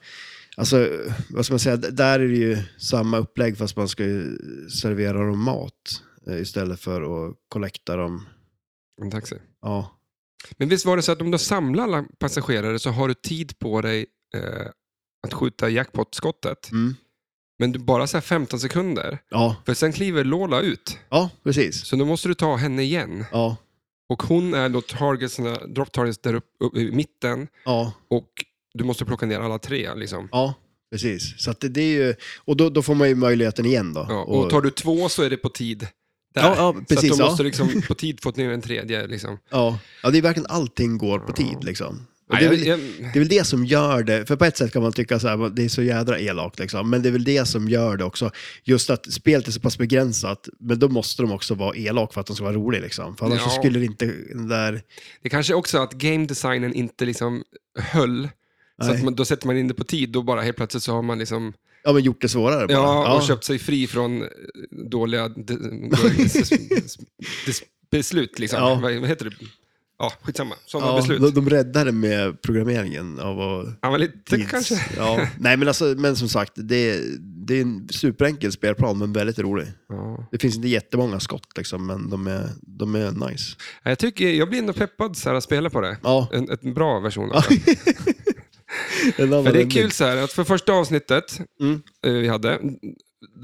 Speaker 1: Alltså, vad ska man säga? Där är det ju samma upplägg fast man ska ju servera dem mat eh, istället för att kollekta dem.
Speaker 2: en taxi.
Speaker 1: Ja,
Speaker 2: Men visst var det så att om du samlar alla passagerare så har du tid på dig eh, att skjuta jackpot-skottet.
Speaker 1: mm.
Speaker 2: Men du bara så här 15 sekunder.
Speaker 1: ja.
Speaker 2: För sen kliver Lola ut.
Speaker 1: ja precis.
Speaker 2: Så då måste du ta henne igen.
Speaker 1: Ja,
Speaker 2: Och hon är då targetsna, drop targets där uppe upp, i mitten.
Speaker 1: ja.
Speaker 2: Och du måste plocka ner alla tre. Liksom.
Speaker 1: Ja, precis. Så att det, det är ju, och då, då får man ju möjligheten igen då.
Speaker 2: Ja, och tar du två så är det på tid. Där.
Speaker 1: Ja, ja, precis,
Speaker 2: så att du
Speaker 1: ja.
Speaker 2: måste liksom på tid få ner en tredje. Liksom.
Speaker 1: ja. ja, det är verkligen allting går på tid liksom. Och
Speaker 2: Nej,
Speaker 1: det, är
Speaker 2: jag,
Speaker 1: väl,
Speaker 2: jag,
Speaker 1: det är väl det som gör det, för på ett sätt kan man tycka så här, det är så jädra elakt liksom, men det är väl det som gör det också. Just att spelet är så pass begränsat, men då måste de också vara elak för att de ska vara roliga liksom. För annars så
Speaker 2: Ja.
Speaker 1: skulle det inte, den där,
Speaker 2: det kanske också att game designen inte liksom höll. Så
Speaker 1: Nej.
Speaker 2: att man, då sätter man in det på tid, då bara helt plötsligt så har man liksom,
Speaker 1: ja men gjort det svårare bara.
Speaker 2: ja, och köpt sig fri från eh, dåliga de, dåliga s- s- s- beslut. Liksom.
Speaker 1: Ja.
Speaker 2: Vad, vad heter det? Ja, skitsamma. Sådana
Speaker 1: Ja,
Speaker 2: beslut.
Speaker 1: de, de räddade med programmeringen av att
Speaker 2: Ja, men lite
Speaker 1: Tids.
Speaker 2: kanske.
Speaker 1: Ja. Nej, men, alltså, men som sagt, det, det är en superenkel spelplan, men väldigt rolig.
Speaker 2: Ja.
Speaker 1: Det finns inte jättemånga skott, liksom, men de är, de är nice.
Speaker 2: Jag, tycker, jag blir ändå peppad så här, att spela på det.
Speaker 1: Ja,
Speaker 2: En, en bra version av det.
Speaker 1: en annan
Speaker 2: För det är
Speaker 1: vändning.
Speaker 2: kul så här, att för första avsnittet
Speaker 1: Mm.
Speaker 2: eh, vi hade,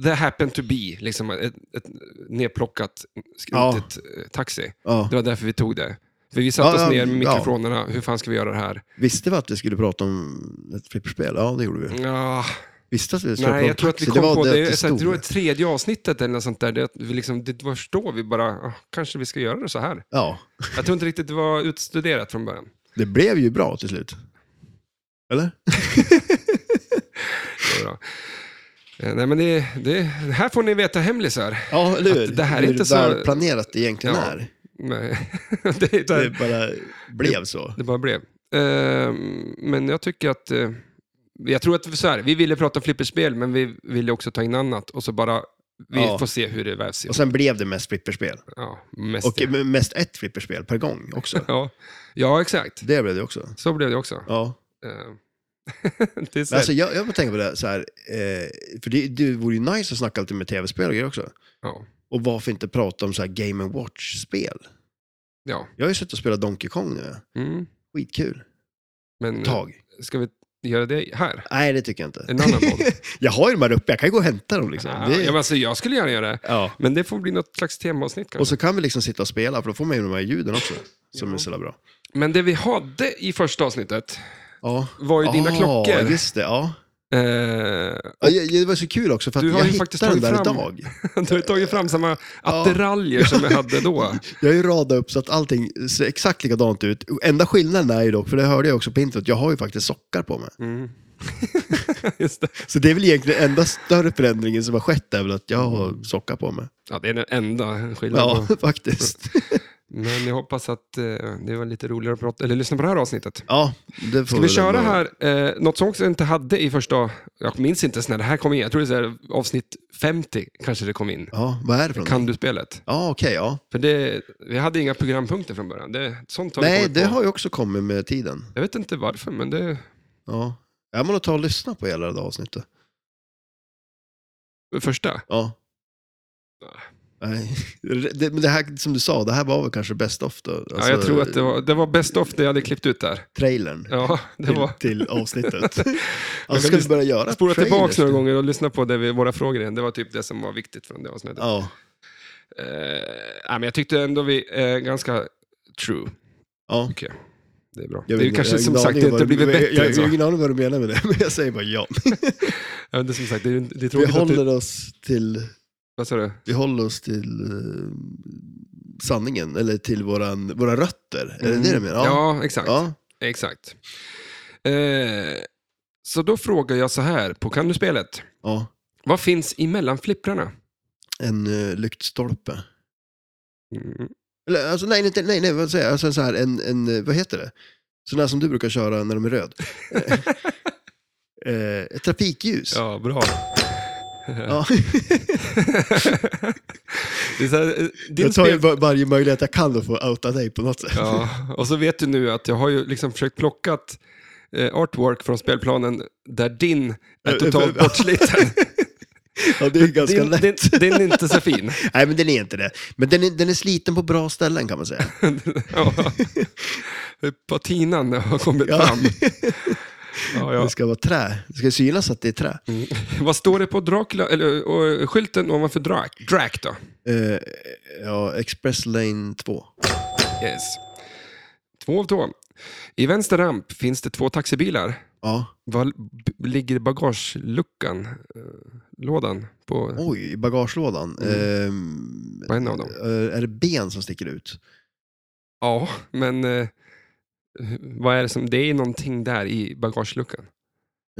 Speaker 2: det happened to be, liksom ett, ett nedplockat, skrotigt eh, taxi.
Speaker 1: Ja.
Speaker 2: Det var därför vi tog det. För vi satte
Speaker 1: Ja,
Speaker 2: oss
Speaker 1: ja,
Speaker 2: ner med
Speaker 1: ja.
Speaker 2: mikrofonerna, hur fan ska vi göra det här?
Speaker 1: Visste vi att vi skulle prata om ett flipperspel? Ja, det gjorde vi.
Speaker 2: Ja,
Speaker 1: Visste att vi skulle prata
Speaker 2: nej,
Speaker 1: om
Speaker 2: jag tror att vi
Speaker 1: taxi?
Speaker 2: kom
Speaker 1: det var
Speaker 2: på det,
Speaker 1: att det
Speaker 2: så här, jag
Speaker 1: stod.
Speaker 2: tror att tredje avsnittet eller något sånt där, det, att vi liksom, det var då vi bara, ah, kanske vi ska göra det så här.
Speaker 1: Ja,
Speaker 2: Jag tror inte riktigt det var utstuderat från början.
Speaker 1: det blev ju bra till slut. Eller?
Speaker 2: Det var bra. Eh, Nej, men det, det, här får ni veta hemlisar.
Speaker 1: Ja, eller hur?
Speaker 2: Att det här är
Speaker 1: Hur
Speaker 2: inte så-
Speaker 1: väl planerat det egentligen
Speaker 2: Ja.
Speaker 1: är.
Speaker 2: Nej. det, är
Speaker 1: Det
Speaker 2: där-
Speaker 1: bara blev så.
Speaker 2: det bara blev. Eh, men jag tycker att... eh, jag tror att så här, vi ville prata flipperspel, men vi ville också ta in annat. Och så bara Vi
Speaker 1: Ja.
Speaker 2: får se hur det vävs in.
Speaker 1: Och sen blev det mest flipperspel.
Speaker 2: Ja, mest
Speaker 1: Och
Speaker 2: ja.
Speaker 1: eh, mest ett flipperspel per gång också.
Speaker 2: Ja. ja, exakt.
Speaker 1: Det blev det också.
Speaker 2: Så blev det också.
Speaker 1: Ja.
Speaker 2: Eh, det är så här-
Speaker 1: Men alltså, jag, jag bara tänker på det, så här, eh, för det, det vore ju nice att snacka lite med tv-spel och grejer också.
Speaker 2: ja.
Speaker 1: Och varför inte prata om så här Game Watch-spel?
Speaker 2: ja.
Speaker 1: Jag har ju suttit och spelat Donkey Kong nu.
Speaker 2: Mm.
Speaker 1: Skitkul.
Speaker 2: Men eh,
Speaker 1: Tag.
Speaker 2: ska vi göra det här?
Speaker 1: Nej, det tycker jag inte.
Speaker 2: Mm. En annan podd. liksom.
Speaker 1: jag har ju de här uppe, jag kan ju gå och hämta dem liksom.
Speaker 2: Ja,
Speaker 1: det,
Speaker 2: men alltså, jag skulle gärna göra det.
Speaker 1: ja.
Speaker 2: Men det får bli något slags temaavsnitt kanske.
Speaker 1: Och så kan vi liksom sitta och spela, för då får man ju de här ljuden också. Som
Speaker 2: Ja.
Speaker 1: är så jävla bra.
Speaker 2: Men det vi hade i första avsnittet
Speaker 1: Ja.
Speaker 2: var ju dina
Speaker 1: Ah,
Speaker 2: klockor.
Speaker 1: just det. Ja.
Speaker 2: Eh,
Speaker 1: Ja, jag- det var så kul också, för att
Speaker 2: Du har
Speaker 1: jag
Speaker 2: ju
Speaker 1: hittade
Speaker 2: faktiskt
Speaker 1: den
Speaker 2: tagit
Speaker 1: där
Speaker 2: fram-
Speaker 1: idag.
Speaker 2: du har ju tagit fram samma attiraljer som jag hade då.
Speaker 1: Jag har ju radat upp så att allting ser exakt likadant ut. Enda skillnaden är ju dock, för det hörde jag också på introt, jag har ju faktiskt sockar på mig.
Speaker 2: Mm. Just det.
Speaker 1: Så det är väl egentligen enda större förändringen som har skett, är väl att jag har sockar på mig.
Speaker 2: Ja, det är den enda skillnaden.
Speaker 1: Ja, faktiskt.
Speaker 2: Men jag hoppas att eh, det var lite roligare att prata, eller lyssna på det här avsnittet.
Speaker 1: Ja, det får
Speaker 2: Ska vi
Speaker 1: väl
Speaker 2: köra
Speaker 1: ändå-
Speaker 2: här, eh, något som också jag inte hade i första, jag minns inte ens när det här kom in, jag tror det är så här, avsnitt 50 kanske det kom in.
Speaker 1: Ja, vad är det för något?
Speaker 2: Kan du-spelet.
Speaker 1: Ja, okej, ja.
Speaker 2: För det, vi hade inga programpunkter från början. Det, sånt har vi
Speaker 1: Nej,
Speaker 2: kommit
Speaker 1: det
Speaker 2: på.
Speaker 1: har ju också kommit med tiden.
Speaker 2: Jag vet inte varför, men det...
Speaker 1: Ja. Jag måste ta och lyssna på hela det här avsnittet.
Speaker 2: Första?
Speaker 1: Ja. Nej. Det, men det här som du sa, det här var väl kanske best of då? Alltså,
Speaker 2: ja, jag tror att det var, det var best of det jag hade klippt ut där.
Speaker 1: Trailern
Speaker 2: Ja, det
Speaker 1: till,
Speaker 2: var...
Speaker 1: till avsnittet.
Speaker 2: kan
Speaker 1: alltså, ska vi
Speaker 2: lyssna-
Speaker 1: börja göra
Speaker 2: Spola
Speaker 1: trailers
Speaker 2: tillbaka några
Speaker 1: till-
Speaker 2: gånger och lyssna på det vi, våra frågor igen. Det var typ det som var viktigt från det avsnittet.
Speaker 1: Ja.
Speaker 2: Eh, nej, men jag tyckte ändå vi är ganska true.
Speaker 1: ja.
Speaker 2: Okej, det är bra.
Speaker 1: Jag
Speaker 2: det
Speaker 1: vet
Speaker 2: är ju
Speaker 1: inte,
Speaker 2: kanske
Speaker 1: jag har
Speaker 2: som
Speaker 1: ingen
Speaker 2: sagt,
Speaker 1: aning
Speaker 2: det
Speaker 1: om
Speaker 2: inte
Speaker 1: vad-
Speaker 2: blivit bättre
Speaker 1: Jag
Speaker 2: än så.
Speaker 1: har ingen aning vad du menar med det, men jag säger bara ja.
Speaker 2: Ja, det är som sagt, det är, det är
Speaker 1: Vi
Speaker 2: tråkigt att du...
Speaker 1: håller oss till,
Speaker 2: Vad sa du?
Speaker 1: vi håller oss till eh, sanningen, eller till våran, våra rötter. Är det det du menar?
Speaker 2: Mm. Ja, exakt.
Speaker 1: ja.
Speaker 2: exakt. Eh, så då frågar jag så här på Kan du-spelet.
Speaker 1: ja.
Speaker 2: Vad finns emellan flipprarna?
Speaker 1: En eh, lyktstolpe.
Speaker 2: Mm.
Speaker 1: Eller, alltså, nej, inte, nej, nej, vad säger jag? Alltså, så här, en, en, eh, vad heter det? Sån här som du brukar köra när de är röd. Eh, eh, ett trafikljus.
Speaker 2: Ja, bra.
Speaker 1: Ja.
Speaker 2: det är så här, eh, din
Speaker 1: jag tar ju
Speaker 2: spel-
Speaker 1: var- varje möjlighet jag kan att få outa dig på något sätt.
Speaker 2: Ja, och så vet du nu att jag har ju liksom försökt plockat eh, artwork från spelplanen där din är totalt bortsliten.
Speaker 1: Ja, det är ju ganska
Speaker 2: Din,
Speaker 1: lätt.
Speaker 2: din, din är inte så fin.
Speaker 1: Nej, men den är inte det. Men den är, den är sliten på bra ställen kan man säga.
Speaker 2: Ja. Patinan har kommit
Speaker 1: Ja.
Speaker 2: fram. Ja, ja.
Speaker 1: Det ska vara trä. Det ska synas att det är trä.
Speaker 2: Vad står det på Dracula, eller, och, skylten ovanför Drac, Drac då?
Speaker 1: Eh, ja, Express Lane 2.
Speaker 2: Yes. Två av två. I vänster ramp finns det två taxibilar.
Speaker 1: Ja.
Speaker 2: Var b- ligger bagageluckan, eh, lådan, på,
Speaker 1: Oj, i bagagelådan. Ehm,
Speaker 2: på en av dem?
Speaker 1: eh, är det ben som sticker ut?
Speaker 2: Ja, men eh, vad är det som... Det är någonting där i bagageluckan.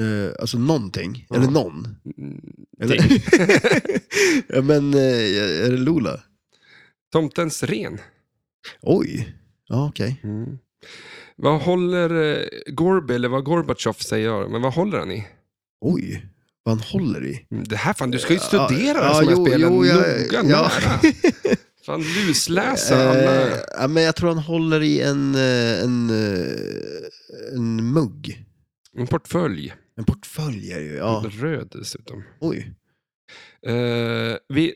Speaker 1: Eh, alltså någonting.
Speaker 2: Ja.
Speaker 1: Eller någon.
Speaker 2: Mm,
Speaker 1: Eller?
Speaker 2: det-
Speaker 1: ja, men eh, är det Lola?
Speaker 2: Tomtens ren.
Speaker 1: Oj. Ja, okej.
Speaker 2: Vad håller eh, Gorby, eller vad Gorbatjov säger, men vad håller han i?
Speaker 1: Oj. Vad han håller i.
Speaker 2: Mm, Det här fan, du ska ju
Speaker 1: Ja,
Speaker 2: studera
Speaker 1: ja,
Speaker 2: de här
Speaker 1: jo,
Speaker 2: spelen
Speaker 1: jo, jag-
Speaker 2: noga. Alltså,
Speaker 1: ja.
Speaker 2: nära. Fan, lusläsa alla.
Speaker 1: Eh, ja, men jag tror han håller i en, eh, en, eh, en mugg.
Speaker 2: En portfölj.
Speaker 1: En portfölj är det ju. Ja.
Speaker 2: Röd dessutom.
Speaker 1: Oj.
Speaker 2: Eh, vi,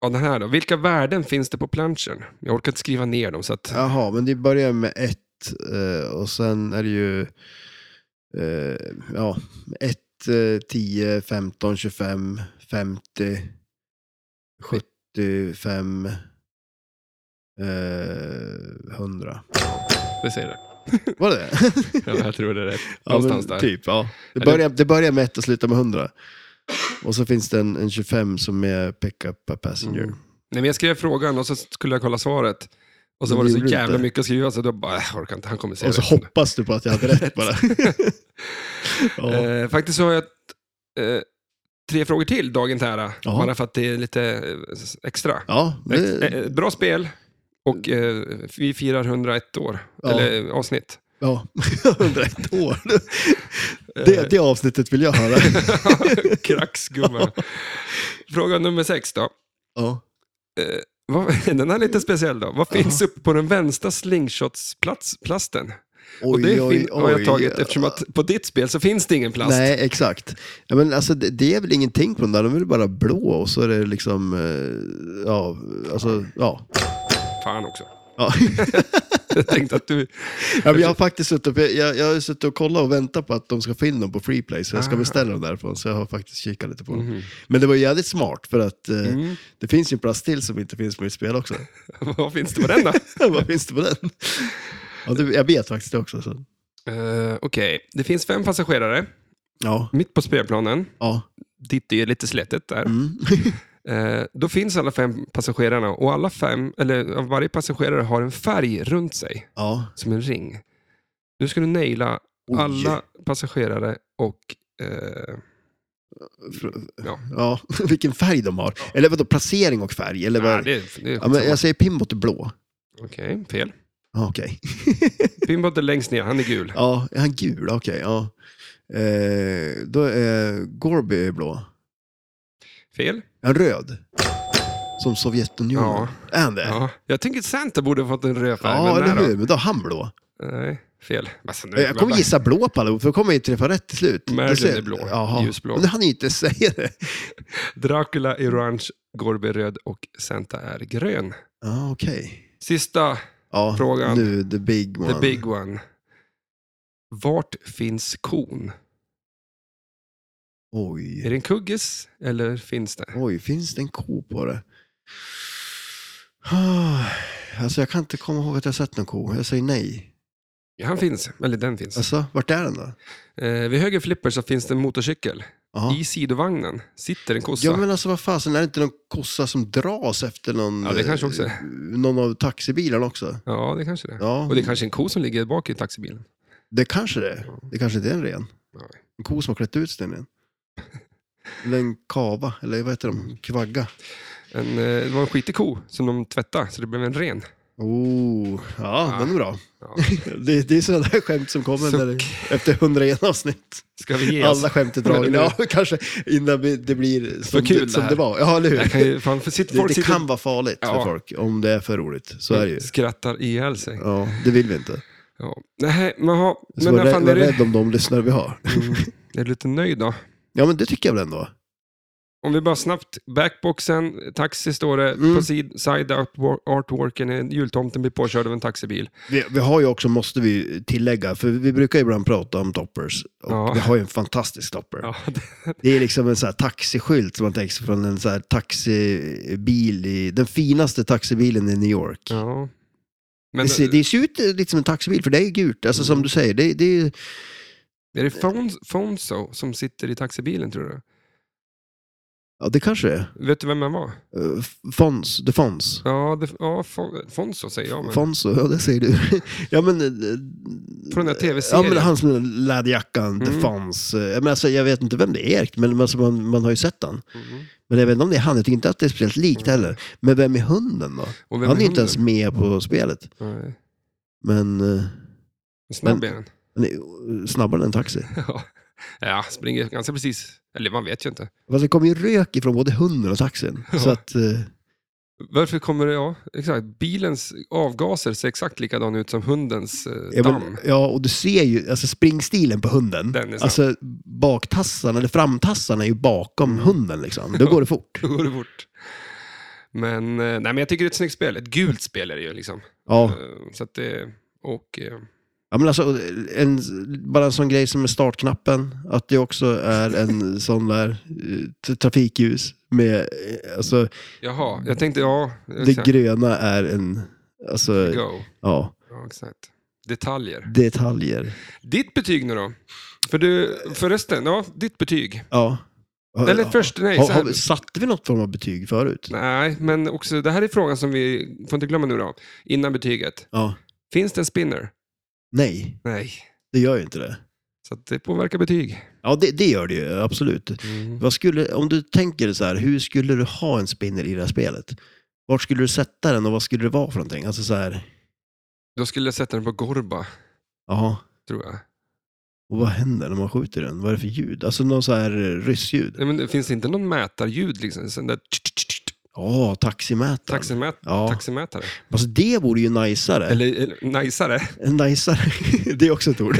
Speaker 2: ja, den här då. Vilka värden finns det på planschen? Jag orkar inte skriva ner dem. Så att,
Speaker 1: Jaha, men det börjar med ett eh, och sen är det ju eh, ja, eh, 1, 10, 15, 25, 50, 75, eh, 100.
Speaker 2: vi säger det.
Speaker 1: Var det det
Speaker 2: Ja, jag tror det är rätt.
Speaker 1: Ja, men
Speaker 2: Någonstans där.
Speaker 1: Typ, ja. Det
Speaker 2: Eller-
Speaker 1: börjar, det börjar med ett och slutar med 100. Och så finns det en, en 25 som är pick-up a passenger.
Speaker 2: Mm. Nej, men jag skrev frågan och så skulle jag kolla svaret. Och så
Speaker 1: Men
Speaker 2: var det
Speaker 1: det
Speaker 2: så
Speaker 1: gjorde du
Speaker 2: jävla
Speaker 1: inte.
Speaker 2: mycket att skriva så då bara, "Äh, jag orkar inte, han kommer säga
Speaker 1: Och så
Speaker 2: rätt."
Speaker 1: hoppas du på att jag hade rätt bara. ja.
Speaker 2: Eh, faktiskt så har jag eh, tre frågor till dagen till ära.
Speaker 1: Jaha.
Speaker 2: Bara för att det är lite eh, extra.
Speaker 1: ja,
Speaker 2: Ex-
Speaker 1: det,
Speaker 2: eh, bra spel. Och eh, vi firar 101 år, eh,
Speaker 1: Ja.
Speaker 2: eller avsnitt.
Speaker 1: ja. 101 år. Det, det avsnittet vill jag höra.
Speaker 2: Kraxgumma. Fråga nummer sex då.
Speaker 1: ja.
Speaker 2: Vad, den här är lite speciell då. Vad finns uppe på den vänstra slingshotsplasten? Och det fin- har jag tagit eftersom att på ditt spel så finns det ingen plast.
Speaker 1: Nej, exakt. Ja, men alltså, det, det är väl ingenting på den där, de är väl bara blå och så är det liksom, eh, ja, alltså, ja.
Speaker 2: Fan också.
Speaker 1: ja.
Speaker 2: Jag tänkte att du...
Speaker 1: ja men jag har faktiskt suttit och, jag, jag har suttit och kollat och väntat på att de ska få in dem på Freeplay, så jag
Speaker 2: Ah.
Speaker 1: ska beställa dem därifrån. Så jag har faktiskt kikat lite på dem.
Speaker 2: Mhm.
Speaker 1: Men det var ju jävligt smart, för att eh,
Speaker 2: Mm.
Speaker 1: det finns ju en plats till som inte finns på mitt spel också.
Speaker 2: Vad finns det på den då?
Speaker 1: Vad finns det på den? Ja, det, jag vet faktiskt det också. Så.
Speaker 2: Eh, Okej, det finns fem passagerare
Speaker 1: Ja,
Speaker 2: mitt på spelplanen.
Speaker 1: ja.
Speaker 2: Ditt är lite slätet där.
Speaker 1: Mm.
Speaker 2: Eh, då finns alla fem passagerarna och alla fem, eller av varje passagerare har en färg runt sig,
Speaker 1: ja.
Speaker 2: som en ring. Nu ska du naila
Speaker 1: Oj.
Speaker 2: alla passagerare och... Eh,
Speaker 1: Fr-
Speaker 2: Ja.
Speaker 1: ja, vilken färg de har. Eller vadå, placering och färg? Eller vad?
Speaker 2: nej, det, det är
Speaker 1: ja, men
Speaker 2: skitsamma.
Speaker 1: jag säger Pimbot är blå.
Speaker 2: Okej, fel.
Speaker 1: Ja, Okej.
Speaker 2: Pimbot är längst ner, han är gul.
Speaker 1: Ja, är han gul? Okej, ja. Eh, då är Gorby är blå.
Speaker 2: Fel.
Speaker 1: Är han röd? Som Sovjetunionen?
Speaker 2: Ja.
Speaker 1: Är han det?
Speaker 2: Ja. Jag tänker att Santa borde ha fått en röd färg.
Speaker 1: Ja,
Speaker 2: men nej
Speaker 1: eller
Speaker 2: då.
Speaker 1: hur? Men då är han blå.
Speaker 2: Nej, fel. Alltså, nu,
Speaker 1: Jag kommer gissa blå på alla, för då kommer jag ju träffa rätt till slut.
Speaker 2: Merlin
Speaker 1: Du ser-
Speaker 2: är blå,
Speaker 1: Jaha.
Speaker 2: ljusblå.
Speaker 1: Men han ju inte säga det.
Speaker 2: Dracula är orange, Gorby är röd och Santa är grön.
Speaker 1: Ja, okej.
Speaker 2: Sista,
Speaker 1: Ja,
Speaker 2: Frågan.
Speaker 1: nu the big one.
Speaker 2: the big one. Vart finns kon? Är
Speaker 1: Oj.
Speaker 2: det en kuggis eller finns det?
Speaker 1: Oj, finns det en ko på det? Ah, Alltså jag kan inte komma ihåg att jag sett någon ko. Jag säger nej.
Speaker 2: Ja, han finns, eller den finns.
Speaker 1: Alltså, vart är den då?
Speaker 2: Eh, vid höger flipper så finns det en motorcykel.
Speaker 1: Jaha.
Speaker 2: I sidovagnen sitter en kossa.
Speaker 1: Ja men alltså vad fasen, är det inte någon kossa som dras efter någon,
Speaker 2: Ja, det kanske också är.
Speaker 1: eh, någon av taxibilarna också?
Speaker 2: Ja, det kanske det är.
Speaker 1: Ja,
Speaker 2: Och det är kanske en ko som ligger bak i taxibilen.
Speaker 1: det kanske det är. Det kanske inte är en ren.
Speaker 2: Nej.
Speaker 1: En ko som har klätt ut sig till en ren. Eller en kava, eller vad heter de? Kvagga.
Speaker 2: En, eh, det var en skitig ko som de tvättade, så det blev en ren.
Speaker 1: Oh, ja,
Speaker 2: Ja.
Speaker 1: den är bra.
Speaker 2: Ja.
Speaker 1: Det, det är sådana där skämt som kommer när det, efter 101 avsnitt.
Speaker 2: Ska vi ge oss?
Speaker 1: Alla skämt är dragna. Ja, kanske innan vi- det blir som,
Speaker 2: kul
Speaker 1: det,
Speaker 2: det
Speaker 1: som
Speaker 2: här.
Speaker 1: det var. Ja, eller hur?
Speaker 2: Jag kan ju, fan, för sitt,
Speaker 1: Det,
Speaker 2: folk
Speaker 1: det
Speaker 2: sitter
Speaker 1: kan vara farligt
Speaker 2: Ja.
Speaker 1: för folk om det är för roligt. Så är det ju.
Speaker 2: skrattar ihjäl sig.
Speaker 1: Ja, det vill vi inte.
Speaker 2: Ja. Nej, men, ha,
Speaker 1: Så
Speaker 2: men
Speaker 1: var,
Speaker 2: när
Speaker 1: rä-
Speaker 2: fan
Speaker 1: var
Speaker 2: är du,
Speaker 1: rädd om de lyssnare vi har.
Speaker 2: Mm. är du lite nöjd då?
Speaker 1: Ja, men det tycker jag väl ändå.
Speaker 2: Om vi bara snabbt, backboxen, taxi står det,
Speaker 1: Mm.
Speaker 2: på sid, side artwork- artworken, är- jultomten blir påkörd av en taxibil.
Speaker 1: Vi, vi har ju också, måste vi tillägga, för vi brukar ju ibland prata om toppers. Och
Speaker 2: Ja.
Speaker 1: vi har ju en fantastisk topper.
Speaker 2: Ja,
Speaker 1: Det är liksom en så här taxiskylt som man tänker sig från en så här taxibil i, den finaste taxibilen i New York.
Speaker 2: ja. Men Mm.
Speaker 1: det, ser, det ser ut eh, lite som en taxibil, för det är ju gult. Alltså som du säger, det, det är ju...
Speaker 2: är det Fons- Fonso som sitter i taxibilen tror du?
Speaker 1: Ja, det kanske är.
Speaker 2: Vet du vem han var?
Speaker 1: Eh, Fons, The Fons.
Speaker 2: Ja, det, ja Fon, Fonso säger jag. Men.
Speaker 1: Fonso, ja det säger du. ja men... eh,
Speaker 2: Från den här
Speaker 1: Ja
Speaker 2: tv-serien.
Speaker 1: men han som läderjackan, The
Speaker 2: Mm.
Speaker 1: Fons. Eh, Men alltså, jag vet inte vem det är, men men alltså, man, man har ju sett han.
Speaker 2: Mhm.
Speaker 1: Men jag vet inte om det är han, jag tycker inte att det är speciellt likt heller. Men vem är hunden då?
Speaker 2: Och Mm. vem
Speaker 1: Han är ju
Speaker 2: hunden?
Speaker 1: inte ens med på spelet.
Speaker 2: Nej.
Speaker 1: Men eh,
Speaker 2: Snabb är han.
Speaker 1: han är eh, snabbare än en taxi.
Speaker 2: Ja. ja, springer ganska precis. Eller man vet ju inte.
Speaker 1: Fast det kommer ju rök ifrån både hunden och taxin. Så
Speaker 2: Ja.
Speaker 1: att... eh,
Speaker 2: Varför kommer det, ja, exakt. Bilens avgaser ser exakt likadan ut som hundens eh,
Speaker 1: Ja,
Speaker 2: damm.
Speaker 1: men, ja, och du ser ju alltså springstilen på hunden.
Speaker 2: Den är snabb.
Speaker 1: alltså baktassarna, eller framtassarna är ju bakom
Speaker 2: Mm.
Speaker 1: hunden liksom. Då går det fort.
Speaker 2: Då går det fort. Men, eh, nej, men jag tycker det är ett snyggt spel. Ett gult spel är det ju liksom.
Speaker 1: Ja.
Speaker 2: Eh, Så att det, och, eh,
Speaker 1: ja, men alltså en, bara en sån grej som är startknappen. Att det också är en sån där eh, t- trafikljus med, eh, alltså
Speaker 2: jaha, jag tänkte, ja,
Speaker 1: det
Speaker 2: exakt.
Speaker 1: gröna är en, alltså
Speaker 2: Go.
Speaker 1: ja,
Speaker 2: Ja, exakt. Detaljer.
Speaker 1: detaljer.
Speaker 2: Ditt betyg nu då? För du, förresten, ja, ditt betyg.
Speaker 1: Ja. Har-
Speaker 2: Eller
Speaker 1: har-
Speaker 2: först, nej, så
Speaker 1: har,
Speaker 2: här.
Speaker 1: har, vi- satte vi något form av betyg förut?
Speaker 2: Nej, men också, det här är frågan som vi får inte glömma nu då, innan betyget.
Speaker 1: Ja.
Speaker 2: Finns det en spinner?
Speaker 1: Nej,
Speaker 2: Nej.
Speaker 1: det gör ju inte det.
Speaker 2: Så att det påverkar betyg.
Speaker 1: Ja, det, det gör det ju, absolut. Vad skulle, om du tänker så här, hur skulle du ha en spinner i det här spelet? Vart skulle du sätta den och vad skulle det vara för någonting? Alltså så här,
Speaker 2: Då skulle jag sätta den på Gorba,
Speaker 1: jaha.
Speaker 2: tror jag.
Speaker 1: Och vad händer när man skjuter den? Vad är det för ljud? Alltså någon så här eh, ryssljud.
Speaker 2: Nej, men det finns inte någon mätarljud liksom? Sen där tsch, tsch, tsch, tsch,
Speaker 1: Ja, taximätaren.
Speaker 2: taximät
Speaker 1: Ja.
Speaker 2: Taximätare.
Speaker 1: Alltså det vore ju najsare.
Speaker 2: Eller, eller najsare.
Speaker 1: Najsare, det är också ett ord.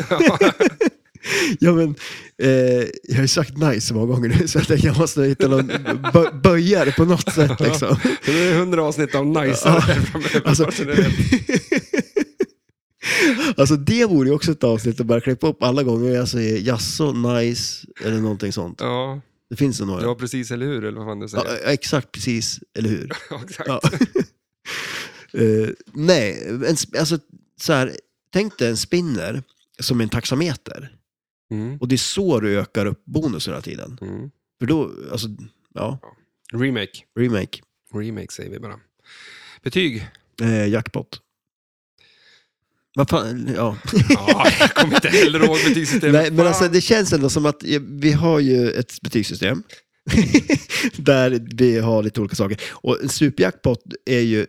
Speaker 1: ja, men, eh, jag har ju sagt nice så många gånger nu så jag tänkte jag måste hitta någon bö- böjare på något sätt. Liksom.
Speaker 2: Så Det är hundra avsnitt av najsare framöver.
Speaker 1: Alltså-
Speaker 2: Så det är-
Speaker 1: Alltså det vore ju också ett avsnitt att bara klippa upp alla gånger jag säger jasso, nice eller någonting sånt.
Speaker 2: Ja,
Speaker 1: Det finns det några.
Speaker 2: ja, precis, eller hur? Eller vad fan du
Speaker 1: Ja, eh,
Speaker 2: säger.
Speaker 1: exakt, precis, eller hur?
Speaker 2: Ja, exakt.
Speaker 1: Ja. Eh, nej, en, sp- alltså, så här, tänk dig en spinner som en taxameter.
Speaker 2: Mm.
Speaker 1: Och det är så du ökar upp bonus hela tiden.
Speaker 2: Mm.
Speaker 1: För då, alltså, ja,
Speaker 2: Remake.
Speaker 1: remake,
Speaker 2: Remake säger vi bara. Betyg?
Speaker 1: eh, jackpot. Vad fan, ja.
Speaker 2: Ja, jag kommer inte heller ihåg betygssystemet.
Speaker 1: Nej, men
Speaker 2: Fan.
Speaker 1: alltså det känns ändå som att eh, vi har ju ett betygssystem. där vi har lite olika saker. Och en superjackpot är ju,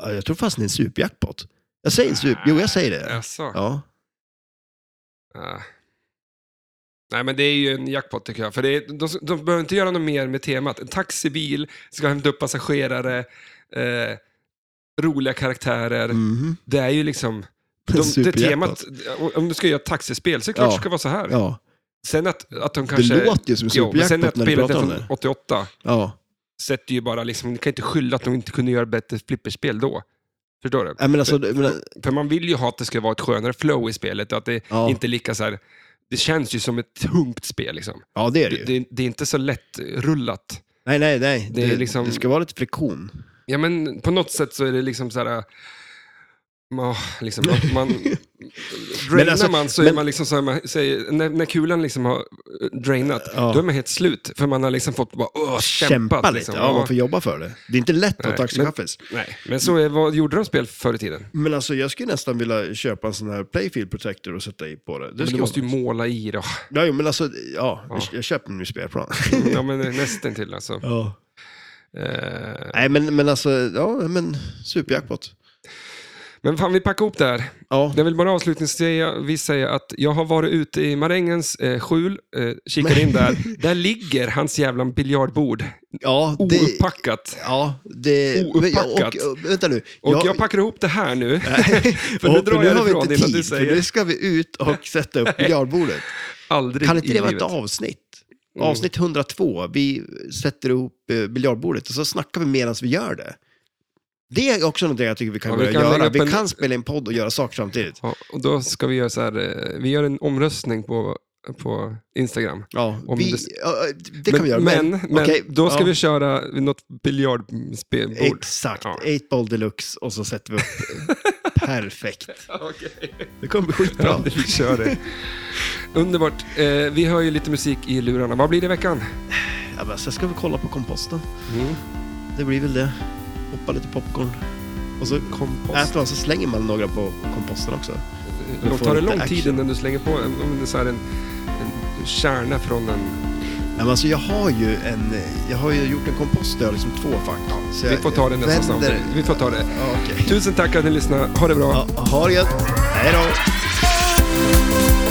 Speaker 1: ja, jag tror fast det är en superjackpot. Jag säger super, jo jag säger det.
Speaker 2: Jaså?
Speaker 1: Ja.
Speaker 2: Ah. Nej, men det är ju en jackpot tycker jag. För det är, de, de behöver inte göra något mer med temat. En taxibil ska hämta upp passagerare, eh, roliga karaktärer.
Speaker 1: Mhm.
Speaker 2: Det är ju liksom... De, det
Speaker 1: Superjackpot.
Speaker 2: temat, om du ska göra ett taxispel så är det klart
Speaker 1: Ja.
Speaker 2: det ska vara så här.
Speaker 1: Ja.
Speaker 2: Sen att, att de
Speaker 1: Det
Speaker 2: kanske...
Speaker 1: låter ju som en
Speaker 2: Jo, men sen
Speaker 1: superjackpot
Speaker 2: att
Speaker 1: när du
Speaker 2: spelet är
Speaker 1: pratar om
Speaker 2: från
Speaker 1: det.
Speaker 2: 88
Speaker 1: Ja.
Speaker 2: sätter ju bara liksom... Ni kan inte skylla att de inte kunde göra bättre flipperspel då. Förstår du?
Speaker 1: Nej, men alltså, det- men,
Speaker 2: För man vill ju ha att det ska vara ett skönare flow i spelet och att det
Speaker 1: Ja.
Speaker 2: inte är lika så här... Det känns ju som ett tungt spel liksom.
Speaker 1: ja, det är det
Speaker 2: Det,
Speaker 1: ju.
Speaker 2: det, det är inte så lätt rullat.
Speaker 1: Nej, nej, nej.
Speaker 2: Det
Speaker 1: Det,
Speaker 2: är liksom-
Speaker 1: det ska vara lite friktion.
Speaker 2: Ja, men på något sätt så är det liksom så här... äh, ja, liksom, att man, drainar
Speaker 1: alltså,
Speaker 2: man så är
Speaker 1: men-
Speaker 2: man liksom så här, man säger, när, när kulan liksom har äh, drainat,
Speaker 1: Ja.
Speaker 2: då är man helt slut. För man har liksom fått bara åh, kämpat.
Speaker 1: Kämpa lite.
Speaker 2: liksom.
Speaker 1: Ja, man får jobba för det. Det är inte lätt
Speaker 2: Nej,
Speaker 1: att taxichaffis.
Speaker 2: Nej, men så är, vad gjorde de spel förr i tiden?
Speaker 1: Men... alltså, jag skulle nästan vilja köpa en sån här Playfield Protector och sätta i på det. det
Speaker 2: Men du måste ju måla i det.
Speaker 1: Ja, jo, men alltså, ja,
Speaker 2: Ja.
Speaker 1: jag köper en ny spelplan.
Speaker 2: Ja, men nästan till alltså.
Speaker 1: ja.
Speaker 2: Eh,
Speaker 1: Nej, men, men alltså, ja, men superjackpot.
Speaker 2: men fan, vi packar ihop det här.
Speaker 1: Ja,
Speaker 2: Jag vill bara avslutningsvis säga att jag har varit ute i marängens eh, skjul, eh, kikar in där. Där ligger hans jävla biljardbord,
Speaker 1: ja, det...
Speaker 2: ouppackat.
Speaker 1: Ja, det...
Speaker 2: Ouppackat.
Speaker 1: Och, och, vänta nu.
Speaker 2: Och jag packar ihop det här nu. för nu
Speaker 1: och,
Speaker 2: drar
Speaker 1: nu
Speaker 2: jag
Speaker 1: har vi
Speaker 2: ifrån
Speaker 1: inte
Speaker 2: innan du
Speaker 1: tid, för nu
Speaker 2: säger
Speaker 1: ska vi ut och sätta upp biljardbordet.
Speaker 2: aldrig
Speaker 1: Kan inte
Speaker 2: i
Speaker 1: det vara ett
Speaker 2: livet.
Speaker 1: avsnitt? Avsnitt 102, vi sätter ihop eh, biljardbordet och så snackar vi medan vi gör det. Det är också någonting jag tycker vi kan
Speaker 2: Ja, vi
Speaker 1: börja
Speaker 2: kan lägga
Speaker 1: göra.
Speaker 2: upp
Speaker 1: Vi
Speaker 2: en-
Speaker 1: kan spela in podd och göra saker samtidigt.
Speaker 2: Ja, och då ska vi göra så här, eh, vi gör en omröstning på, på Instagram.
Speaker 1: Ja,
Speaker 2: Om
Speaker 1: vi,
Speaker 2: det-
Speaker 1: det... Ja, eh, det kan
Speaker 2: men,
Speaker 1: vi göra.
Speaker 2: Men, men
Speaker 1: okej,
Speaker 2: då ska
Speaker 1: ja.
Speaker 2: vi köra något biljardspelbord.
Speaker 1: Exakt,
Speaker 2: Ja.
Speaker 1: 8-ball deluxe och så sätter vi upp. Perfekt.
Speaker 2: Okej.
Speaker 1: Det kommer bli
Speaker 2: Ja,
Speaker 1: skitbra.
Speaker 2: vi kör det. Underbart. Eh, vi hör ju lite musik i lurarna. Vad blir det i veckan?
Speaker 1: Ja, men sen ska vi kolla på komposten.
Speaker 2: Mm.
Speaker 1: Det blir väl det. Hoppa lite popcorn. Och så
Speaker 2: Kompost.
Speaker 1: äter man så slänger man några på komposten också. vi
Speaker 2: Lång-
Speaker 1: får
Speaker 2: Tar det
Speaker 1: lite
Speaker 2: lång tid
Speaker 1: action.
Speaker 2: innan du slänger på en, om det är så här en, en kärna från en...
Speaker 1: Nej, men alltså jag har ju en, jag har ju gjort en kompost där jag har liksom två fack. Så
Speaker 2: Vi
Speaker 1: jag
Speaker 2: får ta det nästa
Speaker 1: vänder-
Speaker 2: snart. Vi får ta det.
Speaker 1: Ja, okej.
Speaker 2: Tusen tack att ni lyssnade. Ha det bra.
Speaker 1: Ja, ha det gött. Hej då.